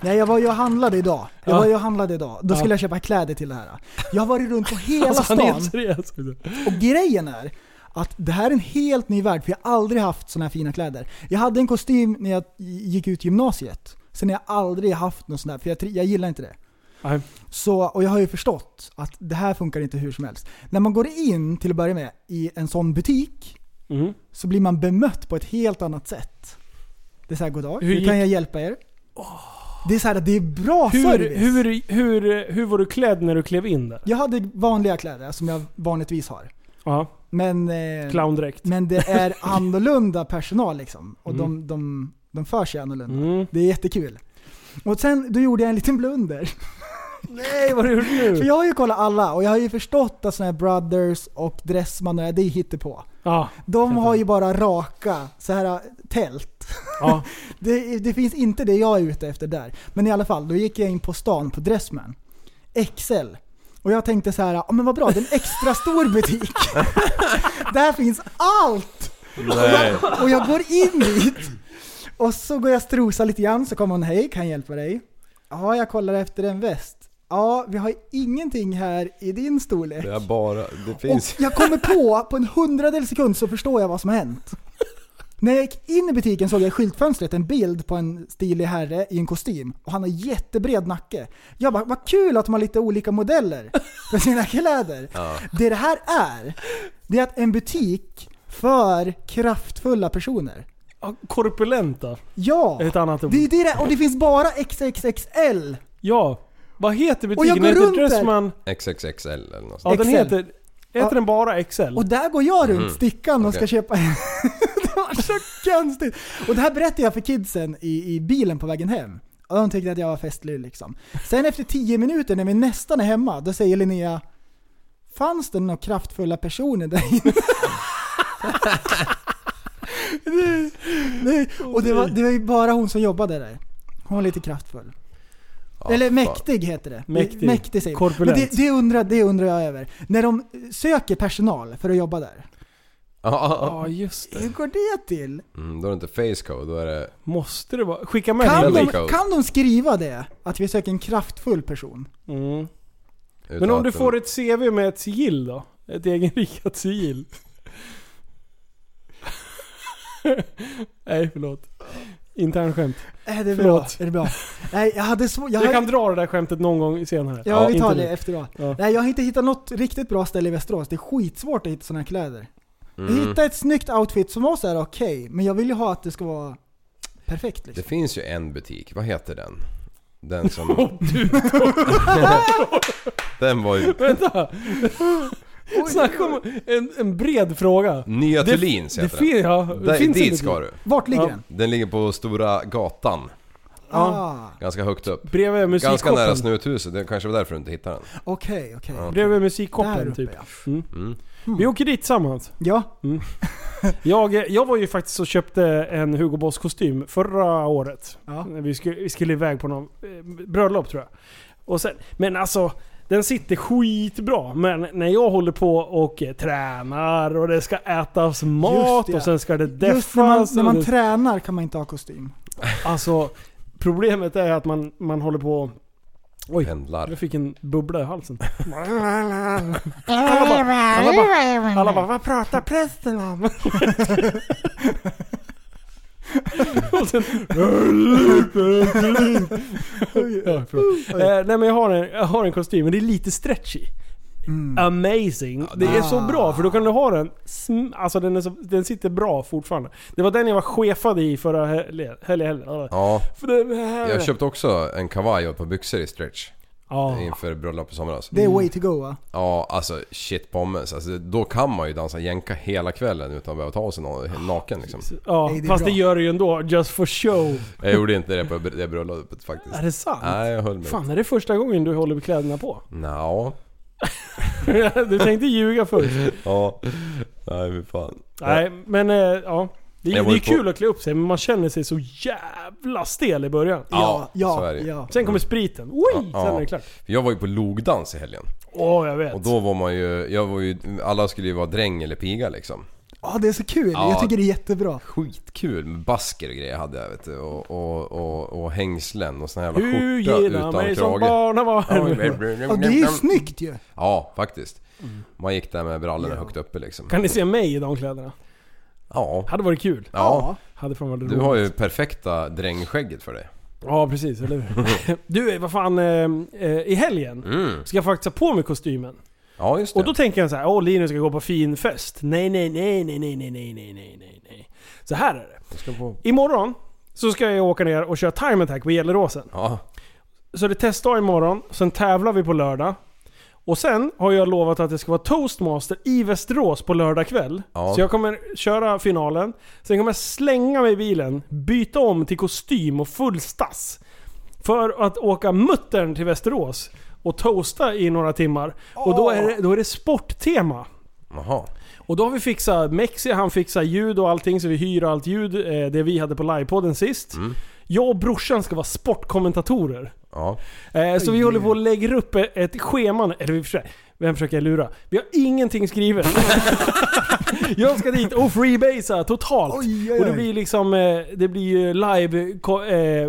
Nej, jag var ju och handlade idag. Jag Ja. var ju och handlade idag. Då Ja. skulle jag köpa kläder till det här. Jag har varit runt på hela Alltså, han är stan helt seriös. och grejen är att det här är en helt ny värld för jag har aldrig haft sådana här fina kläder. Jag hade en kostym när jag gick ut gymnasiet. Sen har jag aldrig haft något sånt här för jag, tri- jag gillar inte det. Nej. Så, och jag har ju förstått att det här funkar inte hur som helst. När man går in till att börja med i en sån butik Mm. så blir man bemött på ett helt annat sätt. Det är såhär, goddag, Hur hur, gick- kan jag hjälpa er? Det är såhär, det är bra Hur, Ah, service. hur, hur, hur var du klädd när du klev in där? Jag hade vanliga kläder som jag vanligtvis har. Ja, Men, eh, clowndräkt. men det [LAUGHS] är annorlunda personal liksom. Och de, de, de för sig annorlunda. Mm. Det är jättekul. Och sen, då gjorde jag en liten blunder. Nej, vad har du gjort För nu? jag har ju kollat alla och jag har ju förstått att sådana här brothers och dressman och det här, det är hittepå. Ja, De har ju bara raka så här tält. ja. [LAUGHS] Det, det finns inte det jag är ute efter där. Men i alla fall, då gick jag in på stan på Dressman. XL. Och jag tänkte så här, ja men vad bra, det är en extra stor butik. [LAUGHS] där finns allt! Nej. Och jag går in dit. Och så går jag strosa lite grann, så kommer hon, hej kan jag hjälpa dig? Ja, jag kollar efter en väst. Ja, vi har ingenting här i din storlek. Det är bara... Det Och finns... jag kommer på, på en hundradel sekund så förstår jag vad som har hänt. När jag gick in i butiken såg jag i skyltfönstret en bild på en stilig herre i en kostym och han har jättebred nacke. Jag bara, vad kul att de har lite olika modeller för sina kläder. Det det här är, det är att en butik för kraftfulla personer. Ja, Korpulenta Ja! är ett annat ord. Det är det där, och det finns bara XXXL. Ja. Vad heter butiken? Och jag går heter runt där. Dressman? XXXL eller något sånt. Ja, den XL. heter... Heter Ja. den bara XL? Och där går jag runt stickan och Okej. ska köpa en. [LAUGHS] det var fan så konstigt! Och det här berättade jag för kidsen i, i bilen på vägen hem. Och de tyckte att jag var festlig liksom. Sen efter 10 minuter när vi nästan är hemma, då säger Linnea Fanns det några kraftfulla personer där inne? Nej, nej. Och det var, det var ju bara hon som jobbade där. Hon var lite kraftfull. Eller mäktig heter det. Mäktig. mäktig säger vi. Korpulent. Men det, det, undrar, det undrar jag över. När de söker personal för att jobba där. Ja, just Hur går det till? Mm, då är det inte facecode, då är det... Måste det vara? Skicka med Kan de, Friendly code. kan de skriva det? Att vi söker en kraftfull person? Mm. Men utan om du att får ett CV med ett sigill då? Ett egenrikat sigill? [LAUGHS] Nej, förlåt. Internskämt. Äh, det är bra. Förlåt. Är det bra? [LAUGHS] Nej, jag hade svårt... Jag, Jag hade- kan dra det där skämtet någon gång senare. ja, vi tar Inte det nu. efteråt. Ja. Nej, jag har inte hittat något riktigt bra ställe i Västerås. Det är skitsvårt att hitta sådana här kläder. Mm. Jag hittade ett snyggt outfit som var så här okej, men jag vill ju ha att det ska vara perfekt Det liksom. finns ju en butik, vad heter den? Den [LAUGHS] som... [LAUGHS] den var ju... Vänta! Snacka om en, en bred fråga. Nya Det- Thulins det heter fin- ja, den. det Där- finns en dit butik. ska du. Vart ligger Ja. den? Den ligger på Stora Gatan. Ah, Ganska högt upp. Bredvid Ganska nära musikkoppen. snuthuset, det kanske var därför du inte hittade den. okej, okej. Bredvid Där musikkoppen uppe typ. ja. Mm. Hmm. Vi åker dit tillsammans. Ja, Jag, eh, jag var ju faktiskt och köpte en Hugo Boss kostym förra året. Ja. När Vi, skulle, vi skulle iväg på någon eh, bröllop tror jag. Och sen, men alltså, den sitter skitbra. Men när jag håller på och eh, tränar och det ska ätas mat det. och sen ska det just när man, deffas. när och man det- tränar kan man inte ha kostym. Alltså, problemet är att man, man håller på Oj. Pendlar. Jag fick en bubbla [LAUGHS] i halsen. Alla bara, alla bara, alla bara vad pratar prästen om? Och sen, ja, förlåt. eh, nej men jag har, en, jag har en kostym, men det är lite stretchy. Mm. Amazing. Det är ah. så bra för då kan du ha den, sm- alltså den, är så, den sitter bra fortfarande. Det var den jag var chefad i förra helgen. Hel, Ja, jag köpte också en kavaj och ett par byxor i stretch. Inför bröllop i somras. Det är way to go va? Ja, alltså shit pommes. Alltså, då kan man ju dansa jänka hela kvällen utan att behöva ta av sig Ah, någon naken liksom. Ja, det är fast bra. det gör det ju ändå. Just for show. Jag gjorde inte det på det bröllopet faktiskt. Är det sant? Nej, jag höll mig. Ah, Fan, är det första gången du håller kläderna på? [LAUGHS] Nja. du tänkte ljuga först. Ja. Nej, fy fan. Nej, men eh, ja. Det, det Jag är var ju ju på- kul att klä upp sig, men man känner sig så jävla stel i början. Ja, så ja, är det ju. ja. Sen kommer spriten. Oj! Ja. Sen är det klart. För jag var ju på logdans i helgen. Åh, jag vet. Och då var man ju, jag var ju, alla skulle ju vara dräng eller piga liksom. Ja, det är så kul. Jag Ja. tycker det är jättebra. Skitkul med basker och grejer hade jag vet du. Och, och, och, och hängslen och sån här jävla Hur skjorta gillar utan mig krage. som barn har varit. Ja, det är ju snyggt ju. Ja, faktiskt. Man gick där med brallorna högt uppe liksom. Mm. Kan ni se mig i de kläderna? Ja. Hade varit kul. Ja. Hade fan varit Du roligt. har ju perfekta drängskägget för dig. Ja, precis. Eller hur? [LAUGHS] Du, vad fan. Eh, eh, I helgen Mm. ska jag faktiskt ha på mig kostymen. Ja, just det. Och då tänker jag så här, åh Linus ska gå på fin fest. Nej, nej, nej, nej, nej, nej, nej, nej, nej, nej, nej. Så här är det. ska på... Imorgon så ska jag åka ner och köra time attack på Gelleråsen. Ja. Så det är testdag imorgon, sen tävlar vi på lördag. Och sen har jag lovat att jag ska vara toastmaster i Västerås på lördag kväll. Ja. Så jag kommer köra finalen. Sen kommer jag slänga mig i bilen, byta om till kostym och full stass. För att åka muttern till Västerås och toasta i några timmar. Och då är, det, då är det sporttema. Jaha. Och då har vi fixat Mexi, han fixar ljud och allting så vi hyr allt ljud, eh, det vi hade på livepodden sist. Jag och brorsan ska vara sportkommentatorer. Ja. Eh, så vi håller på och lägger upp e- ett schema nu. Eller vi försöker, vem försöker jag lura? Vi har [LAUGHS] ingenting skrivet. jag ska dit och freebasea totalt. Oj, oj, Och det oj. blir liksom, eh, det blir ju live, ko- eh,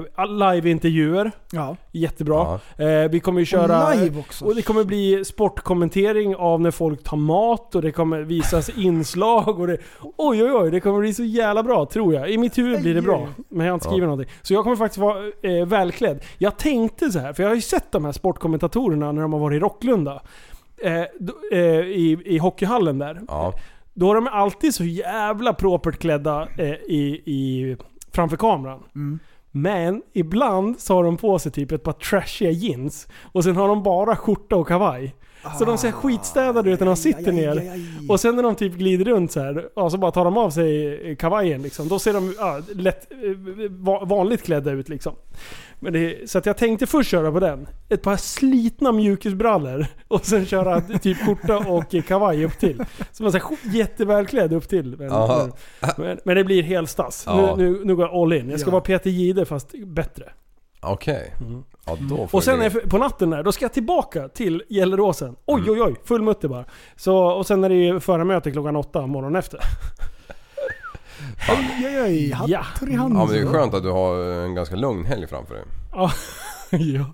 live-intervjuer. Ja. Jättebra. Eh, vi kommer ju köra... Och live också. Och det kommer bli sportkommentering av när folk tar mat och det kommer [LAUGHS] visas inslag och det... Oj oj oj, det kommer bli så jävla bra tror jag. I mitt huvud blir det bra. Men jag har inte skrivit någonting. Så jag kommer faktiskt vara eh, välklädd. Jag tänkte så här, för jag har ju sett de här sportkommentatorerna när de har varit i Rocklunda. Eh, d- eh, i, I hockeyhallen där. Ja. Då är de alltid så jävla propert klädda eh, i, i, framför kameran. Men ibland så har de på sig typ ett par trashiga jeans och sen har de bara skjorta och kavaj. Så de ser skitstädade ut när de sitter ner. Och sen när de typ glider runt så här, och så bara tar de av sig kavajen liksom. Då ser de ja, lätt, eh, va- vanligt klädda ut liksom. Men det, så att jag tänkte först köra på den. Ett par slitna mjukisbrallor [LAUGHS] och sen köra typ skjorta och eh, kavaj upp till. Så man är jättevälklädd upp till. Men, Ja. men, men det blir helstass. Ja. Nu, nu, nu går jag all in. Jag ska Ja. vara Peter Jihde fast bättre. Okej. Ja, då får Mm. Och sen det- Mm. när jag, på natten där, då ska jag tillbaka till Gelleråsen. Oj, oj, oj. Full mutter bara. Så, och sen är det ju förmöte klockan åtta morgonen efter. Oj, oj, oj. Ja. Hattor i Ja handen. men det är skönt att du har en ganska lugn helg framför dig. Ja. [LAUGHS] ja.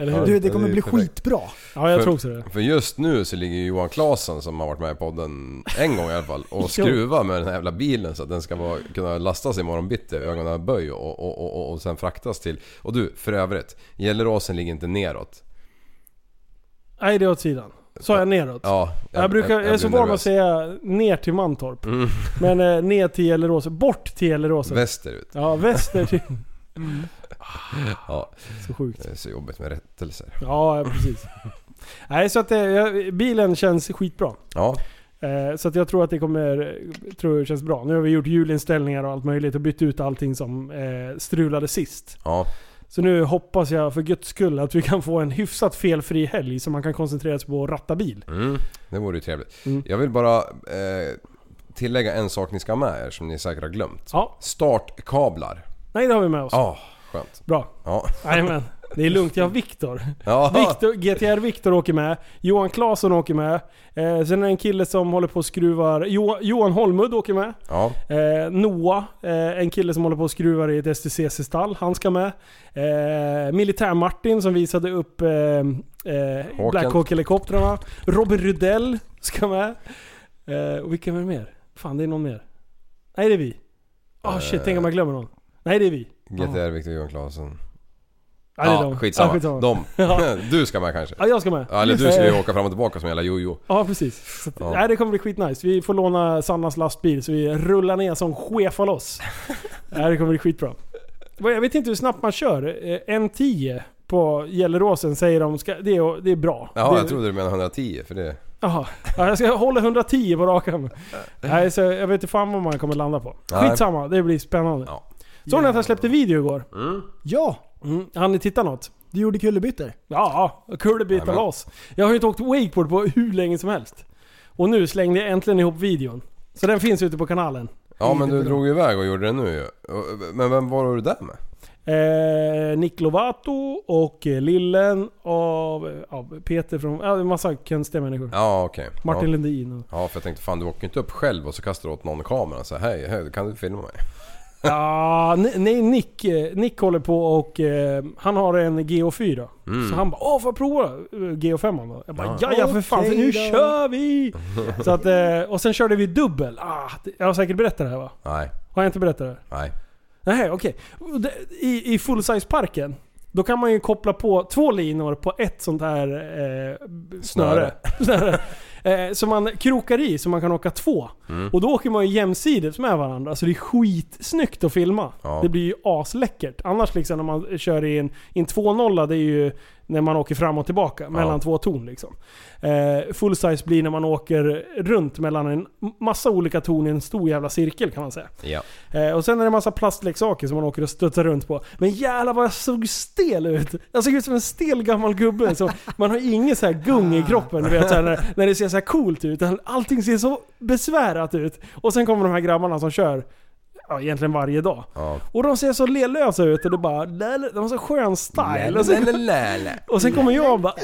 Eller hur? Du, det kommer är bli perfekt. skitbra. Ja, jag för, tror så det. För just nu så ligger Johan Claesson som har varit med i podden en gång i alla fall [LAUGHS] och skruvar med den här jävla bilen så att den ska vara, kunna lastas imorgon bitti, ögonaböj och, och, och, och, och sen fraktas till. Och du, för övrigt. Gelleråsen ligger inte neråt. Nej, det är åt sidan. Sa jag neråt? Ja, Jag, brukar, jag, är så blir van att nervös. säga ner till Mantorp. Mm. Men eh, ner till Gelleråsen. Bort till Gelleråsen. Västerut. Ja, väster till... Ja. Så sjukt. Det är så jobbigt med rättelser. Ja, ja, precis. Nej, så att eh, jag- bilen känns skitbra. Ja. Eh, Så att jag tror att det kommer, tror jag känns bra. Nu har vi gjort julinställningar och allt möjligt och bytt ut allting som eh, strulade sist. Ja. Så nu hoppas jag för guds skull att vi kan få en hyfsat felfri helg så man kan koncentrera sig på att ratta bil. Mm, det vore ju trevligt. Mm. Jag vill bara eh, tillägga en sak ni ska ha med er som ni säkert har glömt. Ja. Startkablar. Nej, det har vi med oss. Ja, skönt. Bra. Ja. Jajamän. Det är lugnt, jag har Viktor. Ja. Viktor- GTR Viktor åker med. Johan Claesson åker med. Eh, sen är det en kille som håller på och skruvar. Jo, Johan Holmud åker med. Ja. Eh, Noah, eh, en kille som håller på och skruvar i ett STCC-stall, han ska med. Eh, Militär-Martin som visade upp eh, eh, Håkan. Black Hawk-helikoptrarna. Robin Rudell ska med. Eh, och vilka är det mer? Fan, det är någon mer. Nej, det är vi. Ah shit, tänk om Eh. jag glömmer någon. Nej, det är vi. GTR Viktor Johan Claesson. Ja, det är Ja, de. skitsamma. Ja, skitsamma. De. [LAUGHS] Ja. Du ska med kanske? Ja, jag ska med. Ja, eller du Just ska ju det. åka fram och tillbaka som en jävla jojo. Ja, precis. Så att, Ja. Nej, det kommer bli skitnice. Vi får låna Sannas lastbil så vi rullar ner som [LAUGHS] chefar loss. nej, det kommer bli skitbra. Vad- Jag vet inte hur snabbt man kör. Eh, N10 på Gelleråsen säger de ska, det, är, det är bra. Ja, det, jag trodde du menade 110 för det... Jaha. Ja, jag ska hålla 110 på rak arm. Nej, så jag vet inte fan vad man kommer landa på. Nej. Skitsamma, det blir spännande. Ja. Såg ni att jag släppte video igår? Ja! Mm. Har ni tittat något? Du gjorde kullerbyttor. Ja, kullerbytta Jajamän. loss. Jag har ju inte åkt wakeboard på hur länge som helst. Och nu slängde jag äntligen ihop videon. Så den finns ute på kanalen. Ja men du drog ju iväg och gjorde det nu ju. Och- Men vem var du där med? Eh, Nick Lovato och eh, Lillen och eh, ja, Peter från... Ja, en massa konstiga människor. Ja okej. Martin ja. Lundin och... ja för jag tänkte fan du åker inte upp själv och så kastar du åt någon kameran så här, hej, hej kan du filma mig? Ja, ne- nej Nick, eh, Nick håller på och eh, han har en GH4. Mm. Så han bara åh får jag prova eh, GH5 då? Jag bara ja ja för fan för Okej nu då." kör vi! Så att, eh, och sen körde vi dubbel. Ah, det- jag har säkert berättat det här va? Nej, Har jag inte berättat det? nej. Nej, okej. Och det- I, i fullsize-parken, då kan man ju koppla på två linor på ett sånt här eh, b- snöre. [LAUGHS] snöre. eh, så man krokar i så man kan åka två. Och då åker man ju jämsides med varandra. Så det är skitsnyggt att filma. Ja. Det blir ju asläckert. Annars liksom när man kör i en, i en 2-0, det är ju när man åker fram och tillbaka mellan två torn. Liksom. Eh, full size blir när man åker runt mellan en massa olika torn i en stor jävla cirkel kan man säga. Ja. Eh, och sen är det en massa plastleksaker som man åker och stöttar runt på. Men jävlar vad jag såg stel ut! Jag såg ut som en stel gammal gubbe. Så man har ingen så här gung i kroppen, du vet, så här, när, när det ser så här coolt ut. utan Allting ser så besvärat ut. Och sen kommer de här grabbarna som kör ja, egentligen varje dag. Ja. Och de ser så lelösa ut och det bara... lele- De har så skön style. Och sen, och sen kommer jag och bara...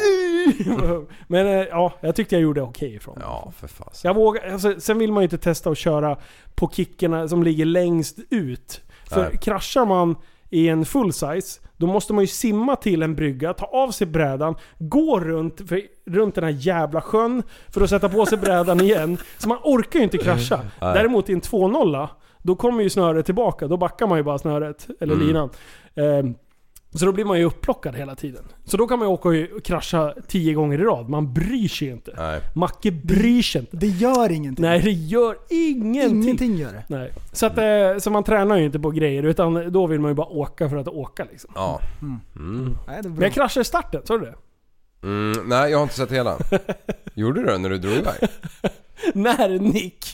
Men eh, ja, jag tyckte jag gjorde okej ifrån mig. Ja för fasen. Jag vågar, alltså, sen vill man ju inte testa att köra på kickerna som ligger längst ut. För Nej. kraschar man i en full size, då måste man ju simma till en brygga, ta av sig brädan, gå runt, för, runt den här jävla sjön för att sätta på sig brädan igen. Så man orkar ju inte krascha. [LAUGHS] Nej. Däremot i en 2-0, då kommer ju snöret tillbaka. Då backar man ju bara snöret, eller Mm. linan. Ehm, så då blir man ju upplockad hela tiden. Så då kan man ju åka och krascha tio gånger i rad. Man bryr sig ju inte. Nej. Macke bryr sig inte. Det gör ingenting. Nej, det gör ingenting. Ingenting gör det. Nej. Så, att, eh, så man tränar ju inte på grejer, utan då vill man ju bara åka för att åka liksom. Ja. Nej, det är Men bra. jag kraschade i starten, såg du det? Mm, nej, jag har inte sett hela. Gjorde du det när du drog iväg? [LAUGHS] när Nick,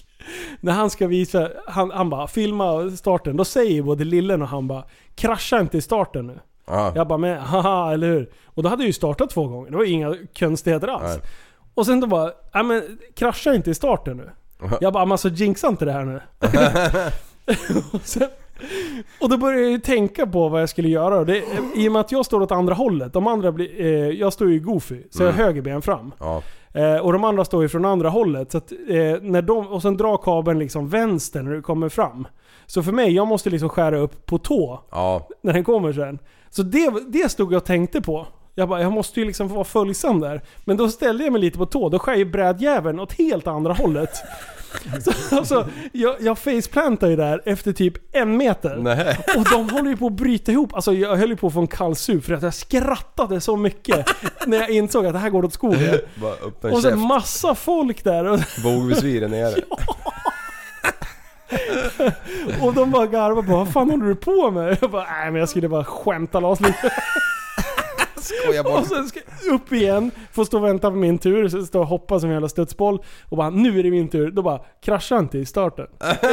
när han ska visa, han, han bara filma starten. Då säger både lillen och han bara krascha inte i starten nu. Ja. Jag bara men haha eller hur? Och då hade jag ju startat två gånger. Det var ju inga konstigheter alls. Nej. Och sen då bara, nej men krascha inte i starten nu. Jag bara, men alltså jinxa inte det [LAUGHS] här nu. och, sen, och då började jag ju tänka på vad jag skulle göra. Och Det, I och med att jag står åt andra hållet. De andra blir, eh, jag står ju goofy, så jag har Mm. höger ben fram. Ja. Eh, och de andra står ju från andra hållet. Så att, eh, när de, och sen drar kabeln liksom vänster när du kommer fram. Så för mig, jag måste liksom skära upp på tå Ja. när den kommer sen. Så det, det stod jag och tänkte på. Jag bara, jag måste ju liksom vara följsam där. Men då ställde jag mig lite på tå, då skär ju brädjäveln åt helt andra hållet. Så, alltså, jag, jag faceplantar ju där efter typ en meter. Nej. Och de håller ju på att bryta ihop. Alltså jag höll ju på att få en kall sup för att jag skrattade så mycket när jag insåg att det här går åt skogen. Bara öppna Och sen käften. massa folk där. Och, Bogvisviren nere. och de bara garvade på vad fan håller du på med? Jag bara, nej men jag skulle bara skämta loss lite. Skoja bort. Och sen ska jag upp igen, få stå och vänta på min tur, så stå och hoppa som en jävla studsboll. Och bara nu är det min tur. Då bara krascha inte i starten.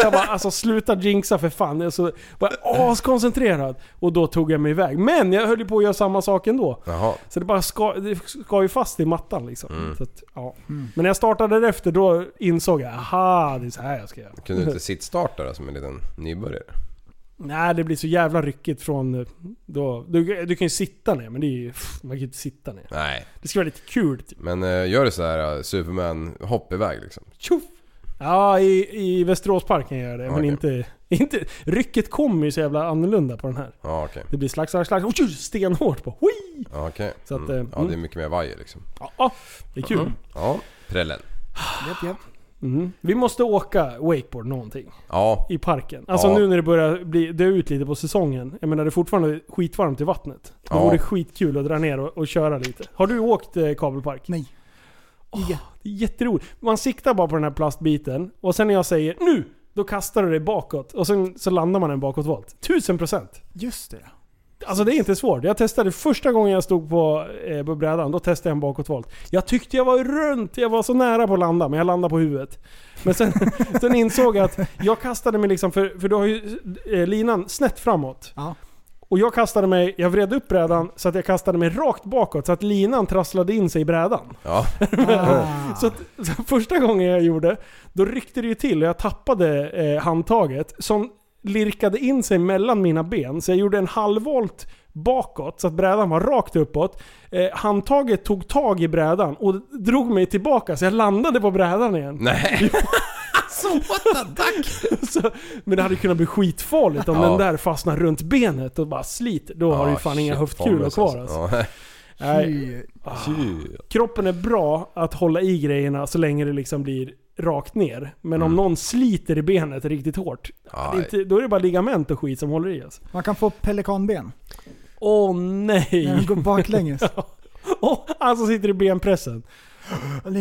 Jag bara alltså sluta jinxa för fan. Jag så var jag askoncentrerad. Och då tog jag mig iväg. Men jag höll ju på att göra samma sak ändå. [LAUGHS] Jaha. Så det bara ska, det ska ju fast i mattan liksom. Mm. Så att, ja. Men när jag startade därefter då insåg jag, aha det är så här jag ska göra. Kunde du inte sittstarta då som en liten nybörjare? [LAUGHS] Nej, det blir så jävla ryckigt från... eh, Då, du, du kan ju sitta ner, men det är ju, pff, man kan ju inte sitta ner. Nej. Det ska vara lite kul. Typ. Men eh, gör du så här eh, Superman, hopp iväg liksom. Tjoff! Ja, i, i Västeråsparken gör jag det, men Okej. inte, inte... Rycket kommer ju så jävla annorlunda på den här. Ja okej. Det blir slags, slags, slags... Oj, stenhårt på. Hui! Ja, okej. Så att, mm. eh, Ja det är mm. mycket mer vajer liksom. Ja, det är kul. Mm. Ja, prällen. Japp, japp. Mm. Vi måste åka wakeboard någonting. Ja. I parken. Alltså Ja. nu när det börjar bli, dö ut lite på säsongen. Jag menar det är fortfarande skitvarmt i vattnet. Då Ja. vore det skitkul att dra ner och, och köra lite. Har du åkt eh, kabelpark? Nej. Åh, det är jätteroligt. Man siktar bara på den här plastbiten och sen när jag säger nu! Då kastar du dig bakåt och sen så landar man en bakåtvolt. Tusen procent! Just det. Alltså det är inte svårt. Jag testade första gången jag stod på, eh, på brädan, då testade jag en bakåtvolt. Jag tyckte jag var runt, jag var så nära på att landa, men jag landade på huvudet. Men sen, [LAUGHS] sen insåg jag att jag kastade mig liksom, för, för du har ju eh, linan snett framåt. Ja. Och jag kastade mig, jag vred upp brädan så att jag kastade mig rakt bakåt så att linan trasslade in sig i brädan. Ja. Ah. Så, att, så [LAUGHS] första gången jag gjorde, då ryckte det ju till och jag tappade eh, handtaget som lirkade in sig mellan mina ben. Så jag gjorde en halvvolt bakåt så att brädan var rakt uppåt. Eh, handtaget tog tag i brädan och drog mig tillbaka så jag landade på brädan igen. Nej. [LAUGHS] Så, men det hade kunnat bli skitfarligt om Ja. den där fastnar runt benet och bara sliter. Då har du ju Ja, fan inga shit, höftkulor Thomas, kvar alltså. Ja. Nej, Ah. Tju. kroppen är bra att hålla i grejerna så länge det liksom blir rakt ner. Men om någon sliter i benet riktigt hårt, det är Mm. Aj. inte, då är det bara ligament och skit som håller i alltså. Man kan få pelikanben. Åh När den nej! går baklänges. [LAUGHS] Åh, han som sitter i benpressen. Eller-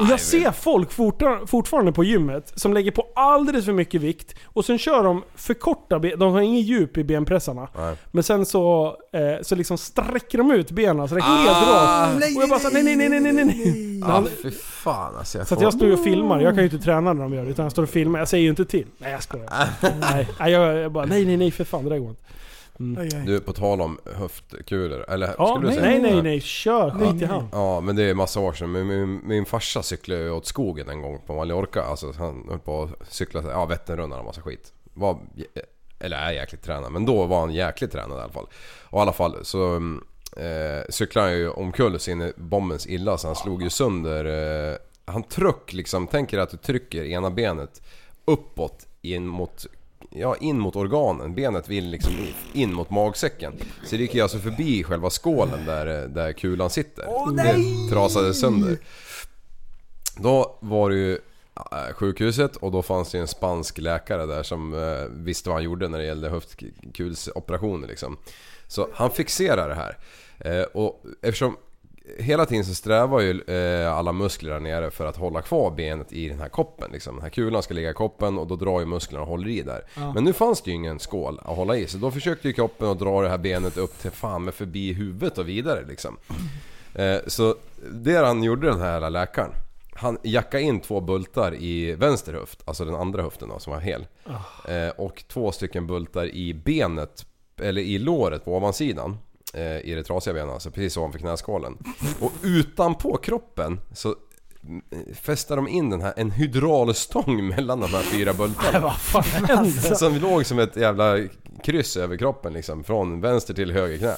Och jag ser folk fortar- fortfarande på gymmet som lägger på alldeles för mycket vikt och sen kör de för korta ben, de har ingen djup i benpressarna. Nej. Men sen så, eh, så liksom sträcker de ut benen så det är helt Ah. rakt. Och jag bara så, nej nej nej nej nej nej. Ja, Ah, fy fan alltså. Jag Så att jag står ju och filmar, jag kan ju inte träna när de gör det utan jag står och filmar, jag säger ju inte till. Nej jag skojar. nej, nej, jag, jag bara nej nej nej för fan det där går inte. Aj, aj. Du, på tal om höftkulor. Eller Ja, skulle du nej, säga? nej nej nej, kör skit i hand. Ja men det är massa år sedan. Min, min, min farsa cyklade ju åt skogen en gång på Mallorca. Alltså han höll på att cykla ja, Vätternrundan och massa skit. Var, eller är jäkligt tränad. Men då var han jäkligt tränad i alla fall. Och i alla fall så mm, eh, cyklade han ju omkull sin i bombens illa så han slog ju sönder... Eh, han tryck liksom. Tänker att du trycker ena benet uppåt in mot ja, in mot organen. Benet vill liksom in mot magsäcken. Så det gick ju alltså förbi själva skålen där, eh, där kulan sitter. Det trasade sönder. Då var det ju eh, sjukhuset och då fanns det ju en spansk läkare där som eh, visste vad han gjorde när det gällde höftkulsoperationer liksom. Så han fixerade det här. Eh, och eftersom hela tiden så strävar ju eh, alla muskler där nere för att hålla kvar benet i den här koppen. Liksom. Den här kulan ska ligga i koppen och då drar ju musklerna och håller i där. Ja. Men nu fanns det ju ingen skål att hålla i så då försökte ju kroppen att dra det här benet upp till fan med förbi huvudet och vidare liksom. Eh, så det han gjorde den här jävla läkaren. Han jackade in två bultar i vänster höft, alltså den andra höften då som var hel. Eh, och två stycken bultar i benet, eller i låret på ovansidan. Eh, I det trasiga benet alltså, precis ovanför knäskålen. Och utanpå kroppen så eh, fästar de in den här, en hydraulstång mellan de här fyra bultarna. Vad fan händer? Som låg som ett jävla kryss över kroppen liksom, från vänster till höger knä.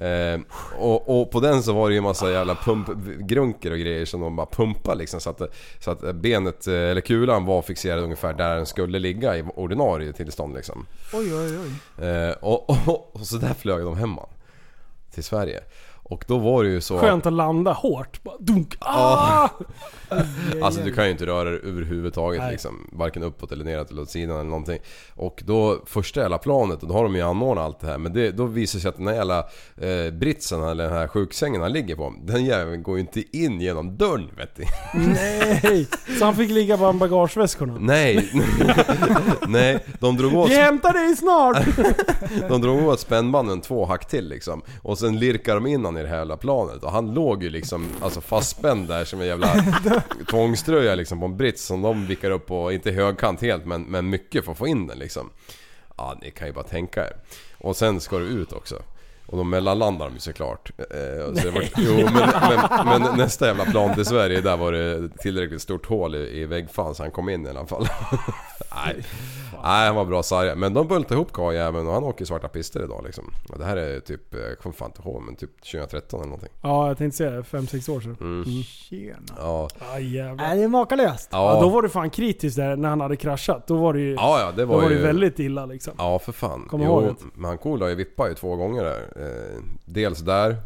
Eh, och, och på den så var det ju massa jävla pumpgrunker och grejer som de bara pumpade liksom så att, så att benet, eh, eller kulan var fixerad ungefär där den skulle ligga i ordinarie tillstånd liksom. Oj, oj, oj. Eh, och, och, och så där flög de hemma. Till Sverige. Och då var det ju så... Skönt att landa hårt. Bara dunk. Ah! Alltså du kan ju inte röra dig överhuvudtaget liksom. Varken uppåt eller neråt eller åt sidan eller någonting. Och då, första jävla planet, och då har de ju anordnat allt det här. Men det, då visar det sig att den här jävla eh, britsen eller den här sjuksängen han ligger på. Den jäveln går ju inte in genom dörren vet du. Nej! Så han fick ligga bland bagageväskorna. [LAUGHS] Nej. [LAUGHS] Nej, de drog åt... Vi hämtar [LAUGHS] dig snart! De drog åt spännbanden två hack till liksom. Och sen lirkade de in han i det här jävla planet. Och han låg ju liksom alltså fastspänd där som en jävla tvångströja liksom på en brits som de vickar upp på, inte högkant helt men, men mycket för att få in den liksom. Ja, ni kan ju bara tänka er. Och sen ska du ut också. Och de mellanlandar de ju såklart. Eh, så det var, Nej. jo, men, men, men nästa jävla plan till Sverige, där var det tillräckligt stort hål i, i väggfall så han kom in i alla fall. [LAUGHS] Nej. Nej, han var bra sargad. Men de bultade ihop karljäveln och han åker svarta pister idag liksom. Och det här är typ, eh, jag kommer fan inte ihåg, men typ 2013 eller någonting. Ja, jag tänkte säga det. 5-6 år sedan. Mm. Tjena. Ja. Ah, jävlar. Nej, det är makalöst. Ja. Ja. då var du fan kritisk där när han hade kraschat. Då var det ju, Ja, ja, det var då var det ju- väldigt illa liksom. Ja, för fan. Kommer ihåg det. men han cool har ju vippat ju två gånger där. Eh, dels där,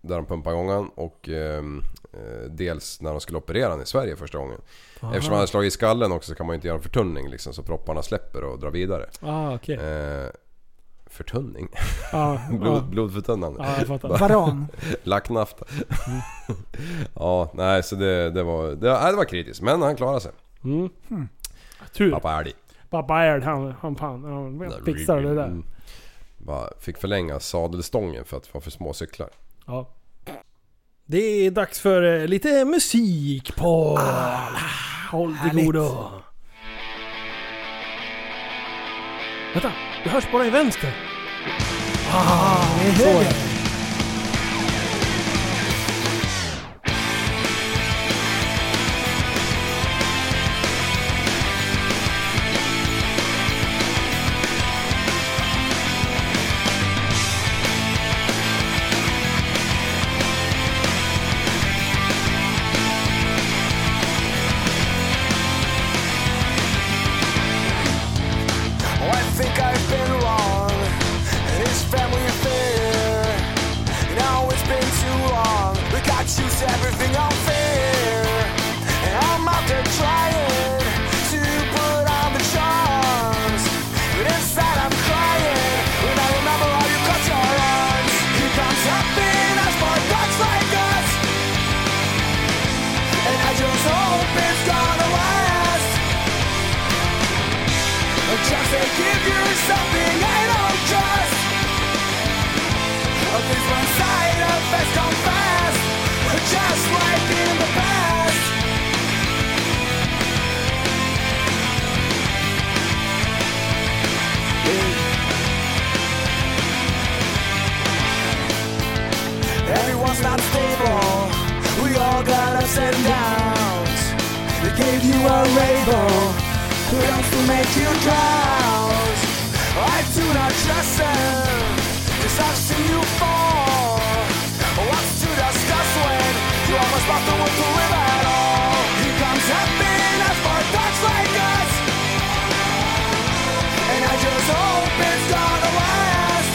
där de pumpade igång han och ehm, eh, dels när de skulle operera han i Sverige första gången. Aha. Eftersom han hade slagit i skallen också så kan man ju inte göra en förtunning liksom så propparna släpper och drar vidare. Ah, okej. Eh, förtunning? [LAUGHS] Ja, Blod, ja. Blodförtunnande. Ja, jag fattar. Bara- Varan. Lacknafta. [LAUGHS] ja, nej så det, det, var, det, nej, det var kritiskt men han klarade sig. Mm. Tur. Pappa älg. Pappa Erd, han, han, han, han fixar det där. Mm. Bara fick förlänga sadelstången för att det var för små cyklar. Ja. Det är dags för eh, lite musik på... Ah, Håll dig härligt. godo. Vänta, det hörs bara i vänster. Ah, så är det. Oh, I think I've been wrong. It's family affair. Now it's been too long. Look, I choose everything unfair. And I'm out there trying to put on the charms. But inside I'm crying when I remember how you cut your arms. Here comes happiness for dogs like us. And I just hope it's gonna last. Or Just to give you something I don't trust Or This one side of us gone fast Or Just like in the past Everyone's not stable We all got ups and downs They gave you a label who else will make you drown? I do not trust them, cause I've seen you fall. What's to discuss when you almost lost the will to live at all? Here comes happiness for thoughts like us. And I just hope it's gonna last.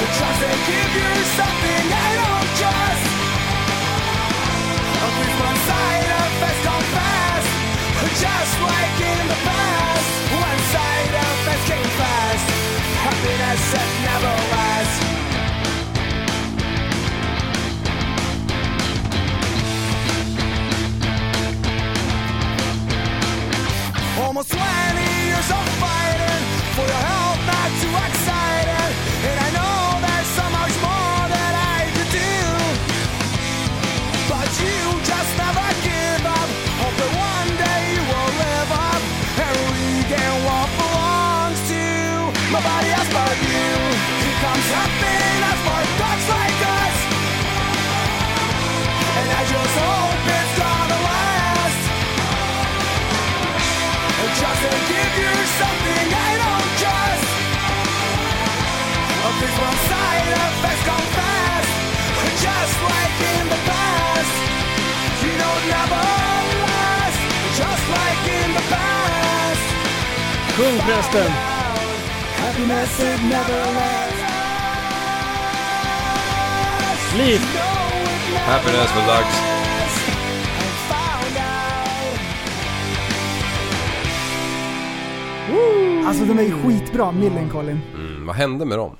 Just to give you something I don't trust. Of which one side of us gone fast. Just like in the past, one side of us came fast. Happiness that never lasts. nobody else but you. Here comes happiness for thugs like us. And I just hope it's gonna last. And just to give you something I don't trust. Oh, please, one side effects come fast. Just like in the past. You don't never last. Just like in the past. Sjung prästen! Happiness it never lasts. Liv! Happiness for Lux. Alltså de är ju skitbra, Millencolin. Mm, vad hände med dem?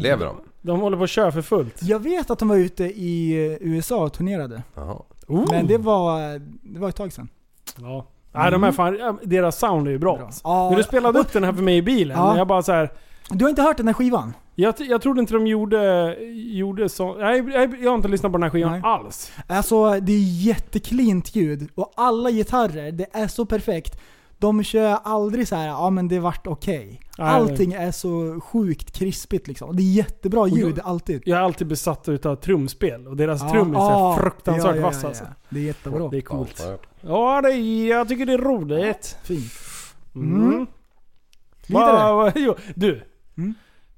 Lever de? De håller på att köra för fullt. Jag vet att de var ute i eh, USA och turnerade. Jaha. Men Oh. det var, eh, det var ett tag sedan. Ja. Nej, de här fan, deras sound är ju bra. Ja. När du Ah. spelade upp den här för mig i bilen, Ja. jag bara så här. Du har inte hört den här skivan? Jag, jag trodde inte de gjorde, gjorde så. Nej, jag, jag har inte lyssnat på den här skivan Nej. alls. Alltså det är jätteklint ljud och alla gitarrer, det är så perfekt. De kör aldrig så här, ja men det vart okej. Nej. Allting är så sjukt krispigt liksom. Det är jättebra Och jag- ljud alltid. Jag är alltid besatt utav trumspel och deras Ja, trummis är ja, fruktansvärt Ah, ja, ja, vassa ja. alltså. Det är jättebra. Det är coolt. Ja, Ja, det är, jag tycker det är roligt. Fint. Mm. Mm. Va, Vidare. va, jo, du.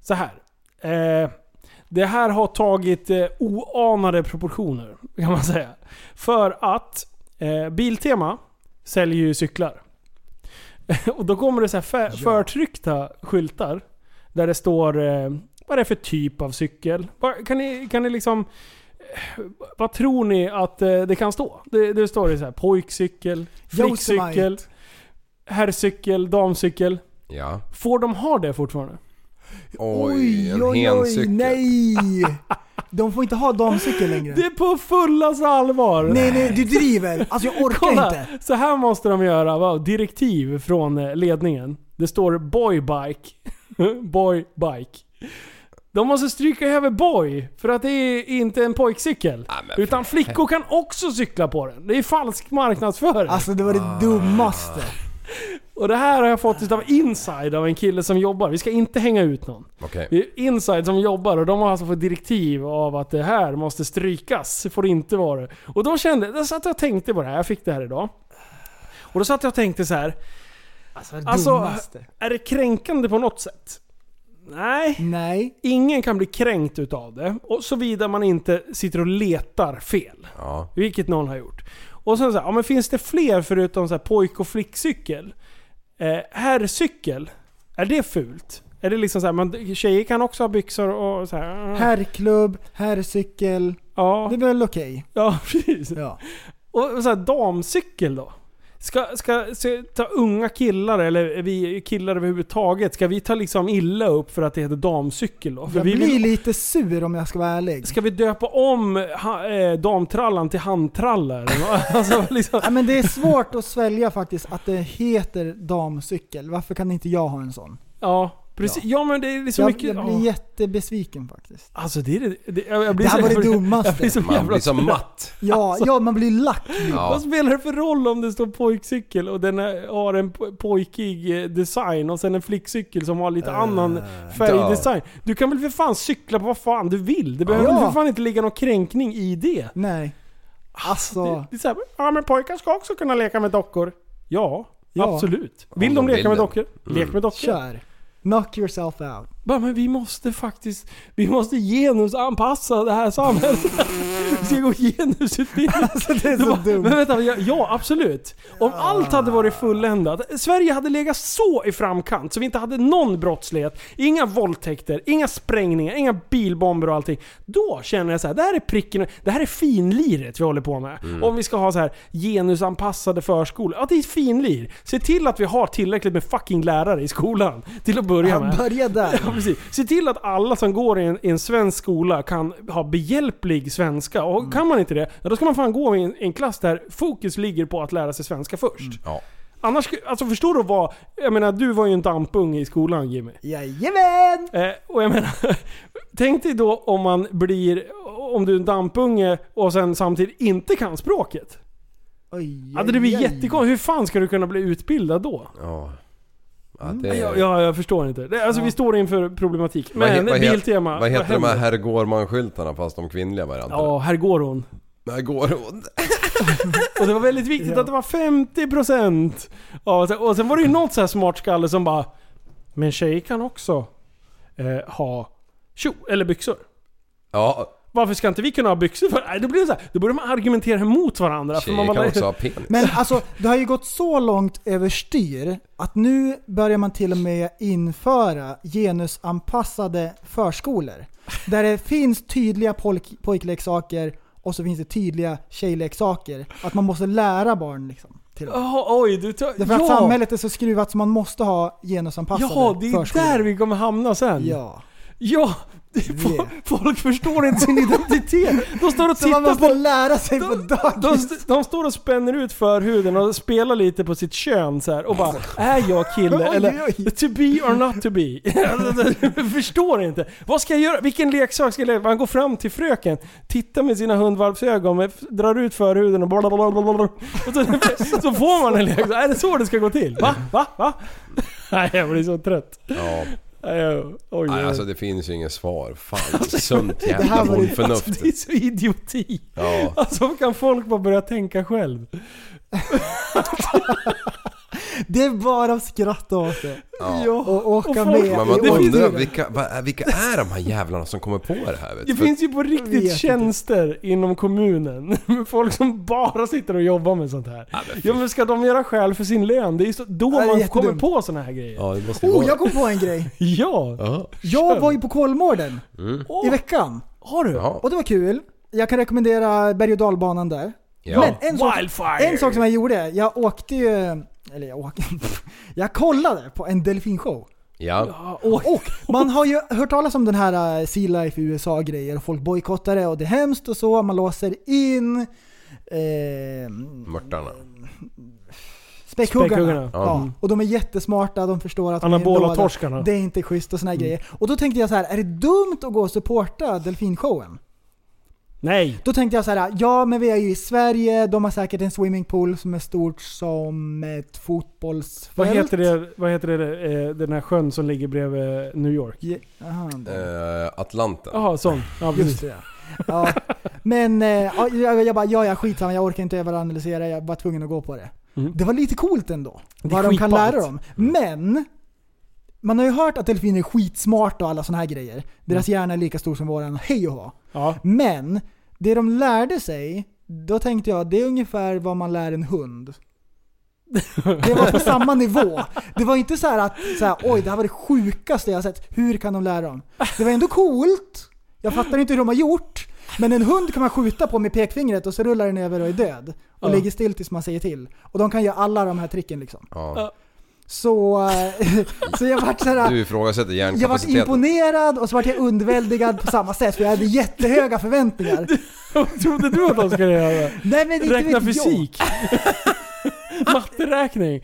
Så här. Eh, det här har tagit eh, oanade proportioner kan man säga. För att eh, Biltema säljer ju cyklar. [LAUGHS] Och då kommer det så här för, förtryckta skyltar. Där det står eh, vad det är för typ av cykel. Vad- Kan ni, kan ni liksom... eh, Vad tror ni att eh, det kan stå? Det, det står det så här pojkcykel, flickcykel, Yosemite. herrcykel, damcykel. Ja. Får de ha det fortfarande? Oj, en hencykel. nej! De får inte ha damcykel längre. [LAUGHS] Det är på fullaste allvar! Nej nej, du driver. Alltså jag orkar Kolla, inte. så här måste de göra. Va? Direktiv från eh, ledningen. Det står [LAUGHS] boybike. boybike. De måste stryka över boy, för att det är inte en pojkcykel. utan flickor kan också cykla på den. Det är falsk marknadsföring. Alltså det var det dummaste. Och det här har jag fått av inside av en kille som jobbar. Vi ska inte hänga ut någon. Okej. Det är Inside som jobbar och de har alltså fått direktiv av att det här måste strykas. Det får inte vara det. Och då kände jag, satt jag och tänkte på det här. Jag fick det här idag. Och då satt jag och tänkte så här. Alltså det Alltså, dummaste. är det kränkande på något sätt? Nej. Nej. Ingen kan bli kränkt utav det. Och såvida man inte sitter och letar fel. Ja. Vilket någon har gjort. Och sen så här, ja, men finns det fler förutom så här pojk och flickcykel? Eh, herrcykel, är det fult? Är det liksom så här, man, tjejer kan också ha byxor och så här. ah. Herrklubb, herrcykel. Ja. Det är väl okej? Ja, [LAUGHS] precis. Ja. Och och så här, damcykel då? Ska, ska, ska ta unga killar, eller vi killar överhuvudtaget, ska vi ta liksom illa upp för att det heter damcykel då? För Jag vi blir vill, lite sur om jag ska vara ärlig. ska vi döpa om ha, eh, damtrallan till handtrallar? [LAUGHS] alltså, liksom, Ja, men det är svårt att svälja faktiskt att det heter damcykel. Varför kan inte jag ha en sån? ja, precis. Ja. men det är så jag, mycket... jag ja. blir jättebesviken faktiskt. Alltså det är det, det, jag, jag blir Det här så, var det jag blir- dummaste. Jag blir så Man jävla blir så trött. matt. Ja, Alltså. ja man blir lack. Vad Ja. spelar det för roll om det står pojkcykel och den är, har en po- pojkig eh, design och sen en flickcykel som har lite annan färgdesign. Du kan väl för fan cykla på vad fan du vill? Det behöver Ja. väl för fan inte ligga någon kränkning i det? Nej. Alltså, Det, det är så här, ja men pojkar ska också kunna leka med dockor. Ja, Ja. absolut. Vill de de leka vill med det. dockor? Lek med dockor. kör. Knock yourself out. Bara, men vi måste faktiskt, vi måste genusanpassa det här samhället. [LAUGHS] vi ska gå genusutbildning. Alltså det är så Då bara, dumt. Ah. Men vänta, ja, ja absolut. Om allt hade varit fulländat. Sverige hade legat så i framkant så vi inte hade någon brottslighet. Inga våldtäkter, inga sprängningar, inga bilbomber och allting. Då känner jag så här, det här är pricken, det här är finliret vi håller på med. Mm. Om vi ska ha så här genusanpassade förskolor. Ja, det är finlir. Se till att vi har tillräckligt med fucking lärare i skolan. Till att börja med. Ja, börja [LAUGHS] där. Ja, precis. Se till att alla som går i en, i en svensk skola kan ha behjälplig svenska. Och Mm. kan man inte det, ja, då ska man fan gå i en, en klass där fokus ligger på att lära sig svenska först. Mm. Ja. Annars, sku- alltså förstår du vad... Jag menar, du var ju en dampung i skolan Jimmy. Jajamän! Eh, och jag menar, [LAUGHS] tänk dig då om man blir... Om du är en dampunge och sen samtidigt inte kan språket. Oj, Hade det blivit oj, oj. jättekonstigt. Hur fan ska du kunna bli utbildad då? Ja. Ja, det är... Ja, ja, jag förstår inte. Det- Alltså vi står inför problematik. Vad he- Men vad he- Biltema. Vad heter de händer? här herr Gårman-skyltarna fast de kvinnliga varianterna? Ja, här går hon. Här går hon. Och det var väldigt viktigt att det var 50% av, Och sen var det ju något så här smart skalle som bara Men tjejer kan också eh, ha tjo, eller byxor. Ja, Varför ska inte vi kunna ha byxor för? Nej, då blir det så här, då börjar man argumentera mot varandra. för man tjejer kan bara- [LAUGHS] också ha penis. Men alltså, det har ju gått så långt överstyr att nu börjar man till och med införa genusanpassade förskolor. Där det finns tydliga pojk- pojkleksaker och så finns det tydliga tjejleksaker. Att man måste lära barn liksom. Till dem. Jaha, oj, du tar... Därför att samhället är så skruvat så man måste ha genusanpassade Jaha, det är förskolor. där vi kommer hamna sen. Ja. Ja! [LAUGHS] Fo- Folk förstår inte sin identitet. De står och Så man tittar måste på... lära sig på De, dagis. st- de står och spänner ut förhuden och spelar lite på sitt kön så här och bara Är jag kille Alltså. Oj, eller oj. to be or not to be? Jag [LAUGHS] förstår inte. Vad ska jag göra? Vilken leksak ska jag leka? Man går fram till fröken, tittar med sina hundvalpsögon, men f- drar ut förhuden och blablabla. Och så, så [LAUGHS] får man en leksak. Är det så det ska gå till? Va? Va? Va? [LAUGHS] Nej, jag blir så trött. Ja. Nej, jag- Oj, Nej, oj. alltså det finns ju inget svar. Fan, sunt Det här jävla var ju- bondförnuft. Alltså, det är så idioti. Ja. Alltså kan folk bara börja tänka själv? Det är bara att skratta åt det. Ja. Och åka Och folk- med Men i man undrar åldern. vilka, vad är- vilka är de här jävlarna som kommer på det här? Vet? Det du? För- finns ju på vet riktigt inte. tjänster inom kommunen. [LAUGHS] Med folk som bara sitter och jobbar med sånt här. Ja men ska de göra skäl för sin lön? Det är ju så, då Ja, det är man jättedumt. kommer på såna här grejer. Ja, det måste ju Oh, vara... jag kom på en grej. Ja! Ja. Jag var ju på Kolmården i Åh, veckan. har du? Jaha. Och det var kul. Jag kan rekommendera berg och dalbanan där. Ja. Men en sak, Wildfire! en sak som jag gjorde, jag åkte ju... Eller jag åkte... [LAUGHS] Jag kollade på en delfinshow. Ja. Och man har ju hört talas om den här eh, Sea Life i USA grejer och folk bojkottar det och det är hemskt och så. Man låser in... Eh, Mörtarna. Späckhuggarna. Späckhuggarna. Ja. Mm. Och de är jättesmarta, de förstår att Anabola de är inlåda. torskarna. Det är inte schysst och såna här Mm. grejer. Och då tänkte jag så här, är det dumt att gå och supporta delfinshowen? Nej! Då tänkte jag så här, ja men vi är ju i Sverige, de har säkert en swimmingpool som är stort som ett fotbollsfält. Vad heter, det, vad heter det, eh, den här sjön som ligger bredvid eh, New York? Je- aha, det- Eh, Atlanten. Jaha, sån. Ja, precis. Just det ja. Men eh, ja, jag, jag bara, ja ja skitsamma, jag orkar inte överanalysera, jag var tvungen att gå på det. Mm. Det var lite coolt ändå. Det är Vad de kan skitballt. lära dem. Men, man har ju hört att delfiner är skitsmarta och alla såna här grejer. Deras Mm. hjärna är lika stor som våran, hej och hå. Ja. [LAUGHS] Men, det de lärde sig, då tänkte jag det är ungefär vad man lär en hund. Det var på samma nivå. Det var inte så här att så här, oj det här var det sjukaste jag har sett. Hur kan de lära dem? Det var ändå coolt. Jag fattar inte hur de har gjort. Men en hund kan man skjuta på med pekfingret och så rullar den över och är död. Och Ja. ligger still tills man säger till. Och de kan göra alla de här tricken liksom. Ja. Så, eh, [LAUGHS] så jag vart så här, Du ifrågasätter jag var hjärnkapaciteten. imponerad och så vart jag underväldigad på samma sätt för jag hade jättehöga förväntningar. Vad trodde du att de [LAUGHS] skulle göra? Nej men inte Räkna vet [LAUGHS] fysik. Matteräkning.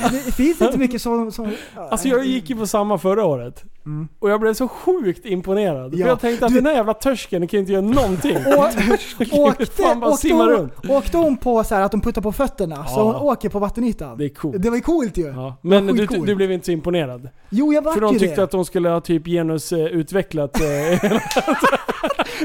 Jag. Det finns inte mycket som... som Alltså jag gick ju på samma förra året. Och jag blev så sjukt imponerad. Mm. Ja. För jag tänkte att Du- den här jävla törsken kan inte göra någonting. [LAUGHS] Å- [LAUGHS] åkte, Fan, bara åkte, simma hon, runt. åkte hon på så här att de puttar på fötterna så Ja. hon åker på vattenytan? Det är coolt. Det var ju coolt ju. Ja. Men du, Skitcoolt. du blev inte så imponerad. Jo jag vart För de ju tyckte det. att de skulle ha typ genusutvecklat... Eh,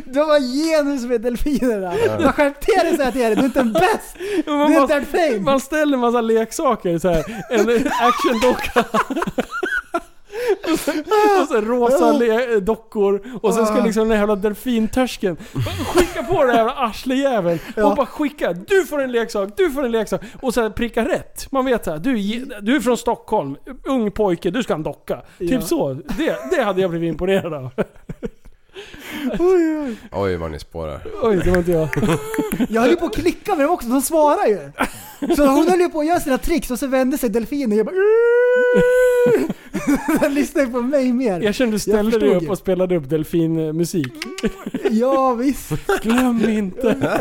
De var genus med delfinerna. Jag skärpte dig säger jag till er, du är inte en bäst! man, Det är bara- ett fame. man ställer en massa leksaker så här. [LAUGHS] En actiondocka. Ah. Och sen- och sen rosa le- eh, dockor och sen ska liksom den här jävla delfintörsken skicka på den här jävla arslejäveln Ja. och bara skicka Du får en leksak, du får en leksak och sen pricka rätt. Man vet såhär, du, är ge- du är från Stockholm, ung pojke, du ska ha en docka. Ja. Typ så. Det, det hade jag blivit imponerad av. Oj, oj. Oj vad ni spårar. Oj, det var inte jag. Jag höll ju på att klicka med dem också, de svarar ju. Så hon höll ju på att göra sina tricks och så vände sig delfinen och jag bara [LAUGHS] Den lyssnade ju på mig mer. Jag kände du ställde förstod dig upp ju. och spelade upp delfinmusik. Ja visst. [LAUGHS] Glöm inte.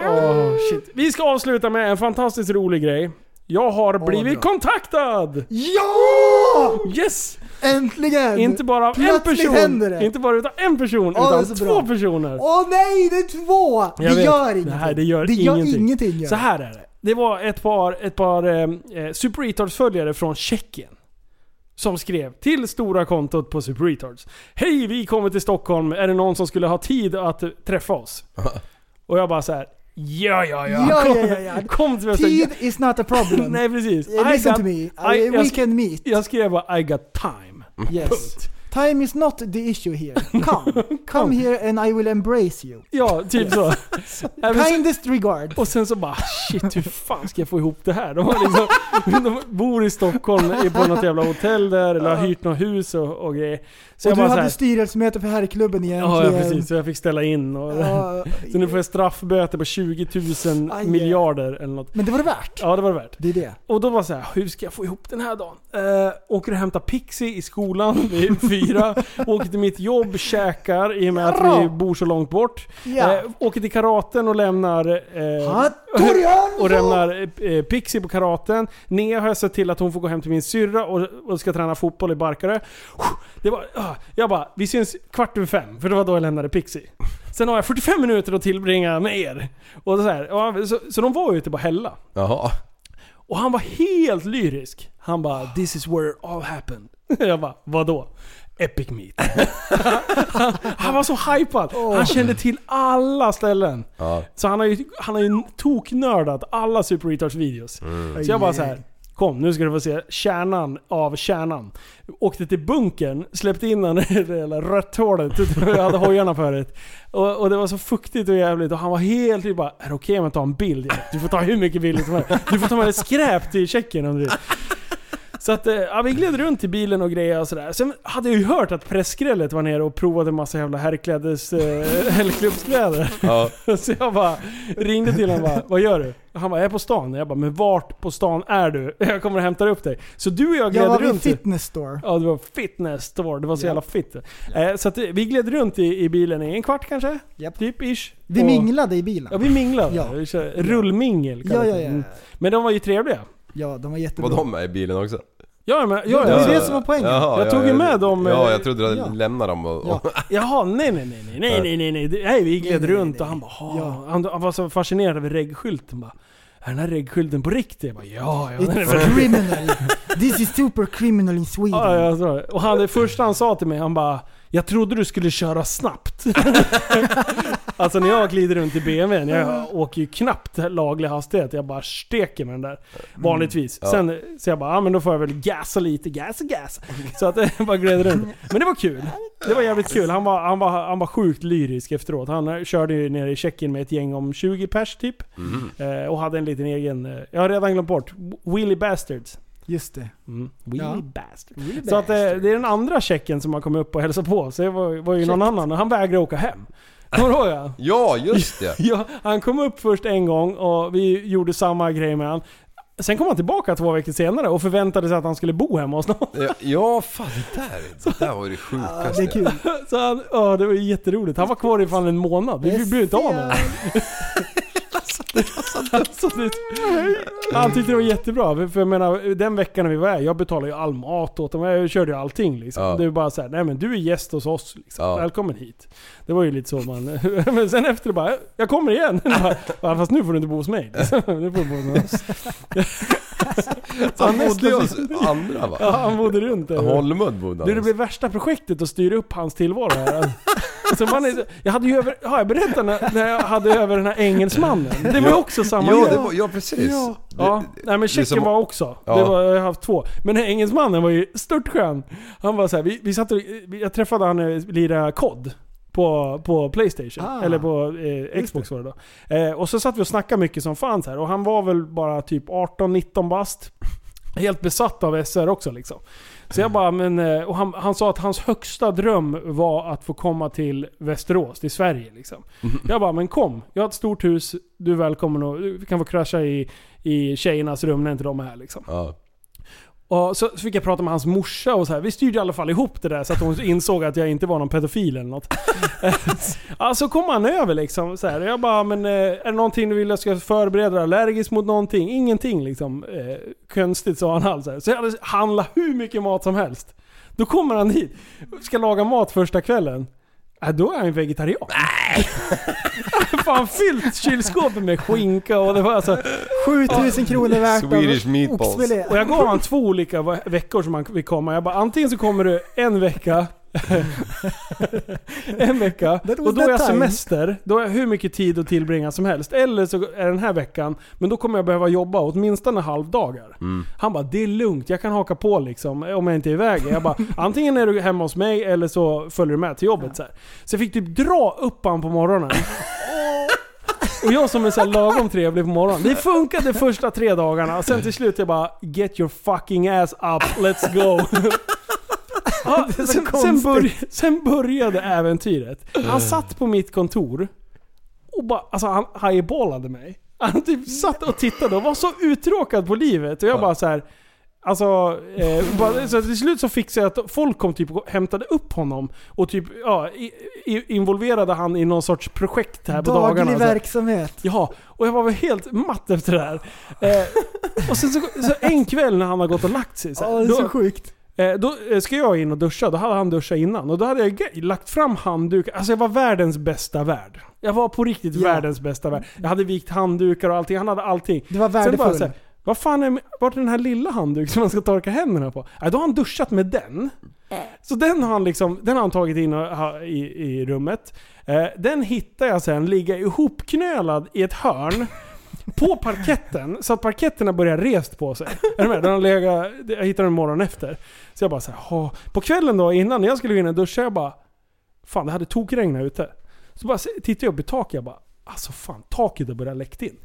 Åh, shit. Vi ska avsluta med en fantastiskt rolig grej. Jag har blivit kontaktad! Ja! Yes! Äntligen! Inte bara av en Plötsligt händer person. det. Inte bara utav en person, Åh, det är utan så två bra. personer. Åh nej, det är två! Jag det vet. gör ingenting. Nej, det gör det ingenting. Gör ingenting gör. Så det. här är det. det var ett par, ett par eh, Super Retards-följare från Tjeckien. Som skrev till stora kontot på Super Retards. Hej, vi kommer till Stockholm. Är det någon som skulle ha tid att eh, [LAUGHS] träffa oss? Och jag bara så här. Ja, ja, ja. Ja, ja, ja, ja. Kom, [LAUGHS] kom till mig och säg, Tid is not a problem. [LAUGHS] Nej, precis. Eh, Mm. Listen to me. I, we sk- can meet. Jag skrev bara I got time. Yes. Time is not the issue here. [LAUGHS] Come. Come here and I will embrace you. Ja, typ [LAUGHS] så. Nej, men så- Kindest regard. Och sen så bara shit, hur fan ska jag få ihop det här? De, har liksom, de bor i Stockholm, är på något jävla hotell där, eller har hyrt något hus och, och grejer. Så och jag du bara så hade här, styrelsemöte för herrklubben egentligen. Ja, ja precis. Så jag fick ställa in. Och, Ja. [LAUGHS] så nu får jag straffböter på 20 000 Aj. miljarder eller något. Men det var det värt. Ja, det var det värt. Det är det. Och då var det så här, hur ska jag få ihop den här dagen? Eh, åker och hämtar Pixie i skolan [LAUGHS] vid fyra. åker till mitt jobb, käkar i och med att vi bor så långt bort. Ja. Eh, åker till karaten och lämnar... Eh, Hattori Hansson! och lämnar eh, Pixie på karaten. Nea har jag sett till att hon får gå hem till min syrra och, och ska träna fotboll i Barkarö. Det var, ah, jag bara, vi syns kvart över fem. För det var då jag lämnade Pixie. Sen har jag 45 minuter att tillbringa med er. Och så, här, ja, så, så de var ute på Hälla. Jaha. Och han var helt lyrisk. Han bara 'This is where it all happened' [LAUGHS] Jag bara 'Vadå?' Epic meet. [LAUGHS] han var så hypad. Han kände till alla ställen. Ja. Så han har ju, han har ju toknördat alla Super Retards videos. Mm. Så jag bara så här. Kom, nu ska du få se kärnan av kärnan. Åkte till bunkern, släppte in den [LAUGHS] i det jävla rötthålet. Jag hade hojarna förut. Och, och det var så fuktigt och jävligt. Och han var helt typ bara, är det okej om jag tar en bild? Jag bara, Du får ta hur mycket bilder som helst. Du får ta med dig skräp till Tjeckien om du vill. Så att, eh, ja, vi gled runt i bilen och grejer och sådär. Sen hade jag ju hört att pressgrället var nere och provade en massa jävla herrklädes... Eh, [LAUGHS] herrklubbskläder. Ja. [LAUGHS] Så jag bara ringde till honom och bara, vad gör du? Han bara, jag är på stan. Jag bara, men vart på stan är du? [LAUGHS] Jag kommer och hämtar upp dig. Så du och jag gled Jag var vid runt. i- fitness store. Ja, det var fitness store. Det var så jävla fitt. Eh, så att, eh, vi gled runt i, i bilen i en kvart kanske? Typ ish. Vi Och- minglade i bilen. Ja, vi minglade. Ja. Vi kör Rullmingel kallas Ja, ja, det. ja. Mm. Men de var ju trevliga. Ja, de var jättebra. Var de med i bilen också? Ja, men, ja, Det ja, var ju ja. det som var poängen. Jaha, Jag tog ju med dem, Ja, eh, jag trodde du ja. hade lämnat dem och... och Jaha, nej nej nej nej nej nej nej nej. Det- nej vi gled Nej, nej, runt och han bara ja. han, han var så fascinerad över reggskylten bara. Är den här reggskylten på riktigt? Jag bara ja, [LAUGHS] ja den är It's väl- criminal. This is super criminal in Sweden. ja, ja så. Och han, det första han sa till mig, han bara Jag trodde du skulle köra snabbt. [LAUGHS] alltså när jag glider runt i BMWn, jag åker ju knappt laglig hastighet. Jag bara steker med den där. Vanligtvis. Ja. Sen så jag bara, ja men då får jag väl gasa lite, gas gas. Så att [LAUGHS] jag bara gled runt. Men det var kul. Det var jävligt kul. Han var, han var, han var sjukt lyrisk efteråt. Han eh, körde ju nere i Tjeckien med ett gäng om 20 pers typ. Eh, och hade en liten egen, eh, jag har redan glömt bort, Willy Bastards. Just det. Mm. Ja. Willy Bastard. Så att, eh, det är den andra checken som har kommit upp och hälsat på. Så det var, var ju någon annan. Han vägrade åka hem. Kommer du ihåg det? [LAUGHS] Ja, just det. Ja, han kom upp först en gång och vi gjorde samma grej med han. Sen kom han tillbaka två veckor senare och förväntade sig att han skulle bo hemma hos någon. [LAUGHS] Ja, Ja, fan det där, det där var ju det Det sjukaste. är kul. Så han, ja, det var ju jätteroligt. Han var kvar i fan en månad. Vi blev inte av med honom. Alltså, det- Han tyckte det var jättebra. För- För jag menar, den veckan när vi var här, jag betalade ju all mat åt dem. Jag körde ju allting liksom. Ja. Det var bara såhär, nej men du är gäst hos oss liksom. Ja. Välkommen hit. Det var ju lite så man... [LAUGHS] men sen efter det bara, jag kommer igen. [LAUGHS] bara, Fast nu får du inte bo hos mig. Liksom. Nu får du bo hos [LAUGHS] oss. Han bodde ju hos alltså. andra va? Ja, han bodde runt där. Holmud bodde han Du, det hos. blev värsta projektet att styra upp hans tillvaro här. Alltså man är, jag hade ju över, har jag berättat när, när jag hade över den här engelsmannen? Det var ju Ja. också samma Ja, grej. det var, ja precis. Ja, Det- ja. nej men det är checken som- var också. Ja. Det var, jag har haft två. Men den här engelsmannen var ju störtskön. Han var så här, vi, vi satt och, jag träffade han eh, lira kod på, på Playstation. Ah. Eller på eh, Xbox var det då. Eh, och så satt vi och snackade mycket som fan så här. Och han var väl bara typ 18-19 bast. Helt besatt av SR också liksom. Så jag bara, men, eh, och han, han sa att hans högsta dröm var att få komma till Västerås, till Sverige liksom. Jag bara, men kom. Jag har ett stort hus, du är välkommen och vi kan få krascha i, i tjejernas rum när inte de är här liksom. Ja. Och så så fick jag prata med hans morsa och så här. Vi styrde i alla fall ihop det där så att hon insåg att jag inte var någon pedofil eller något. ja, så kom han över liksom. Så här. Och Jag bara, men eh, är det någonting du vill jag ska förbereda dig allergisk mot någonting? Ingenting liksom. Eh, konstigt sa han alls. Så, här. så jag hade handlat hur mycket mat som helst. Då kommer han hit. Ska laga mat första kvällen. Äh, då är han vegetarian. Nej! [LAUGHS] Fan fyllt kylskåpet med skinka och det var alltså... 7000 kronor värt av Swedish meatballs. oxfilé. Och jag gav han två olika ve- veckor som han fick komma. Jag bara, antingen så kommer du en vecka. [LAUGHS] en vecka. That was Och då är that jag time. semester. Då har jag hur mycket tid att tillbringa som helst. Eller så är det den här veckan. Men då kommer jag behöva jobba åtminstone halvdagar. Mm. Han bara, det är lugnt, jag kan haka på liksom om jag inte är iväg. [LAUGHS] Jag bara, antingen är du hemma hos mig eller så följer du med till jobbet. Så, här. så jag fick typ dra upp han på morgonen. Och jag som är så här lagom trevlig på morgonen. Det funkade första tre dagarna. Sen till slut jag bara, get your fucking ass up, let's go. Ja, [LAUGHS] Det är så sen, sen, konstigt. Mm. börj, sen började äventyret. Han satt på mitt kontor och bara, alltså han highballade mig. Han typ satt och tittade och var så uttråkad på livet. Och jag bara så här. Alltså, eh, bara, så till slut så fixade jag att folk kom typ och hämtade upp honom och typ ja, i, i, involverade han i någon sorts projekt här på dagarna. Daglig och så här. verksamhet. Ja, och jag var väl helt matt efter det här. Eh, och sen så, så en kväll när han har gått och lagt sig så, här, Ja, det är så då- sjukt. Eh, Då eh, ska jag in och duscha, då hade han duschat innan. Och då hade jag ge- lagt fram handdukar. Alltså jag var världens bästa värd. Jag var på riktigt Ja. världens bästa värd. Jag hade vikt handdukar och allting. Han hade allting. Du var värdefull. så här, vad fan är, vart är den här lilla handduken som man ska torka händerna på? Äh, då har han duschat med den. Så den har han, liksom, den har han tagit in och, ha, i, i rummet. Eh, den hittar jag sen ligga ihopknölad i ett hörn på parketten, så att parketterna börjar rest på sig. Är du med? Den har legat, jag hittade den morgonen efter. Så jag bara så här, "Åh." På kvällen då, innan när jag skulle gå in och duscha, jag bara... Fan, det hade tokregnat ute. Så bara se- tittade jag upp i taket, jag bara... Alltså fan, taket har börjat läckt in.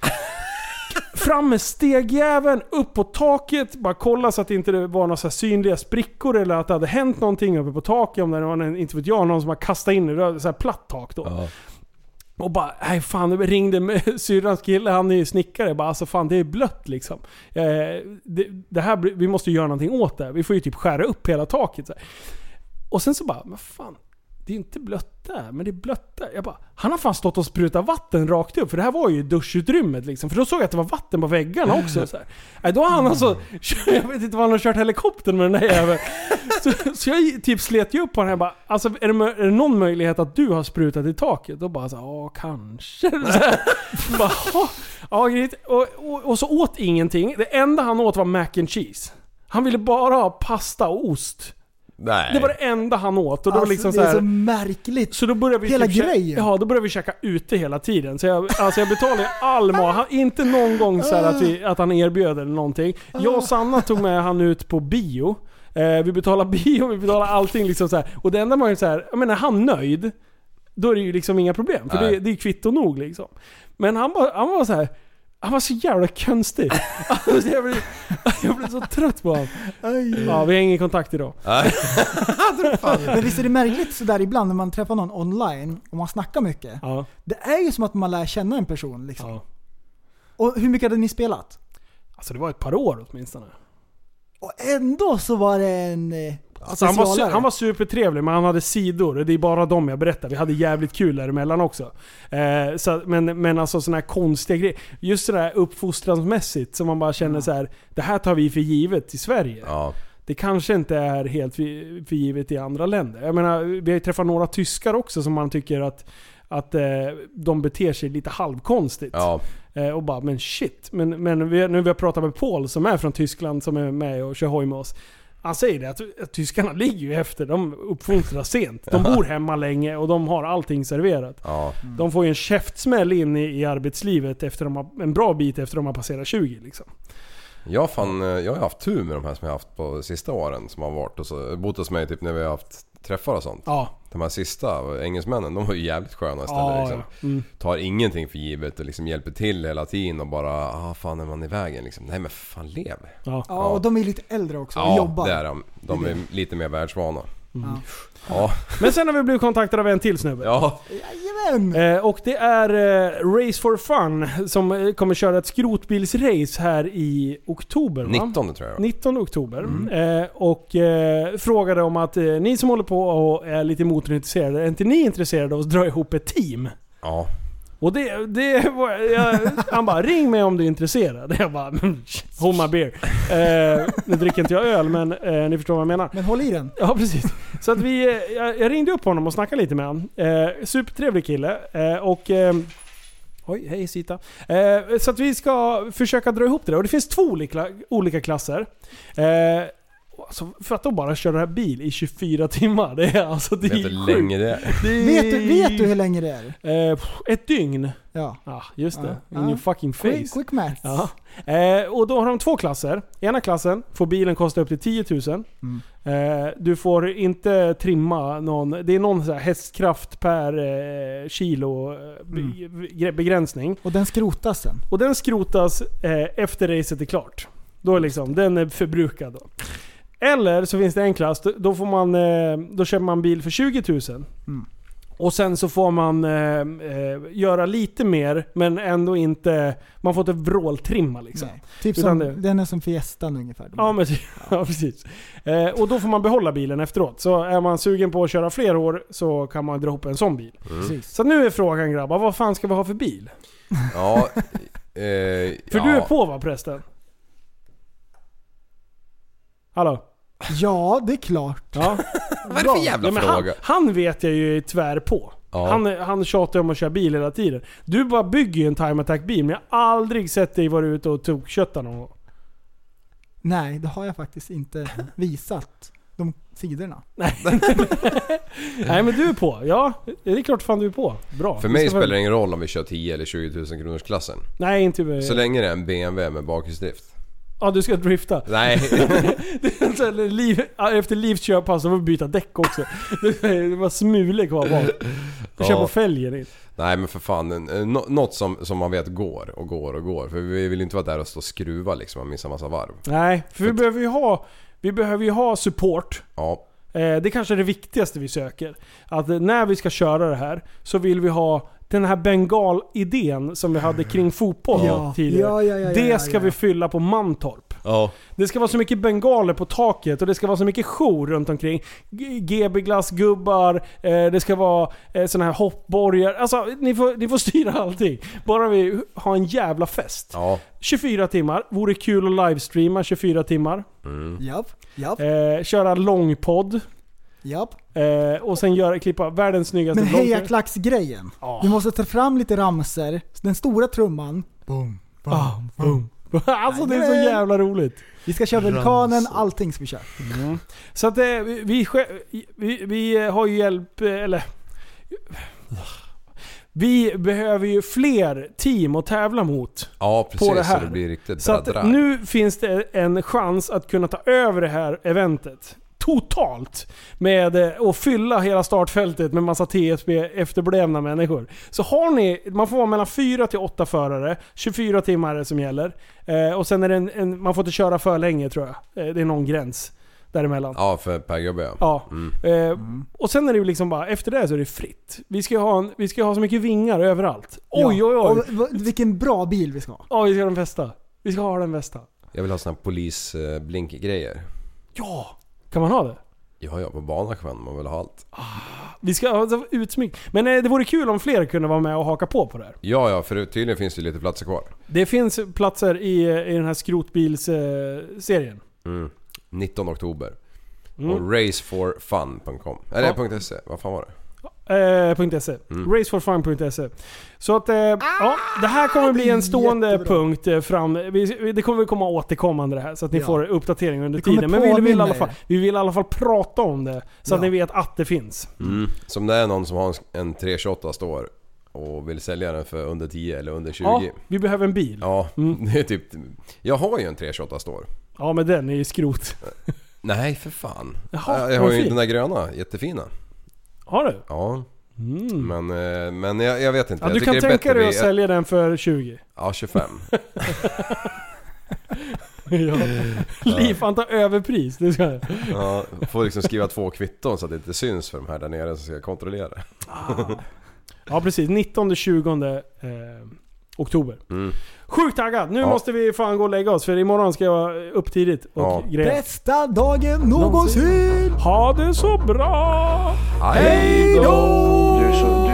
Fram med stegjäveln, upp på taket, bara kolla så att det inte var några så här synliga sprickor eller att det hade hänt någonting uppe på taket. Om det var, någon- inte vet jag, någon som har kastat in i det, det var så här platt tak då. Och bara, nej fan, jag ringde [LAUGHS] med syrrans kille, han är ju snickare. Bara, alltså fan det är blött liksom. Eh, det, det här, blir- vi måste ju göra någonting åt det här. Vi får ju typ skära upp hela taket. Så här. Och sen så bara, men fan. Det är inte blött där, men det är blött där. Jag bara, han har fan stått och sprutat vatten rakt upp. För det här var ju duschutrymmet liksom. För då såg jag att det var vatten på väggarna också. Så här. Nej, då har han alltså, [LAUGHS] jag vet inte vad han har kört helikoptern med den där jäveln. Så, så jag typ slet ju upp på honom. Jag bara, alltså är det, mö- är det någon möjlighet att du har sprutat i taket? Då bara så här, ja kanske. [LAUGHS] Så här. bara, "Ja, ja, grejt." och, och, och så åt ingenting. Det enda han åt var mac and cheese. Han ville bara ha pasta och ost. Nej. Det var det enda han åt. Och då Alltså, liksom det är så så här, märkligt. så då började vi Hela kä- grejen. Ja, då började vi käka ute hela tiden. Så jag, alltså jag betalade [LAUGHS] all mat. Han- Inte någon gång så här att, vi, att han erbjöd eller någonting. Ah. Jag och Sanna tog med han ut på bio. Eh, vi betalade bio, vi betalade allting liksom så här. Och det enda man är så här, jag menar, är han nöjd, då är det ju liksom inga problem. För det, Nej. det är kvitto nog liksom. Men han, bara, han var så här. Han var så jävla [LAUGHS] konstig. Alltså, jag, blev, jag blev så trött på honom. Ja, vi har ingen kontakt idag. Men visst är det märkligt sådär ibland när man träffar någon online och man snackar mycket. Ja. Det är ju som att man lär känna en person liksom. Ja. Och hur mycket hade ni spelat? Alltså det var ett par år åtminstone. Och ändå så var det en eh, Så Alltså, han, var, su- specialare. han var supertrevlig men han hade sidor. och Det är bara dem jag berättar. Vi hade jävligt kul däremellan också. Eh, så, att- men, men alltså sådana här konstiga grejer. Just det där uppfostransmässigt som man bara känner så här. Det här tar vi för givet i Sverige. Ja. Det kanske inte är helt för, för givet i andra länder. Jag menar, vi har ju träffat några tyskar också som man tycker att, att eh, de beter sig lite halvkonstigt. Ja. Eh, och bara, men shit. Men, men vi, nu vi har pratat med Paul som är från Tyskland som är med och kör hoj med oss. Han säger det att, att tyskarna ligger ju efter. De uppfostras sent. De bor hemma länge och de har allting serverat. Ja. De får ju en käftsmäll in i, i arbetslivet efter de har, en bra bit efter de har passerat 20 liksom. Jag, har fan, eh, jag har haft tur med de här som jag har haft på sista åren som har varit och så, bott hos mig typ när vi har haft träffar och sånt. Ja. De här sista engelsmännen, de var ju jävligt sköna istället. Ja, liksom. ja. Mm. Tar ingenting för givet och liksom hjälper till hela tiden och bara ah fan är man i vägen liksom. Nej men fan lev. Ja. Ja, och de är lite äldre också och Ja, jobbar. det är de. De är lite mer världsvana. Mm. Ja. Ja. Men sen har vi blivit kontaktade av en till snubbe. Ja. Jajamän! Eh, och det är eh, Race for Fun som eh, kommer köra ett skrotbilsrace här i oktober va? 19 tror jag. 19 oktober. Eh, och eh, frågade om att eh, ni som håller på och är lite motorintresserade, är inte ni intresserade av att dra ihop ett team? Ja. Och det, det var, jag, han bara ring mig om du är intresserad. [LAUGHS] Jag bara "Mm, hold my beer. Eh, nu dricker inte jag öl men eh, ni förstår vad jag menar. Men håll i den. Ja precis. Så att vi, eh, jag, jag ringde upp honom och snackade lite med honom. Eh, supertrevlig kille. Eh, och... ehm, Oj, hej Sita. Eh, så att vi ska försöka dra ihop det där. Och det finns två olika, olika klasser. Eh, alltså, för att de bara köra bil i 24 timmar. Det är alltså det är Vet du hur sjukt. länge det är? Det är- Vet du, vet du hur länge det är? Eh, pff, ett dygn. Ja. Ah, just det. Ja. In Ja. your fucking face. Quick, quick maths. Ja. Eh, och då har de två klasser. I ena klassen får bilen kosta upp till 10 000. Mm. Eh, du får inte trimma någon. Det är någon så här hästkraft per eh, kilo eh, be, Mm. gre- begränsning. Och den skrotas sen. Och den skrotas eh, efter racet är klart. Då är liksom, den är förbrukad då. Eller så finns det en klass, då- då, får man, eh, då köper man bil för 20 000. Mm. Och sen så får man eh, eh, göra lite mer, men ändå inte... Man får inte vråltrimma liksom. Typ Utan som, det- den är som Fiestan ungefär. Ja, men, [LAUGHS] ja precis. Eh, och då får man behålla bilen efteråt. Så är man sugen på att köra fler år så kan man dra ihop en sån bil. Mm. Så nu är frågan grabbar, vad fan ska vi ha för bil? Ja, eh, För ja. du är på va prästen? Hallå? Ja, det är klart. Ja. [LAUGHS] Vad är det för jävla Ja, men han- fråga? Han vet jag ju är tvär på. Ja. Han, han tjatar om att köra bil hela tiden. Du bara bygger ju en time attack bil men jag har aldrig sett dig vara ute och tokkötta någon gång. [LAUGHS] Nej, det har jag faktiskt inte visat. De sidorna. [LAUGHS] Nej men du är på. Ja, det är klart fan du är på. Bra. För Vi mig ska spelar väl- det ingen roll om vi kör 10 eller 20 000 kronors klassen. Nej inte... Så länge det är en BMW med bakhjulsdrift. Ja du ska drifta. [LAUGHS] Nej. Det är så här, liv, efter Livs körpass så får vi byta däck också. Det var smulor kvar bak. Vi kör Ja. på fälgen in. Nej men för fan, en- en- nå- något som, som man vet går och går och går. För vi vill ju inte vara där och stå och skruva liksom och missa massa varv. Nej, för vi behöver ju ha, vi behöver ju ha support. Ja. Eh, det kanske är det viktigaste vi söker. Att eh, när vi ska köra det här så vill vi ha den här bengal-idén som vi hade kring fotboll Ja. tidigare. Ja, ja, ja, ja, det ska ja. vi fylla på Mantorp. Ja. Det ska vara så mycket bengaler på taket och det ska vara så mycket jour runt omkring. G- GB glassgubbar, eh, det ska vara eh, såna här hoppborgar. Alltså ni får, ni får [LAUGHS] styra allting. Bara vi har en jävla fest. Ja. 24 timmar. Vore kul att livestreama 24 timmar. Japp, japp, Eh, köra långpodd. japp. Eh, och sen göra, klippa världens snyggaste Men vlogg. hejaklacksgrejen. Ja. Du måste ta fram lite ramser, den stora trumman. Boom, boom, Ah, boom. [LAUGHS] Alltså det är så jävla roligt. Vi ska köra vulkanen, allting ska vi köra. Så att eh, vi, vi, skä- vi, vi eh, har ju hjälp, eh, eller... Vi behöver ju fler team att tävla mot. Ja precis, På det här. så det blir riktigt Så att bra nu finns det en chans att kunna ta över det här eventet. Totalt! Med eh, att fylla hela startfältet med massa TSB efterblivna människor. Så har ni, man får vara mellan 4 till 8 förare, 24 timmar är det som gäller. Eh, och sen är det en, en, man får inte köra för länge tror jag. Eh, det är någon gräns däremellan. Ja för per gubbe ja. Ja. Mm. Eh, och sen är det ju liksom bara, efter det så är det fritt. Vi ska ju ha, en, vi ska ha så mycket vingar överallt. Oj, Ja. oj, oj. Och v- vilken bra bil vi ska ha. Ja, vi ska ha den bästa. Vi ska ha den bästa. Jag vill ha såna här eh, polisblinkgrejer. Ja! Kan man ha det? Ja ja, på Banasjön. Man vill ha allt. Vi ska ha alltså, utsmyck. Men eh, det vore kul om fler kunde vara med och haka på på det här. Ja ja, för tydligen finns det lite platser kvar. Det finns platser i, eh, i den här eh, skrotbilsserien. Mm. 19 oktober. Mm. Och raceforfun.com. Eller Ja. ja. .se, vad fan var det? Eh, .se. Mm. Raceforfun.se. Så att, eh, ja, det här kommer bli Ah, en stående punkt eh, fram. Vi, vi- det kommer komma återkommande det här, så att ni Ja. får uppdateringar under Det kommer tiden. Men vi vill, i påminna alla fall, er. vi vill i alla fall prata om det, så att Ja. ni vet att det finns. Mm. Så om det är någon som har en- en 328 står och vill sälja den för under 10 eller under 20. Ja, Mm. Ja, vi behöver en bil. [LAUGHS] det är typ... Jag har ju en 328 står. Ja, men den är ju skrot. Nej för fan. Jaha, jag har vad ju fin. den där gröna, jättefina. Har du? Ja. Mm. Men, eh, men jag, jag vet inte. Ja, jag du tycker kan det är tänka bättre dig att vid- sälja den för 20? Ja, 25. [LAUGHS] ja. Liv, han tar överpris. Det ska jag. Ja, får liksom skriva två kvitton så att det inte syns för de här där nere som ska kontrollera. Ja precis, 19-20 eh, oktober. Mm. Sjukt taggad! Nu Ja. måste vi fan gå och lägga oss för imorgon ska jag upp tidigt och Ja. greja. Bästa dagen någonsin! Ha det så bra! Hej Du, så,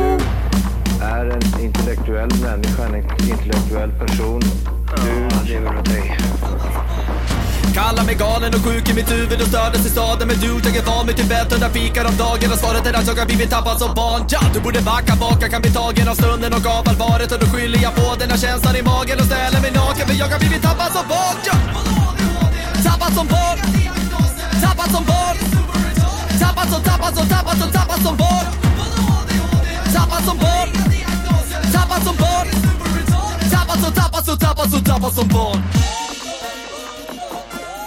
du är en intellektuell människa, en intellektuell person. Du lever åt dig. Kallar mig galen och sjuk i mitt huvud och stördes i staden Men du, jag är van vid Tibet och där fikar om dagen Och svaret är att jag har blivit tappad som barn ja, Du borde backa bak, jag kan bli tagen av stunden och av allvaret Och då skyller jag på den här känslan i magen och ställer mig naken För jag har blivit tappad som barn ja. Tappad som barn Tappad som barn Tappad som, tappad som, tappad som, tappad som barn Tappad som barn Tappad som barn Tappad som, tappad som, tappad som, tappad som barn